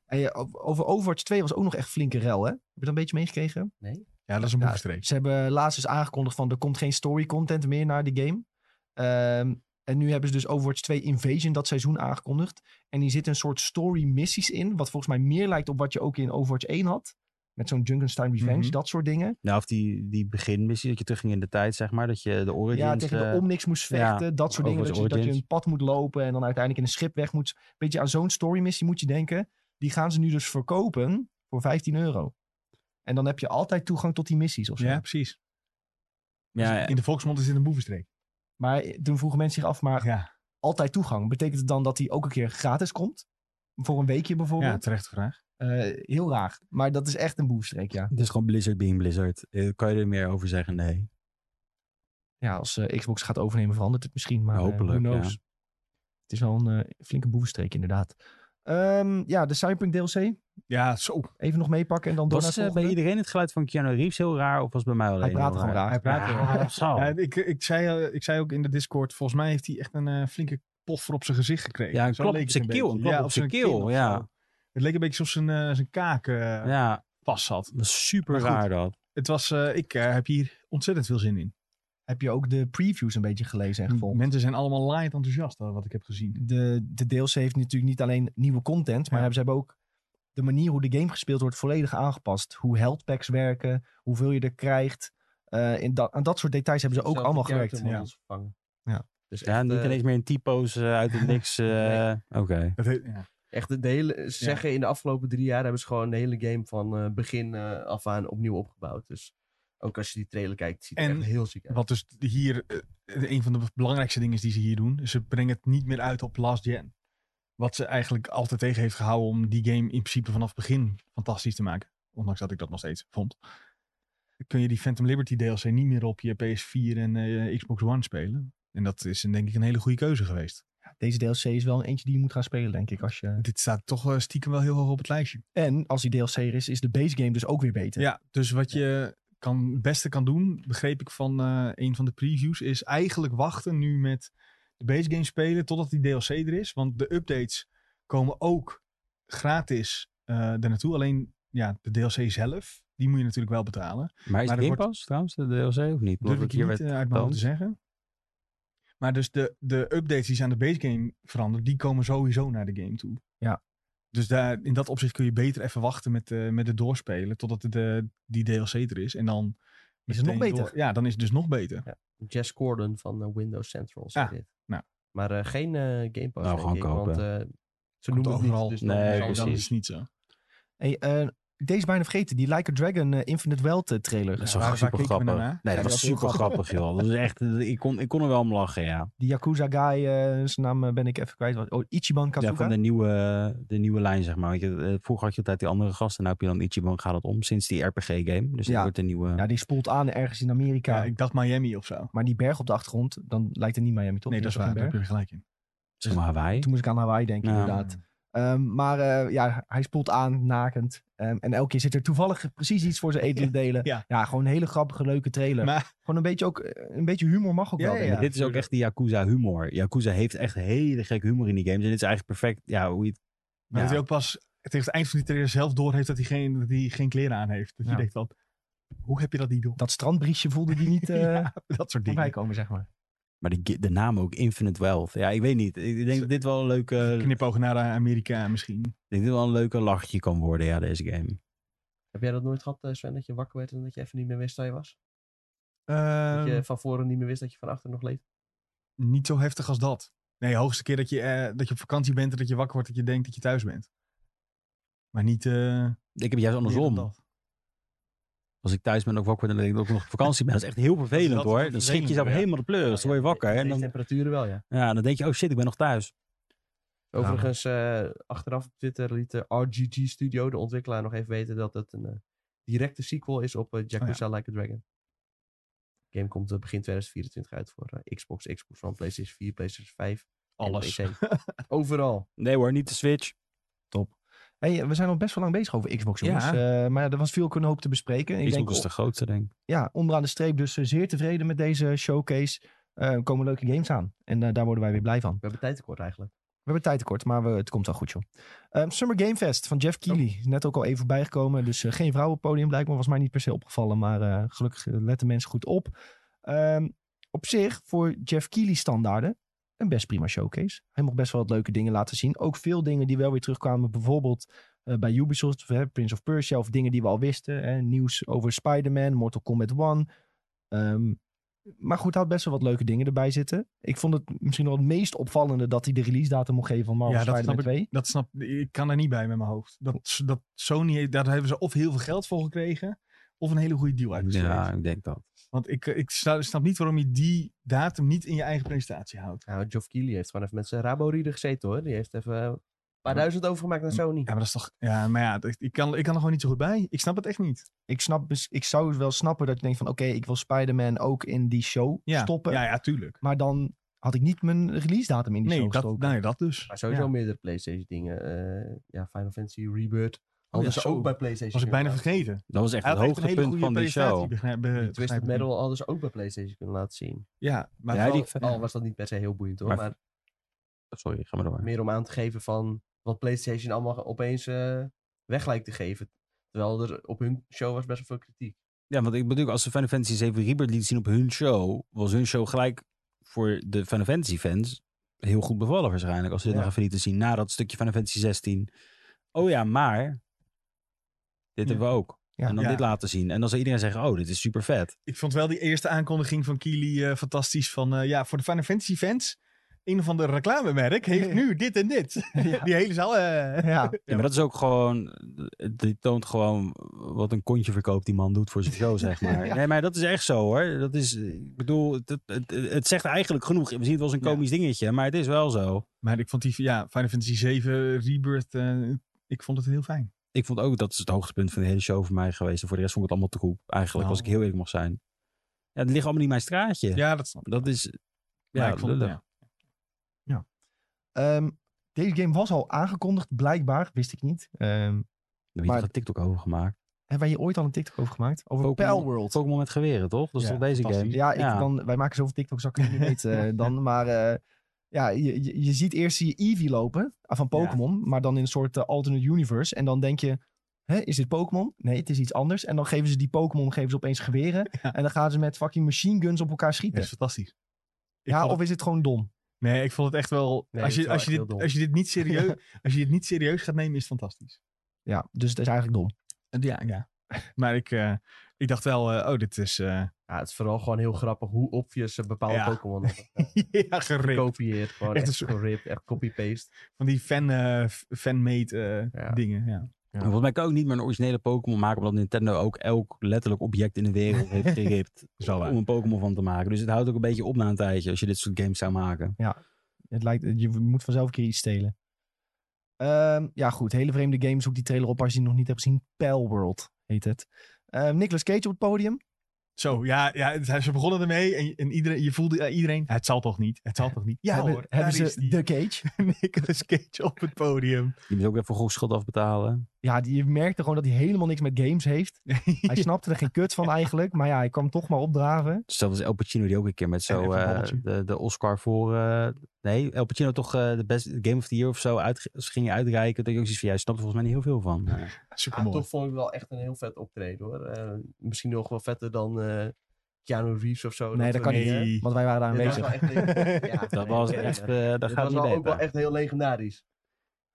A: En je- o- over Overwatch 2 was ook nog echt flinke rel, hè? Heb je dat een beetje meegekregen?
B: Ja, dat is een
A: Ja.
B: boevenstreek.
A: Ze hebben laatst eens aangekondigd van er komt geen story content meer naar die game. Ehm, en nu hebben ze dus Overwatch 2 Invasion dat seizoen aangekondigd. En die zitten een soort story missies in, wat volgens mij meer lijkt op wat je ook in Overwatch 1 had. Met zo'n Junkenstein Revenge,
B: Mhm.
A: dat soort dingen.
C: Nou, of die, die beginmissie, dat je terugging in de tijd, zeg maar. Dat je de origins...
A: Ja, tegen
C: eh,
A: de Omnix moest
C: ja,
A: vechten. dat soort dingen. Dat je,
C: Overwatch
A: dat je
C: Origins.
A: een pad moet lopen en dan uiteindelijk in een schip weg moet. Beetje aan zo'n storymissie moet je denken. Die gaan ze nu dus verkopen voor 15 euro. En dan heb je altijd toegang tot die missies of zo.
B: Ja, precies. Dus
C: ja,
B: In de volksmond is dit een boevenstreek.
A: Maar eh, toen vroegen mensen zich af, maar
B: Ja,
A: altijd toegang. Betekent het dan dat die ook een keer gratis komt? Voor een weekje
B: ja
A: bijvoorbeeld?
B: terechte vraag.
A: Eh, heel raar. Maar dat is echt een boefstreek, ja.
C: Het is gewoon Blizzard being Blizzard. Eh, Kan je er meer over zeggen? Nee.
A: Ja, als eh, Xbox gaat overnemen verandert het misschien, maar eh,
C: Hopelijk,
A: who knows. Het is wel een eh, flinke boefstreek inderdaad. Ehm, ja, de Cyberpunk DLC.
B: Ja, zo.
A: Even nog meepakken en dan door
C: Was
A: naar
C: eh,
A: het
C: bij
A: volgende?
C: iedereen het geluid van Keanu Reeves heel raar? Of was het bij mij alleen
A: Hij praat
C: heel
A: gewoon raar.
B: Hij praat
C: Ja,
B: wel.
C: zo.
B: Ja, ik, ik, zei, eh, ik zei ook in de Discord, volgens mij heeft hij echt een eh, flinke poffer op zijn gezicht gekregen.
C: Ja, een
B: Zo
C: klap
B: leek
C: op
B: het
C: zijn
B: een
C: keel,
B: beetje.
C: een klap
B: Ja,
C: op
B: of
C: zijn
B: kin
C: keel,
B: of
C: ja.
B: zo. Het leek een beetje alsof zijn, eh, zijn kaak eh,
C: Ja,
B: vast zat.
C: dat is super
B: Maar goed.
C: raar dat.
B: Het was, eh, ik eh, heb hier ontzettend veel zin in.
A: Heb je ook de previews een beetje gelezen en gevolgd?
B: Mensen zijn allemaal laaiend enthousiast, eh, wat ik heb gezien.
A: De, de DLC heeft natuurlijk niet alleen nieuwe content, maar
B: Ja.
A: hebben ze hebben ook de manier hoe de game gespeeld wordt volledig aangepast. Hoe health packs werken, hoeveel je er krijgt. Eh, in dat aan dat soort details hebben ze ook
D: Zelfde
A: allemaal
D: character
A: gewerkt.
D: models vervangen.
A: Ja.
D: Dus
C: Ja,
D: echt,
C: niet
D: eh,
C: ineens meer in typo's eh, uit het
D: *laughs*
C: niks. eh,
D: Nee.
C: Oké.
B: Het heet- ja.
D: echt de, de hele, ze zeggen in de afgelopen drie jaar hebben ze gewoon de hele game van eh, begin eh, af aan opnieuw opgebouwd. Dus ook als je die trailer kijkt, ziet het
B: En
D: echt heel ziek uit.
B: Wat dus hier eh, een van de belangrijkste dingen is die ze hier doen. Ze brengen het niet meer uit op last gen. Wat ze eigenlijk altijd tegen heeft gehouden om die game in principe vanaf het begin fantastisch te maken. Ondanks dat ik dat nog steeds vond. Kun je die Phantom Liberty DLC niet meer op je PS4 en eh, Xbox One spelen. En dat is een- denk ik een hele goede keuze geweest.
A: Deze DLC is wel een eentje die je moet gaan spelen, denk ik. Als je...
B: Dit staat toch eh, stiekem wel heel hoog op het lijstje.
A: En als die DLC er is, is de base game dus ook weer beter.
B: Ja, dus wat je kan, het beste kan doen, begreep ik van eh, een van de previews, is eigenlijk wachten nu met de base game spelen totdat die DLC er is. Want de updates komen ook gratis eh er naartoe. Alleen ja, de DLC zelf, die moet je natuurlijk wel betalen.
C: Maar is
B: Maar
C: het
B: er
C: Game
B: wordt-
C: Pass trouwens, de DLC of niet?
B: Durf
C: Omdat
B: ik
C: het
B: hier
C: hier
B: niet
C: werd
B: eh, uit mijn hoofd te
C: getoond.
B: zeggen. Maar dus de, de updates die ze aan de base game veranderen, die komen sowieso naar de game toe.
A: Ja.
B: Dus daar, in dat opzicht kun je beter even wachten met, eh met het doorspelen totdat de, de- die DLC er is. En dan
A: Is het nog
B: meteen
A: beter?
B: door- Ja, dan is het dus nog beter.
D: Jess Gordon van eh, Windows Central zei
B: Ah,
D: dit.
B: nou.
D: Maar eh, geen eh Game
C: Nou,
D: Pass, denk
C: gewoon
D: ik,
C: kopen.
D: Want eh, ze
B: Komt
D: noemen het
B: overal.
D: niet. Dus dan
C: Nee,
D: zal
B: dan
D: het
B: is
D: dan-
C: precies.
B: het niet zo.
A: Hey, eh, deze bijna vergeten, die Like a Dragon eh, Infinite Wealth eh, trailer.
C: Dat is
B: Ja,
C: wel
B: waar- waar
C: super
B: keken we nou
C: grappig.
B: naar?
C: Nee,
B: Ja, die
C: dat was
B: was heel
C: super grappig, joh. Dat is echt, eh, ik kon, ik kon er wel om lachen, ja.
A: Die Yakuza guy, eh, zijn naam eh, ben ik even kwijt. Oh, Ichiban
C: Ja,
A: Kazuka.
C: van de nieuwe, eh, de nieuwe lijn, zeg maar. Want je, eh, vroeger had je altijd die andere gasten. Nou heb je dan Ichiban gaat het om sinds die RPG-game. Dus dat
A: Ja.
C: wordt de nieuwe...
A: Ja, die spoelt aan ergens in Amerika.
B: Ja, ik dacht Miami of zo.
A: Maar die berg op de achtergrond, dan lijkt het niet Miami, toch?
B: Nee, dat
A: Die
B: is
A: geen
B: waar. Daar heb
A: berg?
B: je gelijk in.
C: zeg maar Hawaii.
A: Toen moest ik aan Hawaii denken,
C: Ja.
A: inderdaad. Ehm, maar eh, ja, hij spoelt aan, nakend. Ehm, en elke keer zit er toevallig precies iets voor zijn
B: *laughs*
A: edele delen.
B: Ja.
A: gewoon een hele grappige, leuke trailer.
B: Maar-
A: Gewoon een beetje, ook, eh, een beetje humor mag ook
B: Ja,
A: wel,
B: ja,
A: denk
B: ja.
A: ik.
C: dit is ook echt die Yakuza-humor. Yakuza heeft echt hele gekke humor in die games. En dit is eigenlijk perfect, ja, hoe je het...
B: Maar
C: ja.
B: dat hij ook pas tegen het eind van die trailer zelf door heeft dat hij geen, dat hij geen kleren aan heeft. Dat
A: Ja.
B: je denkt dat, hoe heb je dat niet door?
A: Dat strandbriesje voelde die
B: *laughs*
A: niet eh
B: Ja, dat soort
A: voorbij
B: dingen.
A: komen, zeg maar.
C: Maar die, ge- de naam ook, Infinite Wealth. Ja, ik weet niet. Ik denk dat dit wel een leuke, ik denk
B: Knipogen naar eh, Amerika misschien.
C: dat dit wel een leuke lachje kan worden, ja, deze game.
D: Heb jij dat nooit gehad, eh, Sven, dat je wakker werd en dat je even niet meer wist waar je was? Dat
B: Ehm,
D: je van voren niet meer wist dat je van achter nog leed?
B: Niet zo heftig als dat. Nee, de hoogste keer dat je, eh, dat je op vakantie bent en dat je wakker wordt, dat je denkt dat je thuis bent. Maar niet eh, meer
C: Ik heb juist
B: dan
C: andersom.
B: dat.
C: Als ik thuis ben ook wakker word en dan denk ik dat ik nog op vakantie ben. Dat is echt heel vervelend,
B: dat
C: hoor.
B: vervelend,
C: Dan schrik je jezelf
B: ja.
C: helemaal de pleuris. Dan word je wakker. En dan,
D: temperaturen wel, ja.
C: ja, dan denk je, oh shit, ik ben nog thuis.
D: Overigens, eh, achteraf op Twitter liet eh, de RGG Studio, de ontwikkelaar, nog even weten dat het een eh, directe sequel is op eh,
B: Oh
D: Yakuza Like a Dragon. De game komt eh, begin 2024 uit voor eh, Xbox, Xbox One, PlayStation 4, PlayStation 5. en
B: Alles. *laughs*
D: PC. Overal.
C: Nee hoor, niet de Switch.
A: Hey, we zijn al best wel lang bezig over Xbox,
B: Ja.
A: jongens. Eh, maar ja, er was veel kunnen hoop te bespreken. Ik denk,
C: Xbox is de grootste, denk ik.
A: ja, onderaan de streep dus eh, zeer tevreden met deze showcase. Eh, Er komen leuke games aan. En eh, daar worden wij weer blij van.
D: We hebben tijd tekort eigenlijk.
A: We hebben tijd tekort, maar we, het komt wel goed, joh. Ehm, Summer Game Fest van Jeff Keighley.
B: Oh.
A: Is Net ook al even bijgekomen. Dus eh, geen vrouw op het podium blijkbaar. Was mij niet per se opgevallen. Maar eh, gelukkig eh, letten mensen goed op. Ehm, op zich, voor Jeff Keighley standaarden, een best prima showcase. Hij mocht best wel wat leuke dingen laten zien. Ook veel dingen die wel weer terugkwamen. Bijvoorbeeld eh, bij Ubisoft, of, hè, Prince of Persia. Of dingen die we al wisten. Hè, nieuws over Spider-Man, Mortal Kombat 1. Ehm, maar goed, hij had best wel wat leuke dingen erbij zitten. Ik vond het misschien wel het meest opvallende dat hij de release datum mocht geven van Marvel
B: Ja, dat
A: Spider-Man
B: snap,
A: 2.
B: ik, dat snap ik. kan er niet bij met mijn hoofd. Dat, dat Sony, heeft- daar hebben ze of heel veel geld voor gekregen, of een hele goede deal uitbesteed.
C: Ja, ik denk dat.
B: Want ik, ik sta- snap niet waarom je die datum niet in je eigen presentatie houdt.
D: Nou, Geoff Keighley heeft gewoon even met zijn rabo-rieden gezeten hoor. Die heeft even eh, een paar duizend overgemaakt naar Sony.
B: Ja, maar dat is toch. Ja, maar ja, dat- ik kan, ik kan er gewoon niet zo goed bij. Ik snap het echt niet.
A: Ik, snap, dus- ik zou wel snappen dat je denkt van... oké, ik wil Spider-Man ook in die show
B: Ja,
A: stoppen.
B: Ja, ja, tuurlijk.
A: Maar dan had ik niet mijn release datum in die
B: Nee
A: show
B: dat,
A: gestoken.
B: nee, dat dus.
D: Maar sowieso
B: Ja.
D: meerdere PlayStation dingen. eh, ja, Final Fantasy Rebirth. Hadden
B: Oh ja,
D: ze
B: zo.
D: ook bij PlayStation.
B: Was ik bijna
D: kunnen
B: vergeten.
C: Dat was echt
B: Hij
C: het
B: had echt een hele
C: hoogtepunt
B: goede
C: van die
B: presentatie.
C: show.
B: begrijp- be-
D: laten zien. Die
B: begrijp
D: Twisted
B: ik
D: Metal hadden ze ook bij PlayStation kunnen laten zien.
B: niet. Ja, maar
C: Ja,
B: vooral-
C: die-
D: Al was dat niet per se heel boeiend hoor.
C: Maar-
D: Maar,
C: Sorry, ga maar door.
D: meer om aan te geven van wat PlayStation allemaal opeens eh, weg lijkt te geven. Terwijl er op hun show was best wel veel kritiek.
C: Ja, want ik bedoel, als ze Final Fantasy 7 Rebirth lieten zien op hun show, was hun show gelijk voor de Final Fantasy fans heel goed bevallen waarschijnlijk. Als ze dit
D: Ja.
C: nog even lieten zien na dat stukje Final Fantasy 16. Oh ja, maar dit
B: Ja.
C: hebben we ook.
A: Ja.
C: En dan
B: Ja.
C: dit laten zien. En dan zou iedereen zeggen, oh, dit is super vet.
B: ik vond wel die eerste aankondiging van Kili eh, fantastisch. Van eh, ja, voor de Final Fantasy fans. Een van de reclamemerk heeft nu dit en
C: *laughs*
B: dit. Die hele zaal. eh.
A: Ja,
C: Ja, maar dat is ook gewoon, die toont gewoon wat een kontje verkoopt die man doet voor zijn show, zeg maar. Nee, maar dat is echt zo hoor. Dat is, ik bedoel, het, het, het, het zegt eigenlijk genoeg. We zien het wel als een
B: Ja.
C: komisch dingetje, maar het is wel zo.
B: Maar ik vond die ja, Final Fantasy 7 Rebirth. eh, ik vond het heel fijn.
C: Ik vond ook, dat is het hoogtepunt van de hele show voor mij geweest. En voor de rest vond ik het allemaal te goed, eigenlijk,
B: Nou.
C: als ik heel eerlijk mag zijn. Ja, het ligt allemaal niet in mijn straatje.
B: Ja, dat snap ik.
C: Dat is,
B: Maar
C: ja,
B: ik vond het,
C: lullig.
B: ja.
A: ehm, deze game was al aangekondigd, blijkbaar. Wist ik niet. Ehm,
C: Daar heb je
A: Maar-
C: toch een TikTok over gemaakt.
A: hebben wij hier ooit al een TikTok over gemaakt? Over
C: Pokémon-
A: Pal World.
C: Pokémon met geweren, toch? Dat is
B: Ja,
C: toch deze game?
B: fantastisch.
A: Ja, ik, Dan, wij maken zoveel TikToks dat ik
B: *laughs*
A: het niet weet eh, dan. Maar eh, ja, je, je- je ziet eerst je Eevee lopen ah, van Pokémon. Maar dan in een soort eh, alternate universe. En dan denk je, hè, is dit Pokémon? Nee, het is iets anders. En dan geven ze die Pokémon geven ze opeens geweren.
B: *laughs* Ja.
A: En dan gaan ze met fucking machine guns op elkaar
B: Dat
A: schieten.
B: is fantastisch. Ik
A: ja,
B: vond
A: of is het gewoon dom?
B: Nee, ik vond het echt wel.
D: Nee,
B: als,
D: het is
B: je,
D: wel
B: als, je
D: echt heel
B: dit,
D: dom.
B: als je dit niet
C: *laughs*
B: serieus, als je dit niet serieus gaat nemen, is het fantastisch.
A: Ja, dus het is eigenlijk dom.
B: Eh, Ja, *laughs* ja. Maar ik, eh, ik dacht wel, eh, oh, dit is eh
D: Ja, het is vooral gewoon heel grappig hoe obvious ze bepaalde
B: Ja.
C: *laughs*
D: Pokémon hebben.
B: *laughs* ja, gerikt.
D: Kopieert, gewoon
B: Echt
D: echt,
B: een soort-
D: geript, echt copy-paste.
B: Van die fan, eh, f- fan-made eh,
D: Ja.
B: dingen. Ja.
C: En Volgens mij kan je ook niet meer een originele Pokémon maken, omdat Nintendo ook elk letterlijk object in de wereld
B: *laughs*
C: heeft geript
B: Is wel waar.
C: om een Pokémon van te maken. Dus het houdt ook een beetje op na een tijdje als je dit soort games zou maken.
A: Het lijkt, je moet vanzelf een keer iets stelen. Ehm, ja, goed. Hele vreemde game. Zoek die trailer op als je die nog niet hebt gezien. Pal World heet het. Ehm Nicolas Cage op het podium.
B: Zo, ja, ja het- ze begonnen ermee en, en iedereen, je voelde eh, iedereen, het zal toch niet, het zal toch niet. Ja
A: hebben,
B: hoor,
A: hebben
B: daar is
A: ze
B: die.
A: de Cage.
B: *laughs* Nicolas Cage op het podium.
C: Je moet ook even goedschuld afbetalen.
A: Ja, die, je merkte gewoon dat hij helemaal niks met games heeft. Hij
B: *laughs* Ja.
A: snapte er geen kut van eigenlijk. Maar ja, hij kwam toch maar
B: Oh,
A: opdraven.
C: Zelfs als Dus El Pacino die ook een keer met
B: En
C: zo
B: even een
C: eh,
B: babbeltje.
C: de, de Oscar voor... eh, nee, El Pacino toch eh, de best Game of the Year of zo uit, ging uitreiken. Dat je ook zoiets van, jij snapt er volgens mij niet heel veel van. Maar
D: Ah,
B: Supermooi.
D: toch vond ik wel echt een heel vet optreden hoor. Eh, misschien nog wel vetter dan eh, Keanu Reeves of zo.
A: Nee, dat kan
D: we-
A: niet.
D: Ja,
B: Nee.
A: Want wij waren daar
D: dat was
A: aanwezig.
D: wel echt-
C: *laughs*
D: ja,
C: Dat was
D: nee,
C: echt...
D: nee.
C: eh daar
D: Dit
C: gaat
D: was
C: het niet
D: wel
C: beter.
D: ook wel echt heel legendarisch.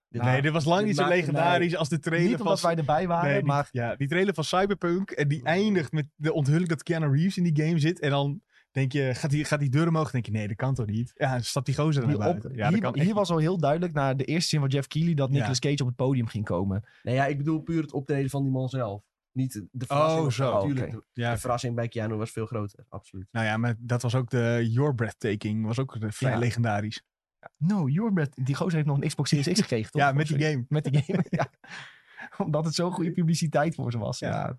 D: Dit
B: Nee,
D: was-
B: dit was lang
D: dit
B: niet zo
D: maakte
B: legendarisch als de trailer
A: Niet
B: van...
A: omdat wij erbij waren,
B: Nee, die-
A: maar
B: Ja, die trailer van Cyberpunk en die eindigt met de onthulling dat Keanu Reeves in die game zit. En dan denk je, gaat die, gaat die deur omhoog? Dan denk je, nee, dat kan toch niet? Ja, dan stapt die gozer er
A: hier,
B: naar
A: op-
B: buiten. Ja, dat
A: hier,
B: kan
A: hier
B: echt
A: was al heel duidelijk na de eerste zin van Jeff Keighley dat
B: Ja.
A: Nicolas Cage op het podium ging komen.
D: Nee, ja, ik bedoel puur het optreden van die man zelf. Niet de verrassing.
B: Oh,
D: of
B: zo,
D: Natuurlijk,
A: oké.
B: niet.
D: de,
B: Ja,
D: de verrassing bij Keanu was veel groter, absoluut.
B: nou ja, maar dat was ook de Your Breathtaking. Was ook vrij
A: Ja.
B: legendarisch.
A: No, your breath. Die gozer heeft nog een Xbox
B: *laughs*
A: Series X gekregen, toch?
B: Ja, met die
A: Sorry.
B: game.
A: Met die game, *laughs* ja. Omdat het zo'n goede publiciteit voor ze was. Ja.
B: Ja.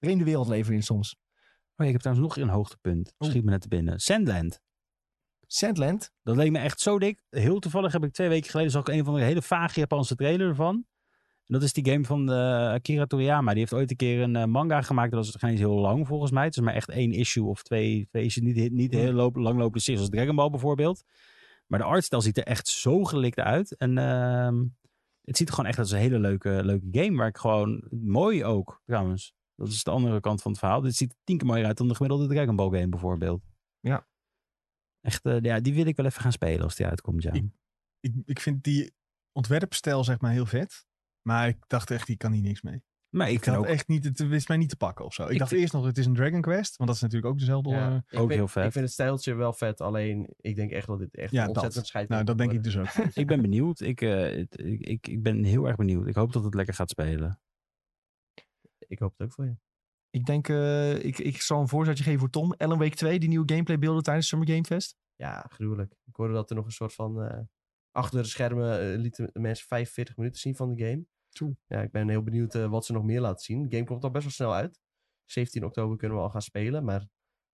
A: Vreemde wereld leven we in soms.
C: Oh, ja, ik heb trouwens nog een hoogtepunt.
D: Oh.
B: Oeh.
C: Schiet me net te binnen. Sandland.
A: Sandland.
C: Dat leek me echt zo dik. Heel toevallig heb ik twee weken geleden zag ik een van de hele vage Japanse trailer ervan. En dat is die game van eh, Akira Toriyama. Die heeft ooit een keer een eh, manga gemaakt. Dat was geen eens heel lang volgens mij. Het is maar echt één issue of twee, twee issues. Niet, niet heel loop, langlopende series als Dragon Ball bijvoorbeeld. Maar de artstijl ziet er echt zo gelikt uit. En ehm, het ziet er gewoon echt uit als een hele leuke, leuke game. Waar ik gewoon... Mooi ook trouwens. Dat is de andere kant van het verhaal. Dit ziet er tien keer mooier uit dan de gemiddelde Dragon Ball game bijvoorbeeld.
A: Ja.
C: Echt, eh, ja, die wil ik wel even gaan spelen als die uitkomt, ja.
B: Ik- Ik, ik vind die ontwerpstijl zeg maar heel vet. Maar ik dacht echt, die kan hier niks mee.
C: Maar ik
B: Ik
C: vind
B: had
C: ook,
B: echt niet, het wist mij niet te pakken of zo. Ik,
C: Ik
B: dacht
C: vind-
B: eerst nog, het is een Dragon Quest. Want dat is natuurlijk ook dezelfde... eh,
D: Ja, ik
C: ook
D: vind-
C: heel vet.
D: Ik vind het stijltje wel vet, alleen ik denk echt dat dit echt
B: Ja,
D: ontzettend
B: dat.
D: scheidt.
B: nou,
D: moet
B: dat denk ik
D: worden.
B: dus
A: *laughs*
B: ook.
C: ik ben benieuwd. Ik, eh, het- ik, ik, ik ben heel erg benieuwd. Ik hoop dat het lekker gaat spelen.
D: Ik hoop het ook voor je.
A: Ik denk, eh, ik, ik zal een voorzetje geven voor Tom. Ellen Week 2, die nieuwe gameplay beelden tijdens Summer Game Fest.
D: Ja, gruwelijk. Ik hoorde dat er nog een soort van... eh, achter de schermen eh, lieten mensen 45 minuten zien van de game.
B: Toe.
D: Ja, ik ben heel benieuwd eh, wat ze nog meer laten zien. De game komt al best wel snel uit. 17 oktober kunnen we al gaan spelen, maar...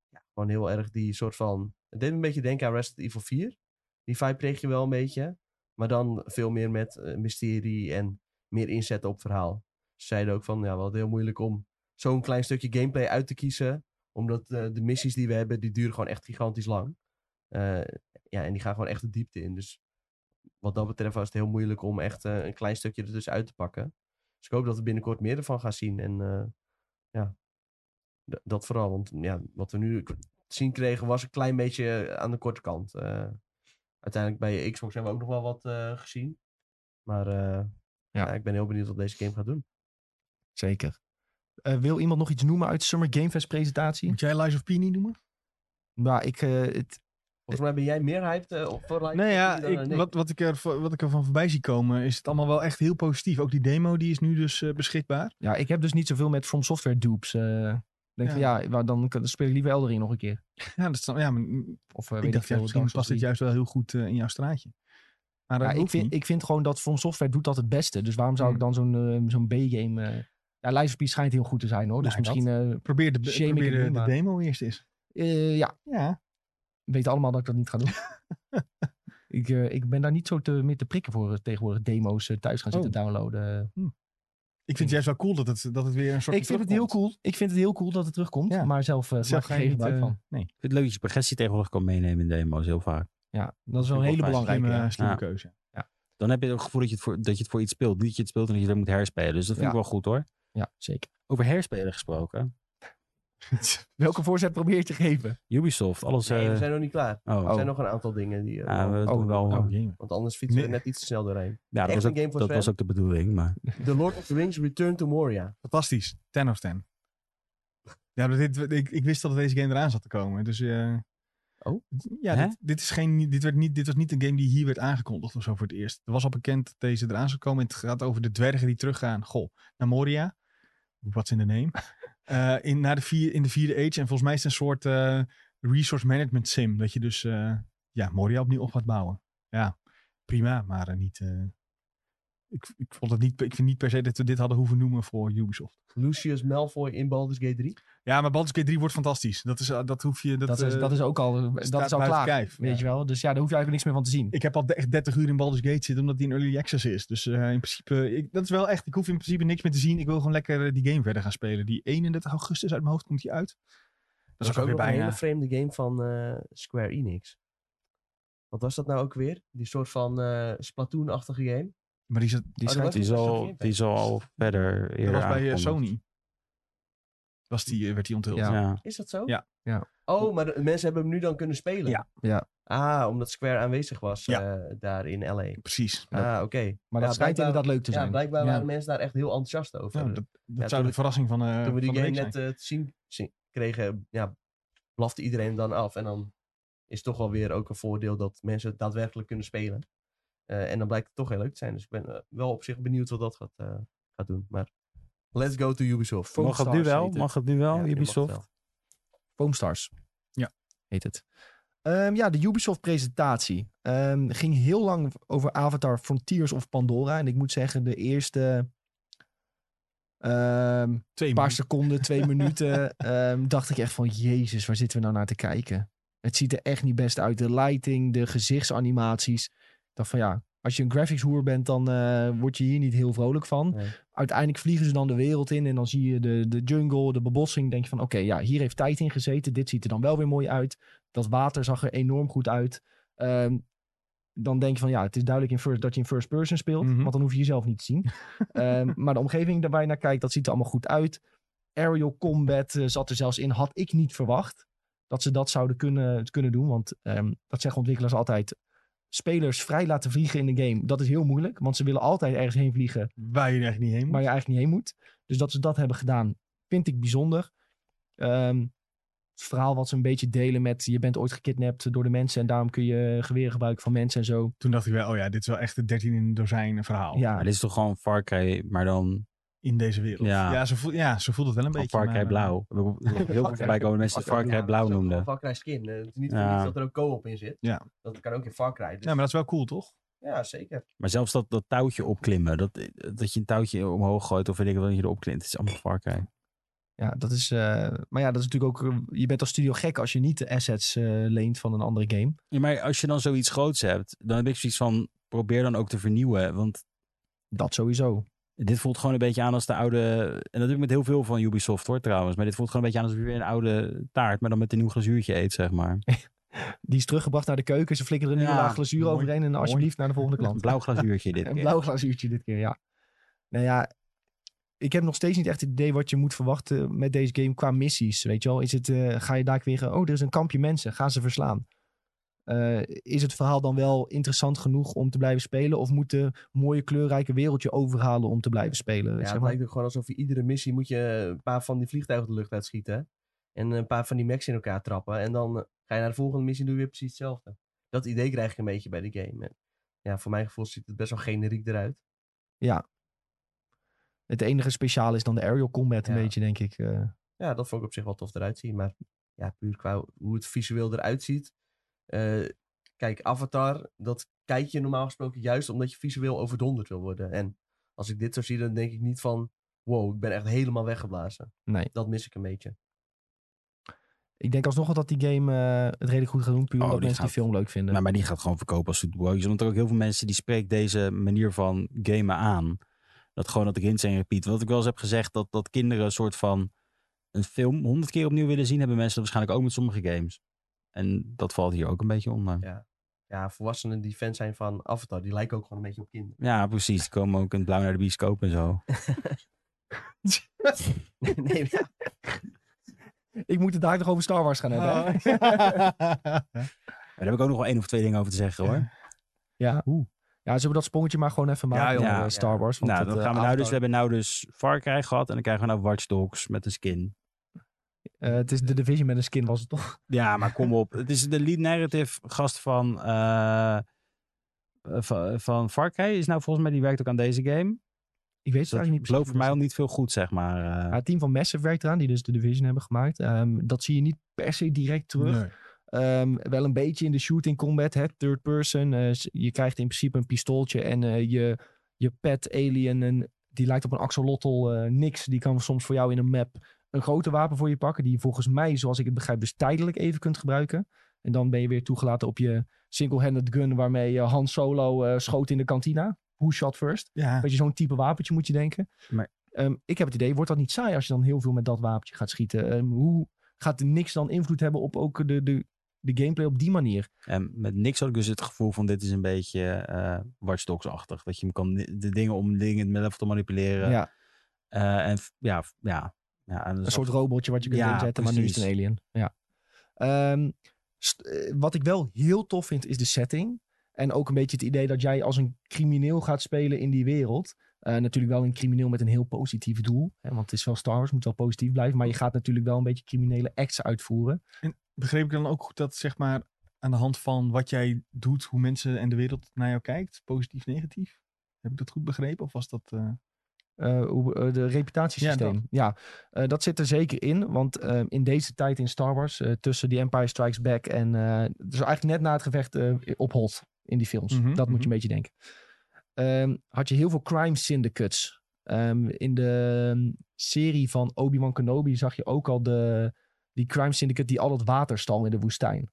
D: Ja, gewoon heel erg die soort van... Het deed me een beetje denken aan Resident Evil 4. Die vibe kreeg je wel een beetje. Maar dan veel meer met eh, mysterie en meer inzetten op verhaal. Ze zeiden ook van, ja, we hadden het heel moeilijk om zo'n klein stukje gameplay uit te kiezen. Omdat eh, de missies die we hebben, die duren gewoon echt gigantisch lang. Eh, ja, en die gaan gewoon echt de diepte in. Dus wat dat betreft was het heel moeilijk om echt eh, een klein stukje er dus uit te pakken. Dus ik hoop dat we binnenkort meer ervan gaan zien. En eh, ja, d- dat vooral. Want mm, ja, wat we nu k- te zien kregen was een klein beetje aan de korte kant. Eh, uiteindelijk bij Xbox hebben we ook nog wel wat eh, gezien. Maar eh,
A: Ja.
D: ja. ik ben heel benieuwd wat deze game gaat doen.
A: Zeker. Eh, wil iemand nog iets noemen uit de Summer Game Fest presentatie?
B: Moet jij Lies of P niet noemen?
A: Nou, ik, eh, het,
D: Volgens mij ben jij meer hyped eh, op voor Lies
B: Nou ja,
D: dan, eh,
B: ik,
D: Nick.
B: wat, wat, ik er, wat ik ervan voorbij zie komen, is het allemaal wel echt heel positief. Ook die demo die is nu dus eh, beschikbaar.
A: ja, ik heb dus niet zoveel met From Software dupes. eh. denk ja. ja, waar- dan kan- speel ik liever Eldering nog een keer.
B: Ja, dat snap, ja maar mm,
A: Of eh,
B: ik
A: weet
B: dacht, ja,
A: veel,
B: misschien
A: Dark Souls
B: past dit
A: 3.
B: juist wel heel goed eh, in jouw straatje. Maar dat
A: Ja, ik,
B: hoeft
A: vind,
B: niet.
A: ik vind gewoon dat From Software doet dat het beste. Dus waarom zou ik
B: Hmm.
A: dan zo'n eh, zo'n B-game... eh ja, Lies of P schijnt heel goed te zijn hoor. Dus
B: Nou, dat-
A: misschien... eh,
B: Probeer de,
A: Shame ik
B: probeer
A: het
B: de,
A: niet,
B: de
A: maar-
B: demo eerst eens.
A: eh, ja,
B: Ja,
A: we weten allemaal dat ik dat niet
B: *laughs*
A: ga doen. ik, eh, ik ben daar niet zo te, meer te prikken voor eh, tegenwoordig demo's eh, thuis gaan zitten
B: Oh.
A: downloaden. eh.
B: ik vind het juist wel cool dat het, dat het weer een soort
A: Ik vind het heel cool. Ik vind het heel cool dat het terugkomt.
B: Ja.
A: Maar zelf eh maak
B: Zelf
A: ik
B: ga
A: geen
B: je niet,
A: gebruik
B: eh,
A: van.
B: nee,
C: Ik vind het leuk dat je progressie tegenwoordig kan meenemen in demo's, heel vaak.
A: Ja, dat is wel
C: vind
A: een
C: ik
A: hele
C: wel
A: belangrijke.
C: fijn.
B: slimme,
A: ja.
B: slimme
C: Ja.
B: keuze. *laughs*
C: Dan heb je het gevoel dat je het voor, dat je het voor iets speelt. Niet dat je het speelt en dat je er moet herspelen. Dus dat vind
A: Ja.
C: ik wel goed hoor.
A: Ja, zeker.
C: Over herspelen gesproken.
A: Welke voorzet probeer je te geven?
C: Ubisoft, alles...
D: Nee, we
C: eh,
D: zijn nog niet klaar.
C: Oh,
D: Er
A: Oh.
D: zijn nog een aantal dingen die... eh,
C: ja,
D: nog-
C: we doen wel...
A: oh, jemig.
D: Want anders fietsen we
B: Nee.
D: net iets te snel doorheen.
C: ja, dat
D: echt
C: was
D: een
C: ook,
D: game voor
C: dat was
D: Sven.
C: ook de bedoeling, maar...
D: The Lord of the Rings Return to Moria.
B: Fantastisch. 10 of 10. Ja, maar dit, ik, ik wist al dat deze game eraan zat te komen. Dus eh,
D: Oh?
B: ja,
C: Hè?
B: dit, dit, is geen, dit, werd niet, dit was niet een game die hier werd aangekondigd of zo voor het eerst. Er was al bekend dat deze eraan zou komen. Het gaat over de dwergen die teruggaan. Goh, naar Moria. What's in the name? *laughs* Eh, in, naar de vier, in de vierde age. En volgens mij is het een soort eh, resource management sim. Dat je dus eh, ja, Moria opnieuw op gaat bouwen. Ja, prima, maar eh, niet... eh, ik, ik, vond het niet, ik vind niet per se dat we dit hadden hoeven noemen voor Ubisoft.
D: Lucius Malfoy in Baldur's Gate 3.
B: Ja, maar Baldur's Gate 3 wordt fantastisch. Dat, is, eh, dat hoef je... Dat,
A: Dat, is,
B: eh,
A: dat is ook al, dat
B: staat
A: is al
B: buiten
A: klaar.
B: kijf,
A: Weet
B: ja.
A: je wel? Dus ja, daar hoef je eigenlijk niks meer van te zien.
B: Ik heb al de- echt 30 uur in Baldur's Gate zitten, omdat die in Early Access is. Dus eh, in principe... Ik, dat is wel echt... Ik hoef in principe niks meer te zien. Ik wil gewoon lekker eh, die game verder gaan spelen. Die 31 augustus uit mijn hoofd komt die uit. Dat, is ook, weer
D: nog een hele
B: bijna...
D: vreemde game van eh, Square Enix. Wat was dat nou ook weer? Die soort van eh Splatoon-achtige game.
B: Maar die, zat,
A: Die
D: Oh,
A: schijnt-
D: dat
C: Die
D: was-
C: is al, die is al verder
B: dat
C: eerder
B: was bij eh,
C: aangekondigd.
B: Sony. Was die, eh, werd die onthuld.
A: Ja.
C: Ja.
D: Is dat zo?
B: Ja.
A: Ja.
D: Oh, maar de- mensen hebben hem nu dan kunnen spelen?
B: Ja.
A: Ja.
D: Ah, omdat Square aanwezig was
B: Ja.
D: eh, daar in L.A.
B: Precies.
A: Ja.
D: Ah, oké.
A: maar
D: Ja,
A: dat schijnt
D: blijkbaar-
A: inderdaad leuk te zijn.
D: Ja, blijkbaar
B: Ja.
D: waren mensen daar echt heel enthousiast over.
B: Ja, dat Nou, dat zou
D: toen
B: de
D: we-
B: verrassing van, eh
D: Toen we die
B: van de
D: game
B: week zijn.
D: net eh, te zien, zien- kregen, ja, blafte iedereen dan af. En dan is toch wel weer ook een voordeel dat mensen het daadwerkelijk kunnen spelen. Eh, en dan blijkt het toch heel leuk te zijn. Dus ik ben eh, wel op zich benieuwd wat dat gaat, eh, gaat doen. Maar let's go to Ubisoft.
A: Foam
C: Mag het
A: Stars
C: nu wel?
A: heet het.
C: Mag het nu wel,
D: Ja, nu mag het
C: Ubisoft?
D: wel.
A: Foamstars.
B: Ja.
A: Heet het. Ehm, ja, de Ubisoft-presentatie ehm, ging heel lang over Avatar Frontiers of Pandora. En ik moet zeggen, de eerste ehm,
B: Twee
A: paar
B: minuten.
A: seconden,
B: *laughs*
A: twee minuten, ehm, dacht ik echt van... Jezus, waar zitten we nou naar te kijken? Het ziet er echt niet best uit. De lighting, de gezichtsanimaties. Ik dacht van ja, als je een graphics hoer bent, dan eh, word je hier niet heel vrolijk van
D: Nee.
A: uiteindelijk vliegen ze dan de wereld in en dan zie je de, de jungle, de bebossing. Denk je van, oké, ja, hier heeft tijd in gezeten. Dit ziet er dan wel weer mooi uit. Dat water zag er enorm goed uit. Ehm, dan denk je van, ja, het is duidelijk in first, dat je in first person speelt.
B: Mhm.
A: Want dan hoef je jezelf niet te zien. Ehm, maar de omgeving waar je naar kijkt, dat ziet er allemaal goed uit. Aerial combat eh, zat er zelfs in. Had ik niet verwacht dat ze dat zouden kunnen, kunnen doen. Want ehm, dat zeggen ontwikkelaars altijd. Spelers vrij laten vliegen in de game, dat is heel moeilijk. Want ze willen altijd ergens heen vliegen
B: Waar je er echt niet
C: Hm?
B: heen moet.
A: waar je eigenlijk niet heen moet. Dus dat ze dat hebben gedaan, vind ik bijzonder. Ehm, het verhaal wat ze een beetje delen met je bent ooit gekidnapt door de mensen en daarom kun je geweren gebruiken van mensen en zo.
B: Toen dacht ik wel, oh ja, dit is wel echt de 13 in een dozijn verhaal.
A: Ja,
C: Oh, Maar dit is toch gewoon Far Cry, maar dan
B: in deze wereld. Ja,
C: Ja.
B: ze, voelt, ja ze voelt het wel een
C: van
B: beetje.
C: Far
B: maar,
C: Cry
B: eh,
C: Blauw. We hebben *laughs* heel veel voorbij komen mensen die Far Cry Blauw noemden.
D: Far Cry Skin. eh, het is niet voor
C: Ja.
D: niets dat er ook co-op in zit.
B: Ja.
D: Dat kan ook in Far Cry. Dus,
B: Ja, maar dat is wel cool, toch?
D: ja, zeker.
C: Maar zelfs dat, dat touwtje opklimmen, dat, dat je een touwtje omhoog gooit of weet ik wat dat je erop klimt, het is allemaal Far Cry.
A: ja dat is. eh, maar ja, dat is natuurlijk ook. eh, je bent als studio gek als je niet de assets eh, leent van een andere game.
C: Ja, maar als je dan zoiets groots hebt, dan heb ik zoiets van, probeer dan ook te vernieuwen. Want
A: Dat sowieso.
C: dit voelt gewoon een beetje aan als de oude, en dat doe ik met heel veel van Ubisoft hoor trouwens, maar dit voelt gewoon een beetje aan als weer een oude taart, maar dan met een nieuw glazuurtje eet, zeg maar.
A: Die is teruggebracht naar de keuken. Ze flikkeren er nu
C: Ja,
A: een laag glazuur
B: mooi,
A: overheen en alsjeblieft naar de
C: *laughs*
A: volgende
C: Een
A: klant.
C: blauw glazuurtje
A: *laughs*
C: dit
A: Een
C: keer.
A: blauw glazuurtje dit keer, ja. Nou ja, ik heb nog steeds niet echt het idee wat je moet verwachten met deze game qua missies. Weet je wel, is het, eh, ga je daar weer, eh, oh, er is een kampje mensen, gaan ze verslaan. Eh, is het verhaal dan wel interessant genoeg om te blijven spelen? Of moet de mooie kleurrijke wereldje overhalen om te blijven spelen?
D: Ja,
A: Zeg
D: het
A: maar.
D: lijkt ook gewoon alsof je iedere missie moet je eh, een paar van die vliegtuigen de lucht uitschieten. En een paar van die mechs in elkaar trappen. En dan eh, ga je naar de volgende missie en doe je weer precies hetzelfde. Dat idee krijg ik een beetje bij de game. En ja, voor mijn gevoel ziet het best wel generiek eruit.
A: Het enige speciale is dan de aerial combat een
D: Ja.
A: beetje, denk ik. eh.
D: Ja, dat vond ik op zich wel tof eruit zien. Maar ja, puur qua hoe het visueel eruit ziet. eh, kijk, Avatar, dat kijk je normaal gesproken juist omdat je visueel overdonderd wil worden. En als ik dit zo zie, dan denk ik niet van... Wow, ik ben echt helemaal weggeblazen.
A: Nee.
D: Dat mis ik een beetje.
A: ik denk alsnog wel dat die game eh, het redelijk goed gaat doen, puur
C: Oh,
A: omdat
C: die
A: mensen die
C: gaat-
A: film leuk vinden.
C: Nou, maar die gaat gewoon verkopen als zoetbroodjes. Want er ook heel veel mensen die spreekt deze manier van gamen aan. Dat gewoon dat ik in zijn repeat. Wat ik wel eens heb gezegd, dat, dat kinderen een soort van een film honderd keer opnieuw willen zien, hebben mensen dat waarschijnlijk ook met sommige games. En dat valt hier ook een beetje onder.
D: Ja.
C: Ja,
D: Ja, volwassenen die fan zijn van Avatar, die lijken ook gewoon een beetje op
A: *laughs*
D: kinderen.
C: precies. Die komen ook in het blauw naar de bioscoop en zo.
D: nee, maar ja.
A: Ik moet het daar nog over Star Wars
B: Oh.
A: gaan hebben.
B: *laughs*
A: hè?
C: Daar heb ik ook nog wel één of twee dingen over te zeggen hoor.
A: Ja.
B: Oeh.
A: ja, zullen we dat spongetje maar gewoon even maken?
B: joh.
A: eh,
C: Ja.
A: Star Wars. want
C: nou,
A: dat,
C: dan
A: eh,
C: gaan we nou dus, we
A: avontuur-
C: hebben nou dus Far Cry gehad en dan krijgen we nou Watch Dogs met een skin.
A: eh, het is de Division met een skin, was het toch?
C: Ja, maar kom op. Het is de lead narrative gast van, eh, eh, van, van Far Cry. Is nou volgens mij, die werkt ook aan deze game.
A: Ik weet
C: Dus
A: het
C: dat
A: eigenlijk niet precies.
C: belooft voor mij al niet veel goed, zeg maar. eh.
A: Ja, het team van Massive werkt eraan, die dus de Division hebben gemaakt. Ehm, dat zie je niet per se direct terug.
B: Nee.
A: Ehm, wel een beetje in de shooting combat, hè, third person. Eh, s- je krijgt in principe een pistooltje en eh, je, je pet alien, en die lijkt op een axolotl, eh, niks. Die kan soms voor jou in een map een grote wapen voor je pakken, die je volgens mij, zoals ik het begrijp, dus tijdelijk even kunt gebruiken. En dan ben je weer toegelaten op je single-handed gun, waarmee je Han Solo eh, schoot in de kantina. Who shot first?
B: Ja.
A: Weet je, zo'n type wapentje moet je denken.
C: Maar-
A: Ehm, ik heb het idee, wordt dat niet saai als je dan heel veel met dat wapentje gaat schieten? Ehm, hoe gaat niks dan invloed hebben op ook de, de, de gameplay op die manier?
C: En met niks had ik dus het gevoel van dit is een beetje eh Watch Dogs-achtig. Dat je hem kan ni- de dingen om dingen met level te manipuleren.
A: Ja,
C: Eh, en f- ja, f- ja, ja. en dat
A: een
C: is
A: soort
C: af-
A: robotje wat je kunt
C: Ja,
A: inzetten, maar nu is het een
C: precies.
A: alien. Ja. Ehm, st- eh, wat ik wel heel tof vind, is de setting. En ook een beetje het idee dat jij als een crimineel gaat spelen in die wereld. Eh, natuurlijk wel een crimineel met een heel positief doel. Hè, want het is wel Star Wars, moet wel positief blijven. Maar je gaat natuurlijk wel een beetje criminele acts uitvoeren.
B: Begreep ik dan ook goed dat, zeg maar, aan de hand van wat jij doet, hoe mensen en de wereld naar jou kijkt, positief, negatief? Heb ik dat goed begrepen? Of was dat... eh,
A: eh, hoe- eh, de reputatiesysteem. Ja, eh,
B: Ja,
A: dat.
B: dat.
A: zit er zeker in. Want eh, in deze tijd in Star Wars, eh, tussen The Empire Strikes Back en. eh, dus eigenlijk net na het gevecht eh, op Hoth in die films.
B: Mhm,
A: dat moet je
B: mhm.
A: een beetje denken. Ehm, had je heel veel crime syndicates. Ehm, in de ehm, serie van Obi-Wan Kenobi zag je ook al de, die crime syndicate die al het water stal in de woestijn.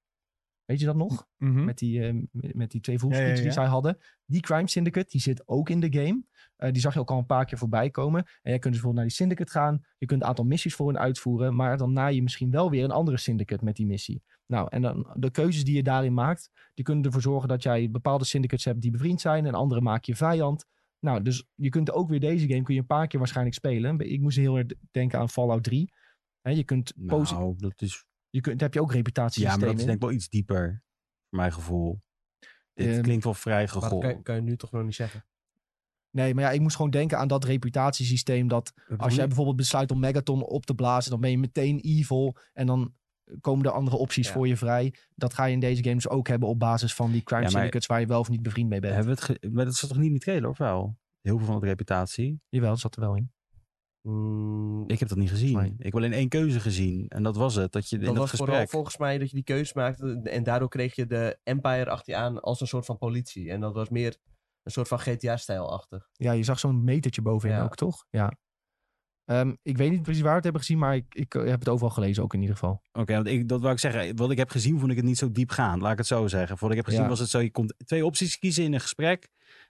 A: Weet je dat nog?
C: Hm?
B: mhm.
A: met die, eh, met- met die twee voelschieters
B: Ja, ja,
A: die
B: ja.
A: zij hadden. Die Crime Syndicate, die zit ook in de game. Eh, die zag je ook al een paar keer voorbij komen. En jij kunt dus bijvoorbeeld naar die syndicate gaan. Je kunt een aantal missies voor hen uitvoeren. Maar dan na je misschien wel weer een andere syndicate met die missie. Nou, en dan de keuzes die je daarin maakt, die kunnen ervoor zorgen dat jij bepaalde syndicates hebt die bevriend zijn. En andere maak je vijand. Nou, dus je kunt ook weer deze game kun je een paar keer waarschijnlijk spelen. Ik moest heel erg denken aan Fallout 3. Hè, je kunt, posi-
C: Nou, dat is...
A: je kunt, daar heb je ook
C: Ja,
A: reputatiesystemen
C: maar dat is
A: in.
C: denk ik wel iets dieper. Voor mijn gevoel. Dit
A: Ehm,
C: klinkt wel vrij
D: Maar dat kan,
C: gegooid.
D: kan je nu toch nog niet zeggen.
A: Nee, maar ja, ik moest gewoon denken aan dat reputatiesysteem. Dat als jij bijvoorbeeld besluit om Megaton op te blazen, dan ben je meteen evil. En dan komen er andere opties
D: Ja.
A: voor je vrij. Dat ga je in deze games ook hebben op basis van die crime
C: Ja, maar-
A: syndicates waar je wel of niet bevriend mee bent.
C: Eh, Hebben we het ge- maar dat zat toch niet in die trailer, of wel? Heel veel van de reputatie.
A: Jawel, dat zat er wel in.
D: Mm,
C: Ik heb dat niet gezien.
A: Volgens mij.
C: Ik heb alleen één keuze gezien. En dat was het. Dat je in
D: dat
C: dat
D: was vooral
C: gesprek...
D: volgens mij dat je die keus maakte. En daardoor kreeg je de Empire achter je aan als een soort van politie. En dat was meer een soort van GTA-stijl-achtig.
A: Ja, je zag zo'n metertje bovenin
D: Ja.
A: ook, toch? Ja. Ehm, ik weet niet precies waar we het hebben gezien, maar ik, ik eh, heb het overal gelezen, ook in ieder geval.
C: Oké, want ik, dat wou ik zeggen. Wat ik heb gezien, vond ik het niet zo diep gaan. Laat ik het zo zeggen. Voordat ik heb gezien,
A: Ja.
C: was het zo. Je kon twee opties kiezen in een gesprek.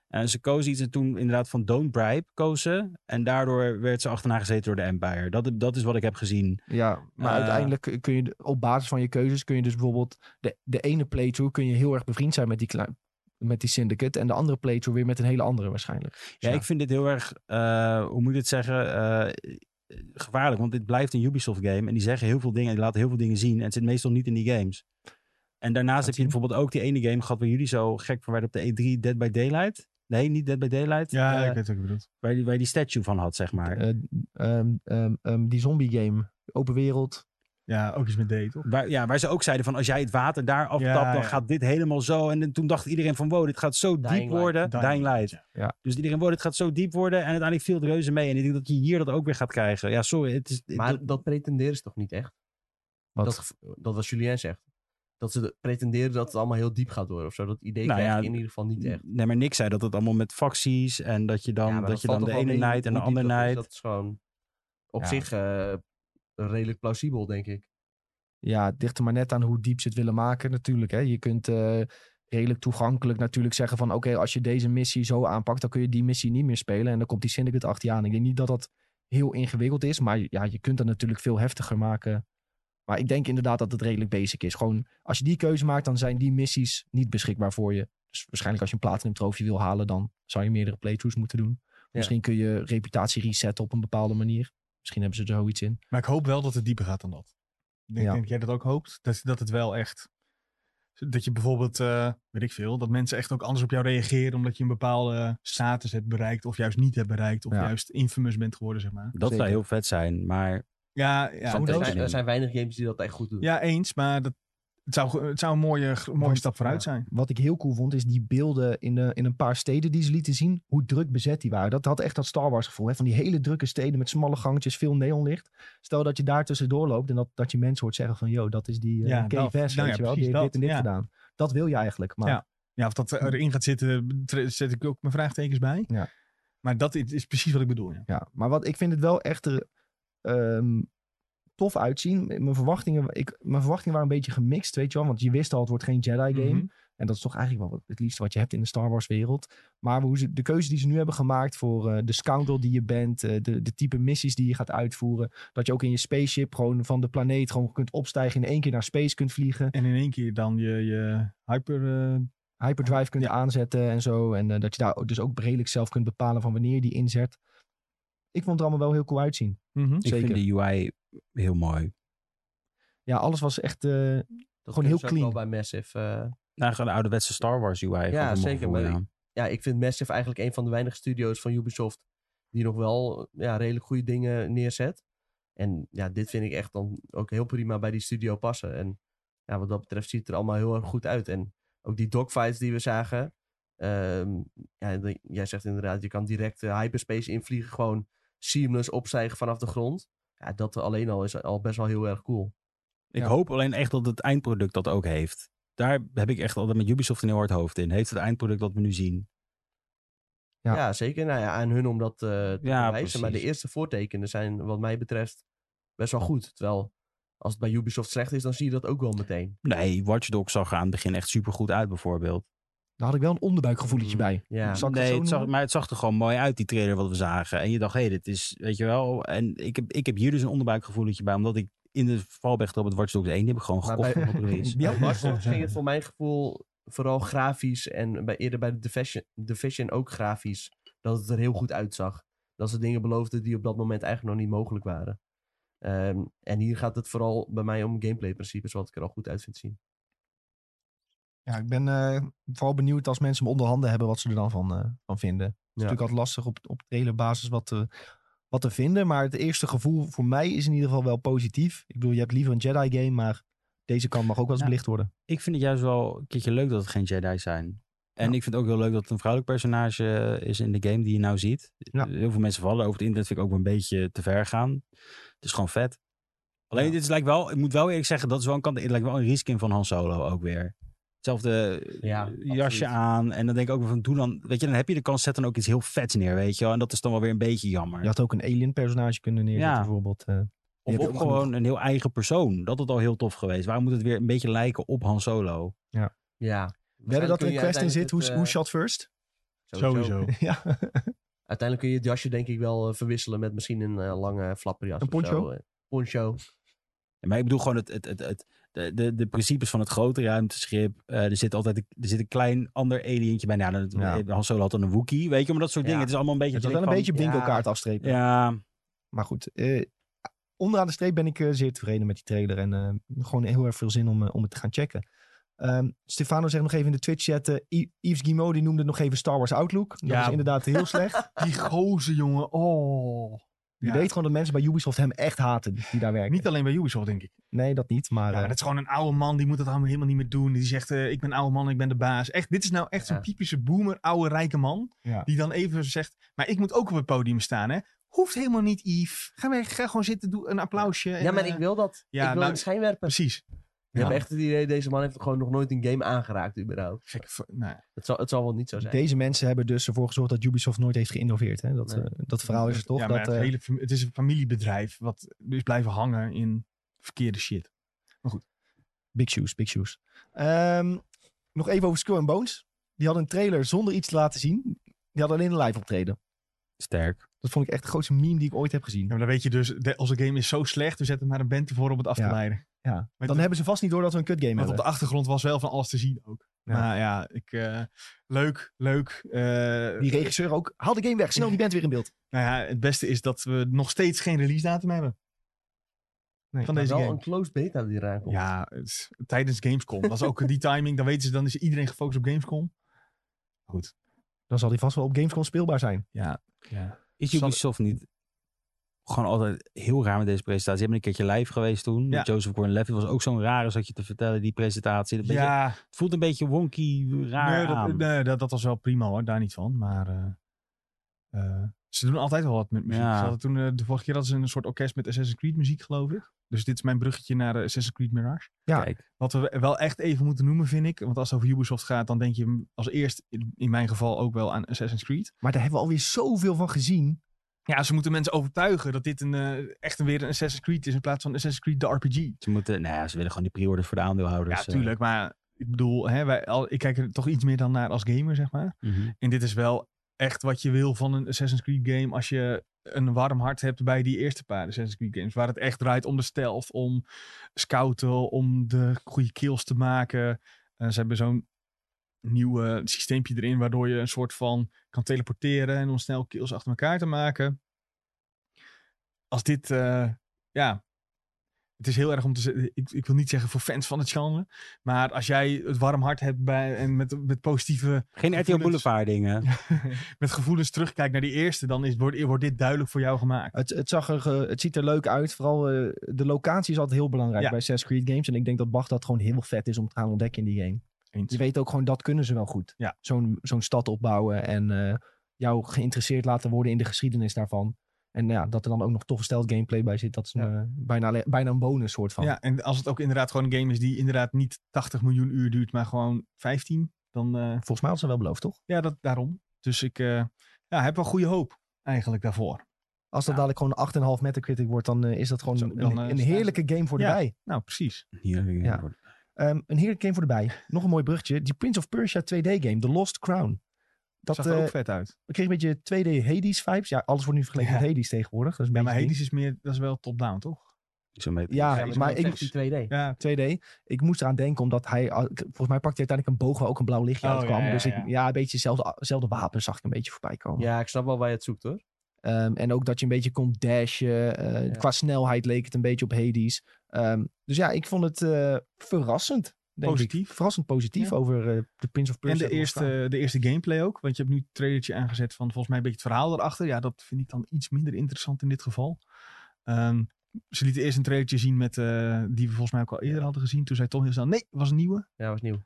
C: En ze kozen iets en toen inderdaad van don't bribe kozen. En daardoor werd ze achterna gezeten door de Empire. Dat, dat is wat ik heb gezien.
A: Ja, maar
C: Eh.
A: uiteindelijk kun je op basis van je keuzes kun je dus bijvoorbeeld de, de ene playthrough kun je heel erg bevriend zijn met die, kle- met die syndicate en de andere playthrough weer met een hele andere waarschijnlijk. Dus
C: Ja, ik vind dit heel erg, eh, hoe moet ik dit zeggen, Eh, gevaarlijk. Want dit blijft een Ubisoft game. En die zeggen heel veel dingen en die laten heel veel dingen zien. En het zit meestal niet in die games. En daarnaast heb je
A: zien.
C: bijvoorbeeld ook die ene game gehad waar jullie zo gek van werden op de E3 Dead by Daylight. Nee, niet Dead by Daylight.
B: ja,
C: Eh,
B: ik weet wat je bedoelt.
C: waar, je, waar je die statue van had, zeg maar.
A: Eh, ehm, ehm, ehm, die zombie game, open wereld.
B: Ja, ook iets met D, toch?
C: Waar, ja, waar ze ook zeiden van als jij het water daar aftapt,
B: Ja,
C: dan
B: ja.
C: gaat dit helemaal zo. En toen dacht iedereen van wow, dit gaat zo
D: Dying
C: diep
D: Light.
C: worden. Dying, Light.
B: Ja.
C: Dus iedereen wow, dit gaat zo diep worden. En uiteindelijk viel het reuze mee. En ik denk dat je hier dat ook weer gaat krijgen. Ja, sorry. Het is,
D: Maar
C: Eh, dat-
D: dat, pretenderen ze toch niet echt?
A: Wat?
D: Dat, gevo- dat wat Julien zegt. Dat ze de- pretenderen dat het allemaal heel diep gaat worden of zo. Dat idee
C: Nou
D: krijg
C: ja,
D: ik in ieder geval niet echt.
C: Nee, maar niks zei dat het allemaal met facties en dat je dan,
D: Ja, maar
C: dat je
D: valt
C: dan de
D: toch wel
C: ene
D: mee
C: night en de
D: hoe diep
C: andere
D: dat is.
C: night.
D: Dat is gewoon op
C: Ja.
D: zich eh, redelijk plausibel, denk ik.
A: Ja, het ligt er maar net aan hoe diep ze het willen maken natuurlijk. Hè. Je kunt eh, redelijk toegankelijk natuurlijk zeggen van... oké, als je deze missie zo aanpakt, dan kun je die missie niet meer spelen. En dan komt die syndicate achter je aan. Ik denk niet dat dat heel ingewikkeld is. Maar ja, je kunt dat natuurlijk veel heftiger maken. Maar ik denk inderdaad dat het redelijk basic is. Gewoon, als je die keuze maakt, dan zijn die missies niet beschikbaar voor je. Dus waarschijnlijk als je een platinum trofee wil halen... dan zou je meerdere playthroughs moeten doen. Misschien kun je reputatie resetten op een bepaalde manier. Misschien hebben ze er zoiets in.
B: Maar ik hoop wel dat het dieper gaat dan dat. Ik denk
A: Ja.
B: dat jij dat ook hoopt. Dat, dat het wel echt... Dat je bijvoorbeeld, eh, weet ik veel, dat mensen echt ook anders op jou reageren omdat je een bepaalde status hebt bereikt of juist niet hebt bereikt of
A: Ja.
B: juist infamous bent geworden, zeg maar.
C: Dat zou
A: Zeker.
C: heel vet zijn, maar
B: Ja, ja,
C: Zo-
D: er,
C: dat-
D: zijn, er zijn weinig games die dat echt goed doen.
B: ja eens, maar dat, het, zou, ge- het zou een mooie, gro- mooie
A: Want-
B: stap vooruit
D: ja.
B: zijn.
A: Wat ik heel cool vond, is die beelden in, de, in een paar steden die ze lieten zien. Hoe druk bezet die waren. Dat had echt dat Star Wars gevoel. Hè? Van die hele drukke steden met smalle gangetjes, veel neonlicht. Stel dat je daar tussendoor loopt en dat, dat je mensen hoort zeggen van... Yo, dat is die eh
B: Ja,
A: Cave
B: dat.
A: Vest,
B: Nou
A: weet je
B: ja,
A: wel. Die
B: precies
A: heeft dit
B: dat,
A: en dit
B: ja.
A: gedaan. Dat wil je eigenlijk, maar...
B: Ja. Ja, of dat erin gaat zitten, tre- zet ik ook mijn vraagtekens bij.
A: Ja.
B: Maar dat is, is precies wat ik bedoel. Ja.
A: Ja, maar wat ik vind het wel echt er, ehm, tof uitzien. Mijn verwachtingen, ik, mijn verwachtingen waren een beetje gemixt, weet je wel. Want je wist al, het wordt geen Jedi-game.
B: Mhm.
A: En dat is toch eigenlijk wel wat- het liefste wat je hebt in de Star Wars-wereld. Maar hoe ze, de keuze die ze nu hebben gemaakt voor eh, de scoundrel die je bent, eh, de, de type missies die je gaat uitvoeren. Dat je ook in je spaceship gewoon van de planeet gewoon kunt opstijgen, in één keer naar space kunt vliegen.
B: En in één keer dan je, je hyper... eh,
A: Hyperdrive kunt aanzetten en zo. En eh, dat je daar ook- dus ook redelijk zelf kunt bepalen van wanneer je die inzet. Ik vond het allemaal wel heel cool uitzien.
B: mhm.
C: ik
A: Zeker.
C: vind de UI heel mooi.
A: Ja, alles was echt eh,
D: dat
A: gewoon heel
D: kunnen ze ook
A: clean.
D: wel bij Massive. eh,
C: Nou, gewoon de ouderwetse Star Wars UI. voor mijn
D: zeker,
C: gevoel,
D: maar
C: ja.
D: ja, ik vind Massive eigenlijk een van de weinige studio's van Ubisoft die nog wel ja, redelijk goede dingen neerzet. En ja, dit vind ik echt dan ook heel prima bij die studio passen. En ja, wat dat betreft ziet het er allemaal heel erg goed uit. En ook die dogfights die we zagen. ehm, ja, de- jij zegt inderdaad, je kan direct eh, hyperspace invliegen. Gewoon seamless opstijgen vanaf de grond. Ja, dat alleen al is al best wel heel erg cool.
C: Ik
A: Ja.
C: hoop alleen echt dat het eindproduct dat ook heeft. Daar heb ik echt altijd met Ubisoft een heel hard hoofd in. Heeft het eindproduct dat we nu zien?
A: Ja.
D: Ja, zeker. Nou ja, aan hun om dat eh, te
C: Ja,
D: bewijzen. Maar de
C: precies.
D: eerste voortekenen zijn wat mij betreft best wel goed. Terwijl als het bij Ubisoft slecht is, dan zie je dat ook wel meteen.
C: Nee, Watch Dogs zag er aan het begin echt supergoed uit bijvoorbeeld.
A: Daar had ik wel een onderbuikgevoeletje
D: Mm,
A: bij.
D: Ja,
A: Zal ik het
C: nee,
A: zo
C: het zag,
A: noemen?
C: maar het zag er gewoon mooi uit, die trailer wat we zagen. En je dacht, hé, hey, dit is, weet je wel. En ik heb, ik heb hier dus een onderbuikgevoeletje bij, omdat ik in de valbechter op het Watch Dogs 1 die heb ik gewoon
D: Maar
C: gekocht
D: bij-
C: op release.
A: Ja,
D: *laughs* bij
A: *laughs*
D: Watch Dogs ging het voor mijn gevoel vooral grafisch. En bij, eerder bij de Division, Division ook grafisch. Dat het er heel goed uitzag. Dat ze dingen beloofden die op dat moment eigenlijk nog niet mogelijk waren. Ehm, en hier gaat het vooral bij mij om gameplay-principes, wat ik er al goed uit vind zien.
A: Ja, ik ben eh, vooral benieuwd als mensen hem onder handen hebben wat ze er dan van, eh, van vinden. Het is
D: Ja.
A: natuurlijk altijd lastig op, op trailerbasis wat te, wat te vinden. Maar het eerste gevoel voor mij is in ieder geval wel positief. Ik bedoel, je hebt liever een Jedi-game, maar deze kant mag ook wel eens
C: Ja.
A: belicht worden.
C: Ik vind het juist wel een keertje leuk dat het geen Jedi zijn. En ik vind het ook heel leuk dat het een vrouwelijk personage is in de game die je nou ziet.
A: Ja.
C: Heel veel mensen vallen over het internet, vind ik ook wel een beetje te ver gaan. Het is gewoon vet. Alleen dit is, lijkt wel, ik moet wel eerlijk zeggen, dat is wel een kant, het lijkt wel een riskin van Han Solo ook weer. Hetzelfde
D: Ja,
C: eh, jasje
D: absoluut.
C: aan. En dan denk ik ook weer van, doe dan, weet je, dan heb je de kans, zet dan ook iets heel vets neer, weet je wel. En dat is dan wel weer een beetje jammer.
A: Je had ook een alien-personage kunnen neerzetten
C: Ja.
A: bijvoorbeeld. eh.
C: of
A: je hebt
C: ook
A: ook
C: gewoon een heel eigen persoon. Dat had al heel tof geweest. Waarom moet het weer een beetje lijken op Han Solo?
D: Ja.
A: Wedden dat er een
D: kun je
A: quest in zit,
D: uiteindelijk
A: hoe,
D: het, eh,
A: hoe shot first? *laughs*
B: Sowieso.
A: ja.
D: Uiteindelijk kun je het jasje denk ik wel eh, verwisselen met misschien een eh, lange flapperjas.
A: Een
D: of zo,
A: poncho?
D: eh, poncho.
C: Ja, Maar ik bedoel gewoon het, het, het, het, de, de, de principes van het grote ruimteschip. Eh, er zit altijd een, er zit een klein ander alientje bij. Nou, dat,
A: Ja.
C: Han Solo had dan een Wookiee, weet je. Maar dat soort
D: Ja.
C: dingen. Het is allemaal een beetje...
A: Het was
C: dat
A: wel een
C: je
A: beetje
C: denkt
A: bingo
D: ja.
A: kaart afstrepen.
C: van, Ja,
A: Maar goed, eh, onderaan de streep ben ik eh, zeer tevreden met die trailer. En eh, gewoon heel erg veel zin om, eh, om het te gaan checken. Ehm, Stefano zegt nog even in de Twitch-chat... eh, I- Yves Guillemot die noemde het nog even Star Wars Outlook. Dat
B: Ja.
A: is inderdaad heel
B: *laughs*
A: slecht.
B: Die gozer, jongen. Oh.
A: Je
B: Ja.
A: weet gewoon dat mensen bij Ubisoft hem echt haten die daar werken.
B: Niet alleen bij Ubisoft, denk ik.
A: Nee, dat niet, maar...
B: Ja,
A: eh,
B: maar dat is gewoon een oude man, die moet dat allemaal helemaal niet meer doen. Die zegt, eh, ik ben oude man, ik ben de baas. Echt, dit is nou echt
D: Ja.
B: zo'n typische boomer, oude, rijke man.
A: Ja.
B: Die dan even zegt, maar ik moet ook op het podium staan, hè. Hoeft helemaal niet, Yves. Ga weg, ga gewoon zitten, doe een applausje. en,
D: Ja, maar
B: eh,
D: ik wil dat.
B: ja,
D: ik wil
B: nou,
D: een schijnwerper.
B: Precies.
D: Je hebt echt het idee, deze man heeft gewoon nog nooit een game aangeraakt überhaupt.
B: Gek, v- nou,
D: Het zal, het zal wel niet zo zijn.
A: Deze mensen hebben dus ervoor gezorgd dat Ubisoft nooit heeft geïnnoveerd. Hè? Dat,
D: Nee.
A: eh, dat verhaal is er toch.
B: ja, maar
A: dat,
B: het,
A: eh,
B: hele, fam- het is een familiebedrijf, wat dus blijven hangen in verkeerde shit.
A: Big shoes, big shoes. Ehm, nog even over Skull and Bones. Die hadden een trailer zonder iets te laten zien. Die hadden alleen een live optreden.
C: sterk.
A: Dat vond ik echt de grootste meme die ik ooit heb gezien.
B: Ja, maar dan weet je dus, de- onze game is zo slecht, we zetten maar een band ervoor om het af te
A: Ja.
B: leiden.
A: Ja,
B: Maar
A: dan
B: het-
A: hebben ze vast niet door dat we een kutgame
B: Want op de
A: hebben.
B: achtergrond was wel van alles te zien ook.
A: Ja.
B: Maar ja, ik, eh, leuk, leuk. eh,
A: Die regisseur ook. Haal de game weg. Snel, die band weer in beeld.
B: Nou ja, het beste is dat we nog steeds geen release datum hebben. Nee.
A: van
D: Maar
A: deze
D: wel
A: game.
D: een closed beta die eraan komt.
B: Ja, het is- tijdens Gamescom. Dat is ook die timing. Dan weten ze, dan is iedereen gefocust op Gamescom. Goed.
A: Dan zal die vast wel op Gamescom speelbaar zijn.
B: Ja. ja.
C: Is
B: Zal-
C: Ubisoft niet gewoon altijd heel raar met deze presentatie? Ze hebben een keertje live geweest toen.
B: Ja.
C: Met Joseph Gordon-Levitt was ook zo'n rare zat je te vertellen, die presentatie. Dat beetje-
B: Ja,
C: het voelt een beetje wonky, raar
B: nee,
C: aan.
B: dat, nee, dat, dat was wel prima hoor, daar niet van. Maar eh, eh, ze doen altijd wel wat met muziek.
C: Ja.
B: Ze hadden toen, eh, de vorige keer hadden ze een soort orkest met Assassin's Creed muziek, geloof ik. Dus dit is mijn bruggetje naar eh, Assassin's Creed Mirage.
A: Ja.
C: Kijk,
B: Wat we wel echt even moeten noemen, vind ik. Want als het over Ubisoft gaat, dan denk je m- als eerst, in, in mijn geval, ook wel aan Assassin's Creed.
A: Maar daar hebben we alweer zoveel van gezien.
B: Ja, ze moeten mensen overtuigen dat dit een, eh, echt een, weer een Assassin's Creed is in plaats van Assassin's Creed de RPG.
C: ze, moeten, nou ja, ze willen gewoon die pre-orders voor de aandeelhouders.
B: ja,
C: eh,
B: tuurlijk. Maar ik bedoel, hè, wij, al, ik kijk er toch iets meer dan naar als gamer, zeg maar.
C: mhm.
B: En dit is wel echt wat je wil van een Assassin's Creed game als je een warm hart hebt bij die eerste paar Assassin's Creed games. Waar het echt draait om de stealth, om scouten, om de goede kills te maken. Eh, ze hebben zo'n nieuw eh, systeempje erin waardoor je een soort van kan teleporteren en om snel kills achter elkaar te maken. Als dit, eh, ja, het is heel erg om te zeggen, ik, ik wil niet zeggen voor fans van het genre, maar als jij het warm hart hebt bij, en met, met positieve
C: Geen RTL
B: Gevoelens.
C: Boulevard dingen.
B: met gevoelens terugkijkt naar die eerste, dan is, wordt, wordt dit duidelijk voor jou gemaakt.
A: Het, het, zag er, eh, het ziet er leuk uit. Vooral eh, de locatie is altijd heel belangrijk
B: Ja.
A: bij Assassin's Creed games. En ik denk dat Bach dat gewoon heel vet is om te gaan ontdekken in die game. Je weet ook gewoon, dat kunnen ze wel goed.
B: Ja.
A: Zo'n zo'n stad opbouwen en eh, jou geïnteresseerd laten worden in de geschiedenis daarvan. En ja, dat er dan ook nog tof gesteld gameplay bij zit. Dat is een, eh, bijna, alle- bijna een bonus soort van.
B: Ja, en als het ook inderdaad gewoon een game is die inderdaad niet 80 miljoen uur duurt, maar gewoon 15, dan eh,
A: Volgens mij hadden ze wel beloofd, toch?
B: ja, dat, daarom. Dus ik eh, ja, heb wel goede hoop eigenlijk daarvoor.
A: Als dat dadelijk gewoon een 8,5 metacritic wordt, dan eh, is dat gewoon
B: Zo,
A: een-
B: dan,
A: een,
B: eh,
A: heerlijke game voor de
B: Ja.
A: bij.
B: Nou, precies.
C: Hier, hier,
A: Ja.
C: wordt-
A: Ehm, een heerlijke game voor de bij. Nog een mooi bruggetje. Die Prince of Persia 2D game, The Lost Crown. Dat
B: Dat zag er
A: eh,
B: ook vet uit.
A: kreeg een beetje 2D Hades vibes. Ja, alles wordt nu vergeleken
B: Ja.
A: met Hades tegenwoordig. Dat is een
B: Ja, maar
A: beetje het
B: Hades is meer, dat is wel top-down, toch?
C: Zo'n beetje.
A: Ja,
D: Ja,
A: maar
D: dat
A: ik-
D: is echt die 2D.
B: Ja,
A: ding. 2D. Ik moest eraan denken, omdat hij... ah, ik- Volgens mij pakte hij uiteindelijk een boog waar ook een blauw lichtje
B: Oh,
A: uitkwam.
B: ja, ja,
A: dus ik,
B: ja.
A: ja. een beetje hetzelfde hetzelfde wapen zag ik een beetje voorbij komen.
D: Ja, ik snap wel waar je het zoekt hoor.
A: Ehm, en ook dat je een beetje kon dashen. eh,
D: Ja.
A: Qua snelheid leek het een beetje op Hades. Ehm, dus ja, ik vond het eh, verrassend. Denk
B: Positief.
A: Ik. Verrassend positief
B: Ja.
A: over eh, de Prince of
B: en
A: Persia.
B: de eerste, de eerste gameplay ook. Want je hebt nu een trailertje aangezet van volgens mij een beetje het verhaal erachter. Ja, dat vind ik dan iets minder interessant in dit geval. Ehm, ze lieten eerst een trailertje zien met, eh, die we volgens mij ook al eerder hadden gezien. Toen zei Tom heel snel, nee, was een nieuwe.
D: Ja, was nieuw.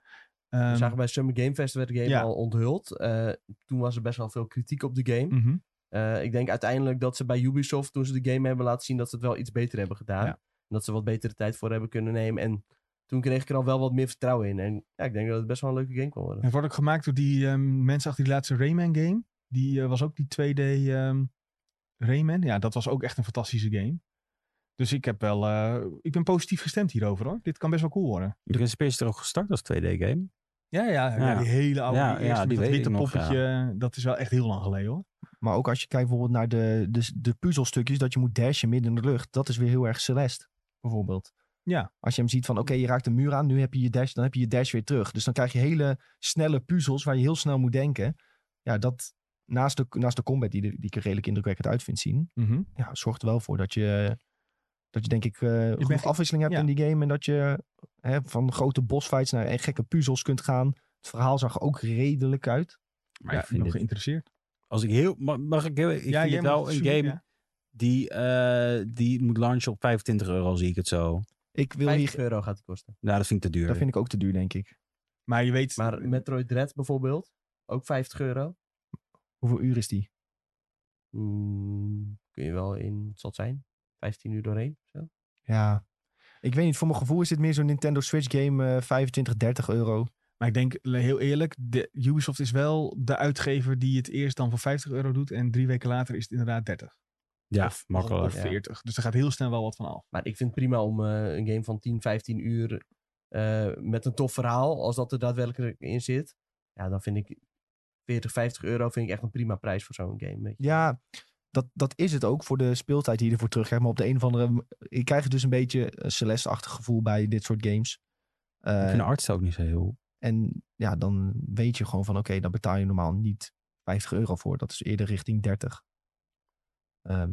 B: Ehm,
D: we zagen bij Summer Game Fest werd de game
B: ja.
D: al onthuld. Eh, toen was er best wel veel kritiek op de game.
B: mhm.
D: Eh, ik denk uiteindelijk dat ze bij Ubisoft, toen ze de game hebben laten zien, dat ze het wel iets beter hebben gedaan.
B: Ja.
D: En dat ze wat betere tijd voor hebben kunnen nemen. En toen kreeg ik er al wel wat meer vertrouwen in. En ja, ik denk dat het best wel een leuke game kan worden.
B: Het wordt ook gemaakt door die ehm, mensen achter die laatste Rayman game. Die eh, was ook die 2D ehm, Rayman. Ja, dat was ook echt een fantastische game. Dus ik heb wel, eh, ik ben positief gestemd hierover hoor. Dit kan best wel cool worden.
C: De Prince of Persia is er ook gestart als 2D-game.
B: Ja, ja, ja,
C: Ja.
B: die hele oude,
C: Ja,
B: die
C: ja,
B: eerste
C: die
B: met dat
C: weet
B: witte
C: ik nog, ja.
B: poppetje. Dat is wel echt heel lang geleden hoor.
A: Maar ook als je kijkt bijvoorbeeld naar de, de, de puzzelstukjes, dat je moet dashen midden in de lucht, dat is weer heel erg Celeste, bijvoorbeeld.
B: Ja.
A: Als je hem ziet van, oké, je raakt een muur aan, nu heb je je dash, dan heb je je dash weer terug. Dus dan krijg je hele snelle puzzels waar je heel snel moet denken. Ja, dat naast de, naast de combat die, de- die ik er redelijk indrukwekkend uit vind zien, ja, zorgt er wel voor dat je, dat je denk ik, eh genoeg
B: bent ge-
A: afwisseling hebt
B: ja.
A: in die game. En dat je hè, van grote bossfights naar eh, gekke puzzels kunt gaan. Het verhaal zag er ook redelijk uit.
C: Maar
B: ja,
C: ik vind
B: nog
C: dit-
B: geïnteresseerd.
C: als ik heel, mag, mag ik heel, ik
B: ja,
C: vind
B: jij
C: het
B: mag
C: wel een
B: zoeken,
C: game
B: ja.
C: die, eh, die moet launchen op 25 euro, zie ik het zo.
A: Ik wil
D: 50
A: hier,
D: euro gaat het kosten.
C: Nou, dat vind ik te duur.
A: dat vind ik ook te duur, denk ik.
B: Maar je weet,
D: Maar Metroid Dread bijvoorbeeld, ook 50 euro.
A: Hoeveel uur is die?
D: Mm, kun je wel in, wat zal het zijn? 15 uur doorheen? Zo.
A: Ja. Ik weet niet, voor mijn gevoel is dit meer zo'n Nintendo Switch game eh, 25, 30 euro.
B: maar ik denk le- heel eerlijk, de, Ubisoft is wel de uitgever die het eerst dan voor 50 euro doet en drie weken later is het inderdaad 30.
C: ja,
B: of,
C: makkelijk.
B: Of 40. Dus er gaat heel snel wel wat van af.
D: Maar ik vind het prima om eh, een game van 10, 15 uur eh, met een tof verhaal, als dat er daadwerkelijk in zit. Ja, dan vind ik 40, 50 euro vind ik echt een prima prijs voor zo'n game. weet je.
A: Ja, dat, dat is het ook voor de speeltijd die je ervoor terugkrijgt. Maar op de een of andere... m- Ik krijg er dus een beetje een Celeste-achtig gevoel bij dit soort games. Eh,
C: Ik vind de arts ook niet zo heel...
A: en ja, dan weet je gewoon van... Oké, daar betaal je normaal niet 50 euro voor. Dat is eerder richting 30. Ehm,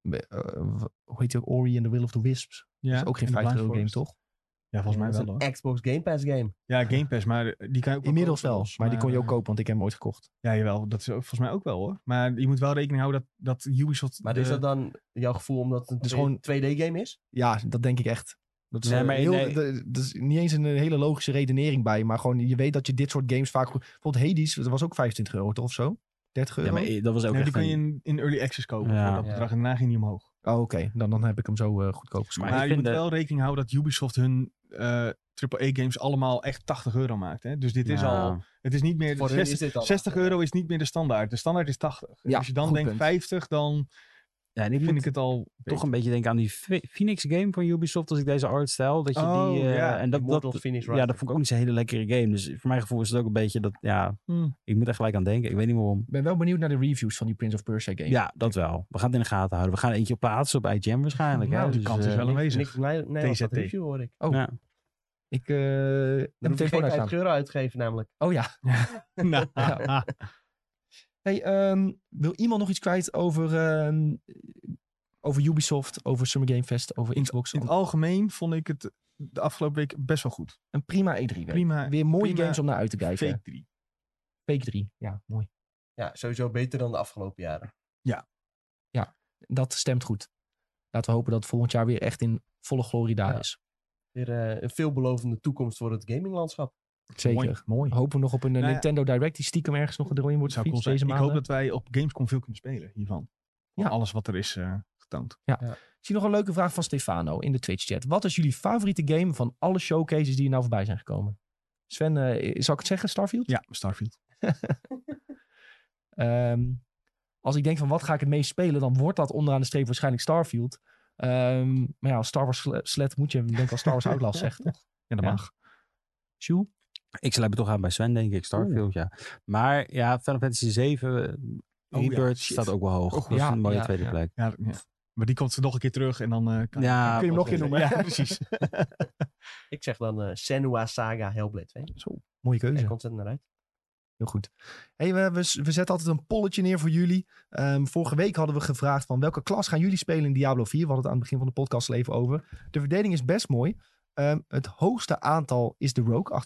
A: we- eh, w- hoe heet die ook? Ori and the Will of the Wisps.
B: Ja,
A: is ook geen
B: en de
A: 50 euro game,
B: Blind Forest.
A: toch?
B: Ja, volgens mij
D: Dat is
B: wel hoor.
D: een Xbox Game Pass game.
B: Ja, Game Pass, maar eh, die kan je ook wel
A: Inmiddels
B: kopen,
A: wel,
B: volgens
A: maar die kon je ook
B: eh,
A: kopen, want ik heb hem ooit gekocht.
B: Ja, jawel, dat is ook, volgens mij ook wel hoor. Maar je moet wel rekening houden dat, dat Ubisoft...
D: Maar
B: de-
D: is dat dan jouw gevoel omdat het
A: Dus
D: een 2D game is?
A: Ja, dat denk ik echt. Dat is,
C: Nee,
A: eh,
C: maar-
A: heel,
C: nee.
A: de- dat is niet eens een hele logische redenering bij. Maar gewoon, je weet dat je dit soort games vaak... Bijvoorbeeld Hades, dat was ook 25 euro toch of zo? 30 euro?
C: Ja, maar eh, dat was ook
B: Nee,
C: echt
B: die kun
C: een-
B: je in, in Early Access kopen
C: Ja.
B: voor dat
D: Ja.
B: bedrag. En daarna ging die omhoog.
A: Oh, oké. Dan, dan heb ik hem zo eh, goedkoop gescoord.
C: Maar
B: Maar,
C: ik
B: je
C: vind
B: moet
C: de-
B: wel rekening houden dat Ubisoft hun eh AAA-games allemaal echt 80 euro maakt. Hè? Dus dit is
C: Ja.
B: al... Het is niet meer...
D: Voor hun is
B: 60,
D: dit al-
B: 60 euro is niet meer de standaard. De standaard is 80. En
A: Ja,
B: als je dan
A: goed
B: denkt
A: punt.
B: 50, dan
C: Ja, en ik
B: vind
C: moet
B: ik het al...
C: toch een beetje denken aan die Phe- Phoenix game van Ubisoft. Als ik deze art stijl. Dat je
B: Oh,
C: die, eh,
B: ja,
C: en dat,
D: Immortal
C: dat,
D: Phoenix
C: ja, dat vond ik ook niet zo'n hele lekkere game. Dus voor mijn gevoel is het ook een beetje dat, ja,
B: Hmm.
C: ik moet er gelijk aan denken. Ik weet niet waarom.
A: Ik ben wel benieuwd naar de reviews van die Prince of Persia game.
C: Ja, dat wel. We gaan het in de gaten houden. We gaan er eentje plaatsen op IGN waarschijnlijk.
B: Nou,
C: hè?
B: de
C: Dus,
B: kans is
C: eh,
B: wel aanwezig.
D: Niks nee, nee, was dat
B: TZT.
D: review hoor ik.
A: Oh,
C: ja.
A: Ik eh, heb
D: Dan
A: mijn
D: moet je
A: telefoon
D: geen
A: uitstaan.
D: 50 euro uitgeven namelijk.
A: Oh ja.
B: *laughs* Nou,
A: Ja. Hey, ehm, wil iemand nog iets kwijt over, ehm, over Ubisoft, over Summer Game Fest, over Xbox?
B: in het algemeen vond ik het de afgelopen week best wel goed.
A: Een prima E3-week.
B: Prima.
A: Weer mooie
B: prima
A: games om naar uit te kijken.
B: Fake
A: Fake,
B: 3.
A: 3. Ja, mooi.
D: Ja, sowieso beter dan de afgelopen jaren.
A: Dat stemt goed. Laten we hopen dat het volgend jaar weer echt in volle glorie daar
D: Ja.
A: is.
D: Weer eh, een veelbelovende toekomst voor het gaminglandschap.
A: Zeker.
B: Mooi. mooi.
A: Hopen we nog op een eh,
B: Nou ja.
A: Nintendo Direct die stiekem ergens nog gedrongen wordt
B: Zou cool
A: gefietst
B: zijn.
A: deze
B: Ik
A: maand.
B: hoop dat wij op Gamescom veel kunnen spelen hiervan. Van
A: Ja.
B: Alles wat er is eh, getoond.
A: Ik zie nog een leuke vraag van Stefano in de Twitch-chat. Wat is jullie favoriete game van alle showcases die er nou voorbij zijn gekomen? Sven, eh, zal ik het zeggen, Starfield?
B: Ja, Starfield.
A: Ehm, als ik denk van wat ga ik het meest spelen, dan wordt dat onderaan de streep waarschijnlijk Starfield. Ehm, maar ja, als Star Wars sle- slet moet je hem denk ik als Star Wars Outlast zegt, toch?
B: Ja, dat
A: Ja.
B: mag.
A: *laughs* Sjoe?
C: Ik sluit me toch aan bij Sven, denk ik. Starfield, ja. Maar ja, Final Fantasy 7
B: ja,
A: Oh,
C: Rebirth
B: shit.
C: staat ook wel hoog.
B: Ook
C: dat is
A: wel.
C: een mooie
A: Ja,
C: tweede
A: ja.
C: plek.
B: Ja, ja. Maar die komt ze nog een keer terug en dan eh, kan
C: Ja,
B: kun je hem nog
C: precies.
B: in noemen.
A: Ja,
B: Ja, precies.
D: Ik zeg dan eh Senua Saga Hellblade 2.
A: Mooie
D: Daar
A: keuze.
D: komt het naar uit.
A: Heel goed. Hey, we, we, we zetten altijd een polletje neer voor jullie. Ehm, vorige week hadden we gevraagd van welke klas gaan jullie spelen in Diablo 4? We hadden het aan het begin van de podcast al even over. De verdeling is best mooi. Ehm, het hoogste aantal is de Rogue,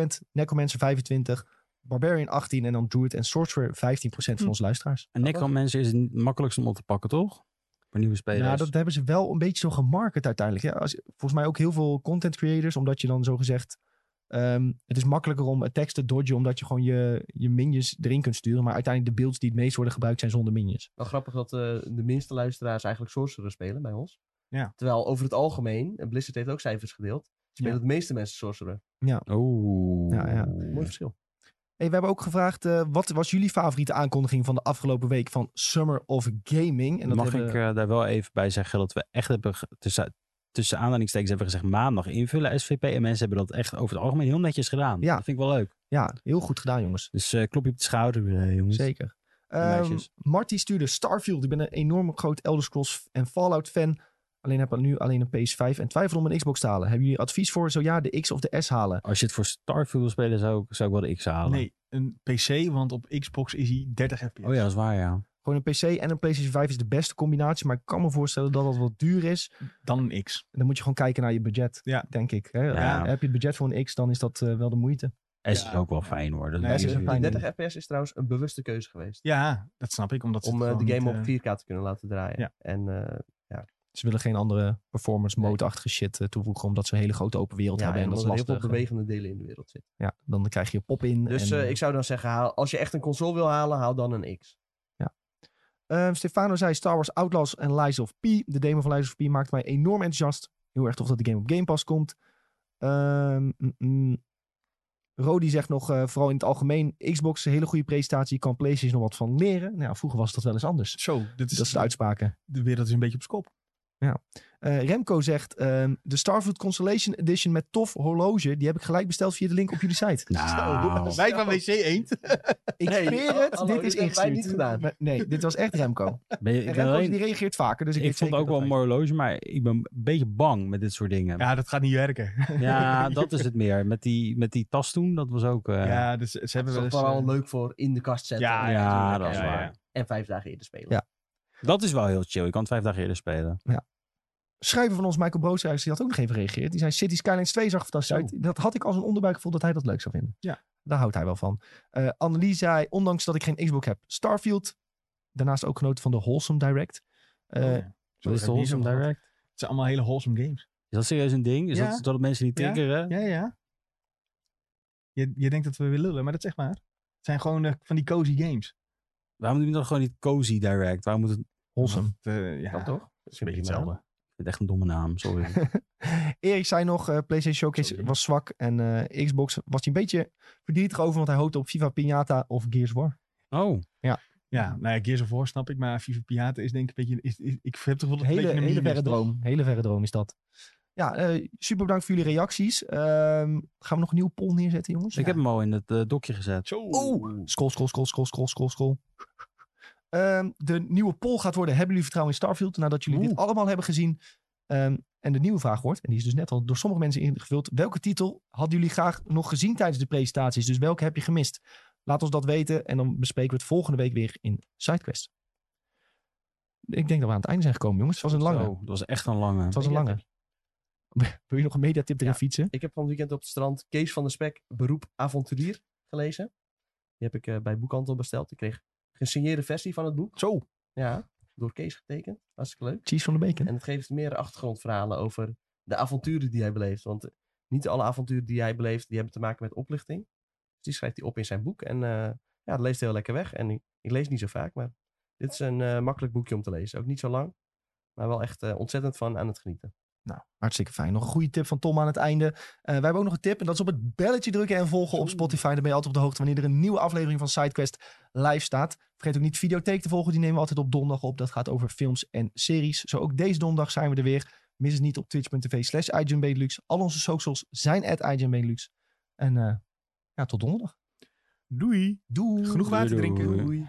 A: 28%. Necromancer 25%. Barbarian 18% en dan Druid en Sorcerer 15% van
B: Hm.
A: onze luisteraars.
C: En Necromancer is het makkelijkst om op te pakken, toch? Voor nieuwe spelers.
A: Ja, Nou, dat hebben ze wel een beetje zo gemarket uiteindelijk. Ja, als, volgens mij ook heel veel content creators, omdat je dan zo gezegd. ehm, het is makkelijker om eh, tekst te dodgen, omdat je gewoon je, je minions erin kunt sturen. Maar uiteindelijk de builds die het meest worden gebruikt zijn zonder minions.
D: Wel grappig dat eh, de minste luisteraars eigenlijk Sorcerer spelen bij ons.
B: Ja.
D: Terwijl over het algemeen, en Blizzard heeft ook cijfers gedeeld, spelen
B: Ja.
D: de meeste mensen Sorcerer.
C: Oeh.
A: Ja, ja.
D: Mooi verschil.
A: Hey, we hebben ook gevraagd, eh, wat was jullie favoriete aankondiging van de afgelopen week van Summer of Gaming? En dat
C: Mag
A: hebben-
C: ik eh, daar wel even bij zeggen dat we echt hebben ge- tussen, tussen aanhalingstekens hebben gezegd maandag invullen SVP. En mensen hebben dat echt over het algemeen heel netjes gedaan.
A: Ja.
C: Dat vind ik wel leuk.
A: Ja, heel goed gedaan jongens.
C: Dus eh klop je op de schouder, eh, jongens.
A: Zeker.
C: En
A: Ehm
C: meisjes.
A: Marty stuurde Starfield. Ik ben een enorm groot Elder Scrolls en Fallout fan. Alleen heb ik nu alleen een PS5 en twijfel om een Xbox te halen. Hebben jullie advies voor? Zo ja, de X of de S halen.
C: Als je het voor Starfield wil spelen, zou ik, zou ik wel de X halen.
B: Nee, een PC, want op Xbox is hij 30 fps.
C: Oh ja, dat is waar, ja.
A: Gewoon een PC en een PlayStation 5 is de beste combinatie. Maar ik kan me voorstellen dat dat wat duur is.
B: Dan een X.
A: En dan moet je gewoon kijken naar je budget,
B: Ja.
A: denk ik. Hè? Eh,
C: Ja.
A: Heb je het budget voor een X, dan is dat eh, wel de moeite.
C: S
B: Ja.
C: is ook wel fijn hoor. Dat
B: Nee,
C: doe
B: S
C: je
B: is een
C: nu.
A: fijn
D: 30 FPS is trouwens een bewuste keuze geweest.
B: Ja, dat snap ik. Omdat ze
D: om
B: het
D: eh, de
B: gewoon
D: game
B: niet,
D: op
B: eh,
D: 4K te kunnen laten draaien.
B: Ja.
D: En eh,
A: Ze willen geen andere performance mode-achtige shit eh, toevoegen. Omdat ze een hele grote open wereld
D: ja,
A: hebben.
D: en
A: En dat is
D: omdat er heel
A: lastig.
D: veel bewegende delen in de wereld zitten.
A: ja, dan krijg je pop-in.
D: Dus
A: en,
D: eh,
A: eh,
D: ik zou dan zeggen, haal, als je echt een console wil halen, haal dan een X.
A: Ehm, Stefano zei Star Wars Outlaws en Lies of P. De demo van Lies of P maakt mij enorm enthousiast. Heel erg tof dat de game op Game Pass komt. Ehm mm, mm. Rodi zegt nog, eh, vooral in het algemeen, Xbox, een hele goede presentatie. Kan PlayStation nog wat van leren? Nou, ja, vroeger was dat wel eens anders.
B: Zo, dit is,
A: Dat is de uitspraken.
B: de wereld is een beetje op skop.
A: Eh, Remco zegt, ehm, de Starfield Constellation Edition met tof horloge, die heb ik gelijk besteld via de link op jullie site.
B: *laughs*
C: Nou,
B: Wij van WC Eend.
A: Ik
D: Nee,
A: zweer het,
D: hallo,
A: dit
D: dit
A: is
D: hebben wij
A: ingestuurd.
D: niet gedaan.
A: Maar Nee, dit was echt Remco.
C: ben je-
A: En
C: ik ben
A: Remco
C: alleen-
A: die reageert vaker, dus ik,
C: ik
A: weet
C: vond het
A: zeker
C: ook wel
A: dat
C: een
A: hij-
C: mooi horloge, maar ik ben een beetje bang met dit soort dingen. Ja,
B: *laughs* Ja, dat gaat niet werken.
C: dat is het meer. Met die, met die tas toen, dat was ook... eh,
B: *laughs*
C: ja,
B: Ja, dus ze hebben wel
D: Dat is
B: eens...
D: toch vooral
B: eh,
D: leuk voor in de kast zetten. eh,
B: Ja,
C: dat is
B: ja, ja.
C: waar.
D: En vijf dagen eerder spelen.
A: Ja.
C: Dat is wel heel chill. Je kan het vijf dagen eerder spelen.
A: schrijver van ons, Michael Broodschrijvers, die had ook nog even gereageerd. Die zei, City Skylines 2 zag er fantastisch uit. Dat had ik als een onderbuikgevoel dat hij dat leuk zou vinden.
B: Ja.
A: Daar houdt hij wel van. Eh Annelie zei, ondanks dat ik geen Xbox heb, Starfield. Daarnaast ook genoten van de Wholesome Direct. Eh,
B: Oh, ja. Zo
C: Wat is de
B: heb ik niet zo
C: Wholesome
B: gehad.
C: Direct?
B: Het zijn allemaal hele wholesome games.
C: Is dat serieus een ding? Is
B: Ja.
C: dat, dat mensen die
B: Ja.
C: triggeren?
B: Ja, ja. Je, je denkt dat we weer lullen, maar dat is echt waar. Het zijn gewoon eh, van die cozy games.
C: Waarom doen we dan gewoon niet Cozy Direct? Waarom moet het...
A: wholesome.
B: *laughs* Dat, eh, ja,
D: Dat toch?
B: is een beetje hetzelfde.
C: Ik vind het echt een domme
B: *laughs*
C: naam, sorry.
A: Erik zei nog, eh, PlayStation Showcase
B: Sorry.
A: was zwak. En eh, Xbox was hij een beetje verdrietig over, want hij hoopte op FIFA Pinata of Gears of War.
C: Oh,
B: Ja, nou ja, Gears of War snap ik, maar FIFA Piata is denk ik een beetje... Is, is- ik heb het gevoel dat het
A: Hele,
B: een beetje een
A: hele
B: meme is,
A: verre
B: toch?
A: droom. Hele verre droom is dat. Ja, eh, super bedankt voor jullie reacties. Ehm, gaan we nog een nieuw poll neerzetten, jongens?
C: ik heb hem al in het eh, dokje gezet.
B: Zo.
A: Oeh. Scroll, scroll, scroll, scroll, scroll, scroll, scroll. Ehm, de nieuwe poll gaat worden, hebben jullie vertrouwen in Starfield? Nadat jullie dit
B: Oeh.
A: allemaal hebben gezien. Ehm, en de nieuwe vraag wordt, en die is dus net al door sommige mensen ingevuld. Welke titel hadden jullie graag nog gezien tijdens de presentaties? Dus welke heb je gemist? Laat ons dat weten en dan bespreken we het volgende week weer in SideQuest. Ik denk dat we aan het einde zijn gekomen, jongens. Het was een lange.
C: Zo, dat was echt een lange.
A: Het was een lange. *laughs* Wil je nog een mediatip erin
D: Ja.
A: fietsen?
D: Ik heb van het weekend op het strand Kees van der Spek, beroep avonturier, gelezen. Die heb ik eh, bij Boekhandel besteld. Ik kreeg een gesigneerde versie van het boek.
A: Zo.
D: Ja, door Kees getekend. Hartstikke leuk.
A: Cheese van de bacon.
D: En het geeft meer achtergrondverhalen over de avonturen die hij beleeft. Want eh, niet alle avonturen die hij beleeft, die hebben te maken met oplichting. Dus die schrijft hij op in zijn boek. En eh, ja, het leest heel lekker weg. En ik, ik lees niet zo vaak, maar dit is een eh, makkelijk boekje om te lezen. Ook niet zo lang, maar wel echt eh, ontzettend van aan het genieten.
A: Nou, hartstikke fijn. Nog een goede tip van Tom aan het einde. Eh, wij hebben ook nog een tip. En dat is op het belletje drukken en volgen op Spotify. Dan ben je altijd op de hoogte wanneer er een nieuwe aflevering van SideQuest live staat. Vergeet ook niet Videotheek te volgen. Die nemen we altijd op donderdag op. Dat gaat over films en series. Zo ook deze donderdag zijn we er weer. Mis het niet op twitch.tv slash IGNBenelux. Al onze socials zijn at IGNBenelux. En eh, ja, tot donderdag.
B: Doei.
A: Doei.
B: Genoeg water
C: Doei, doei.
B: drinken.
C: Doei.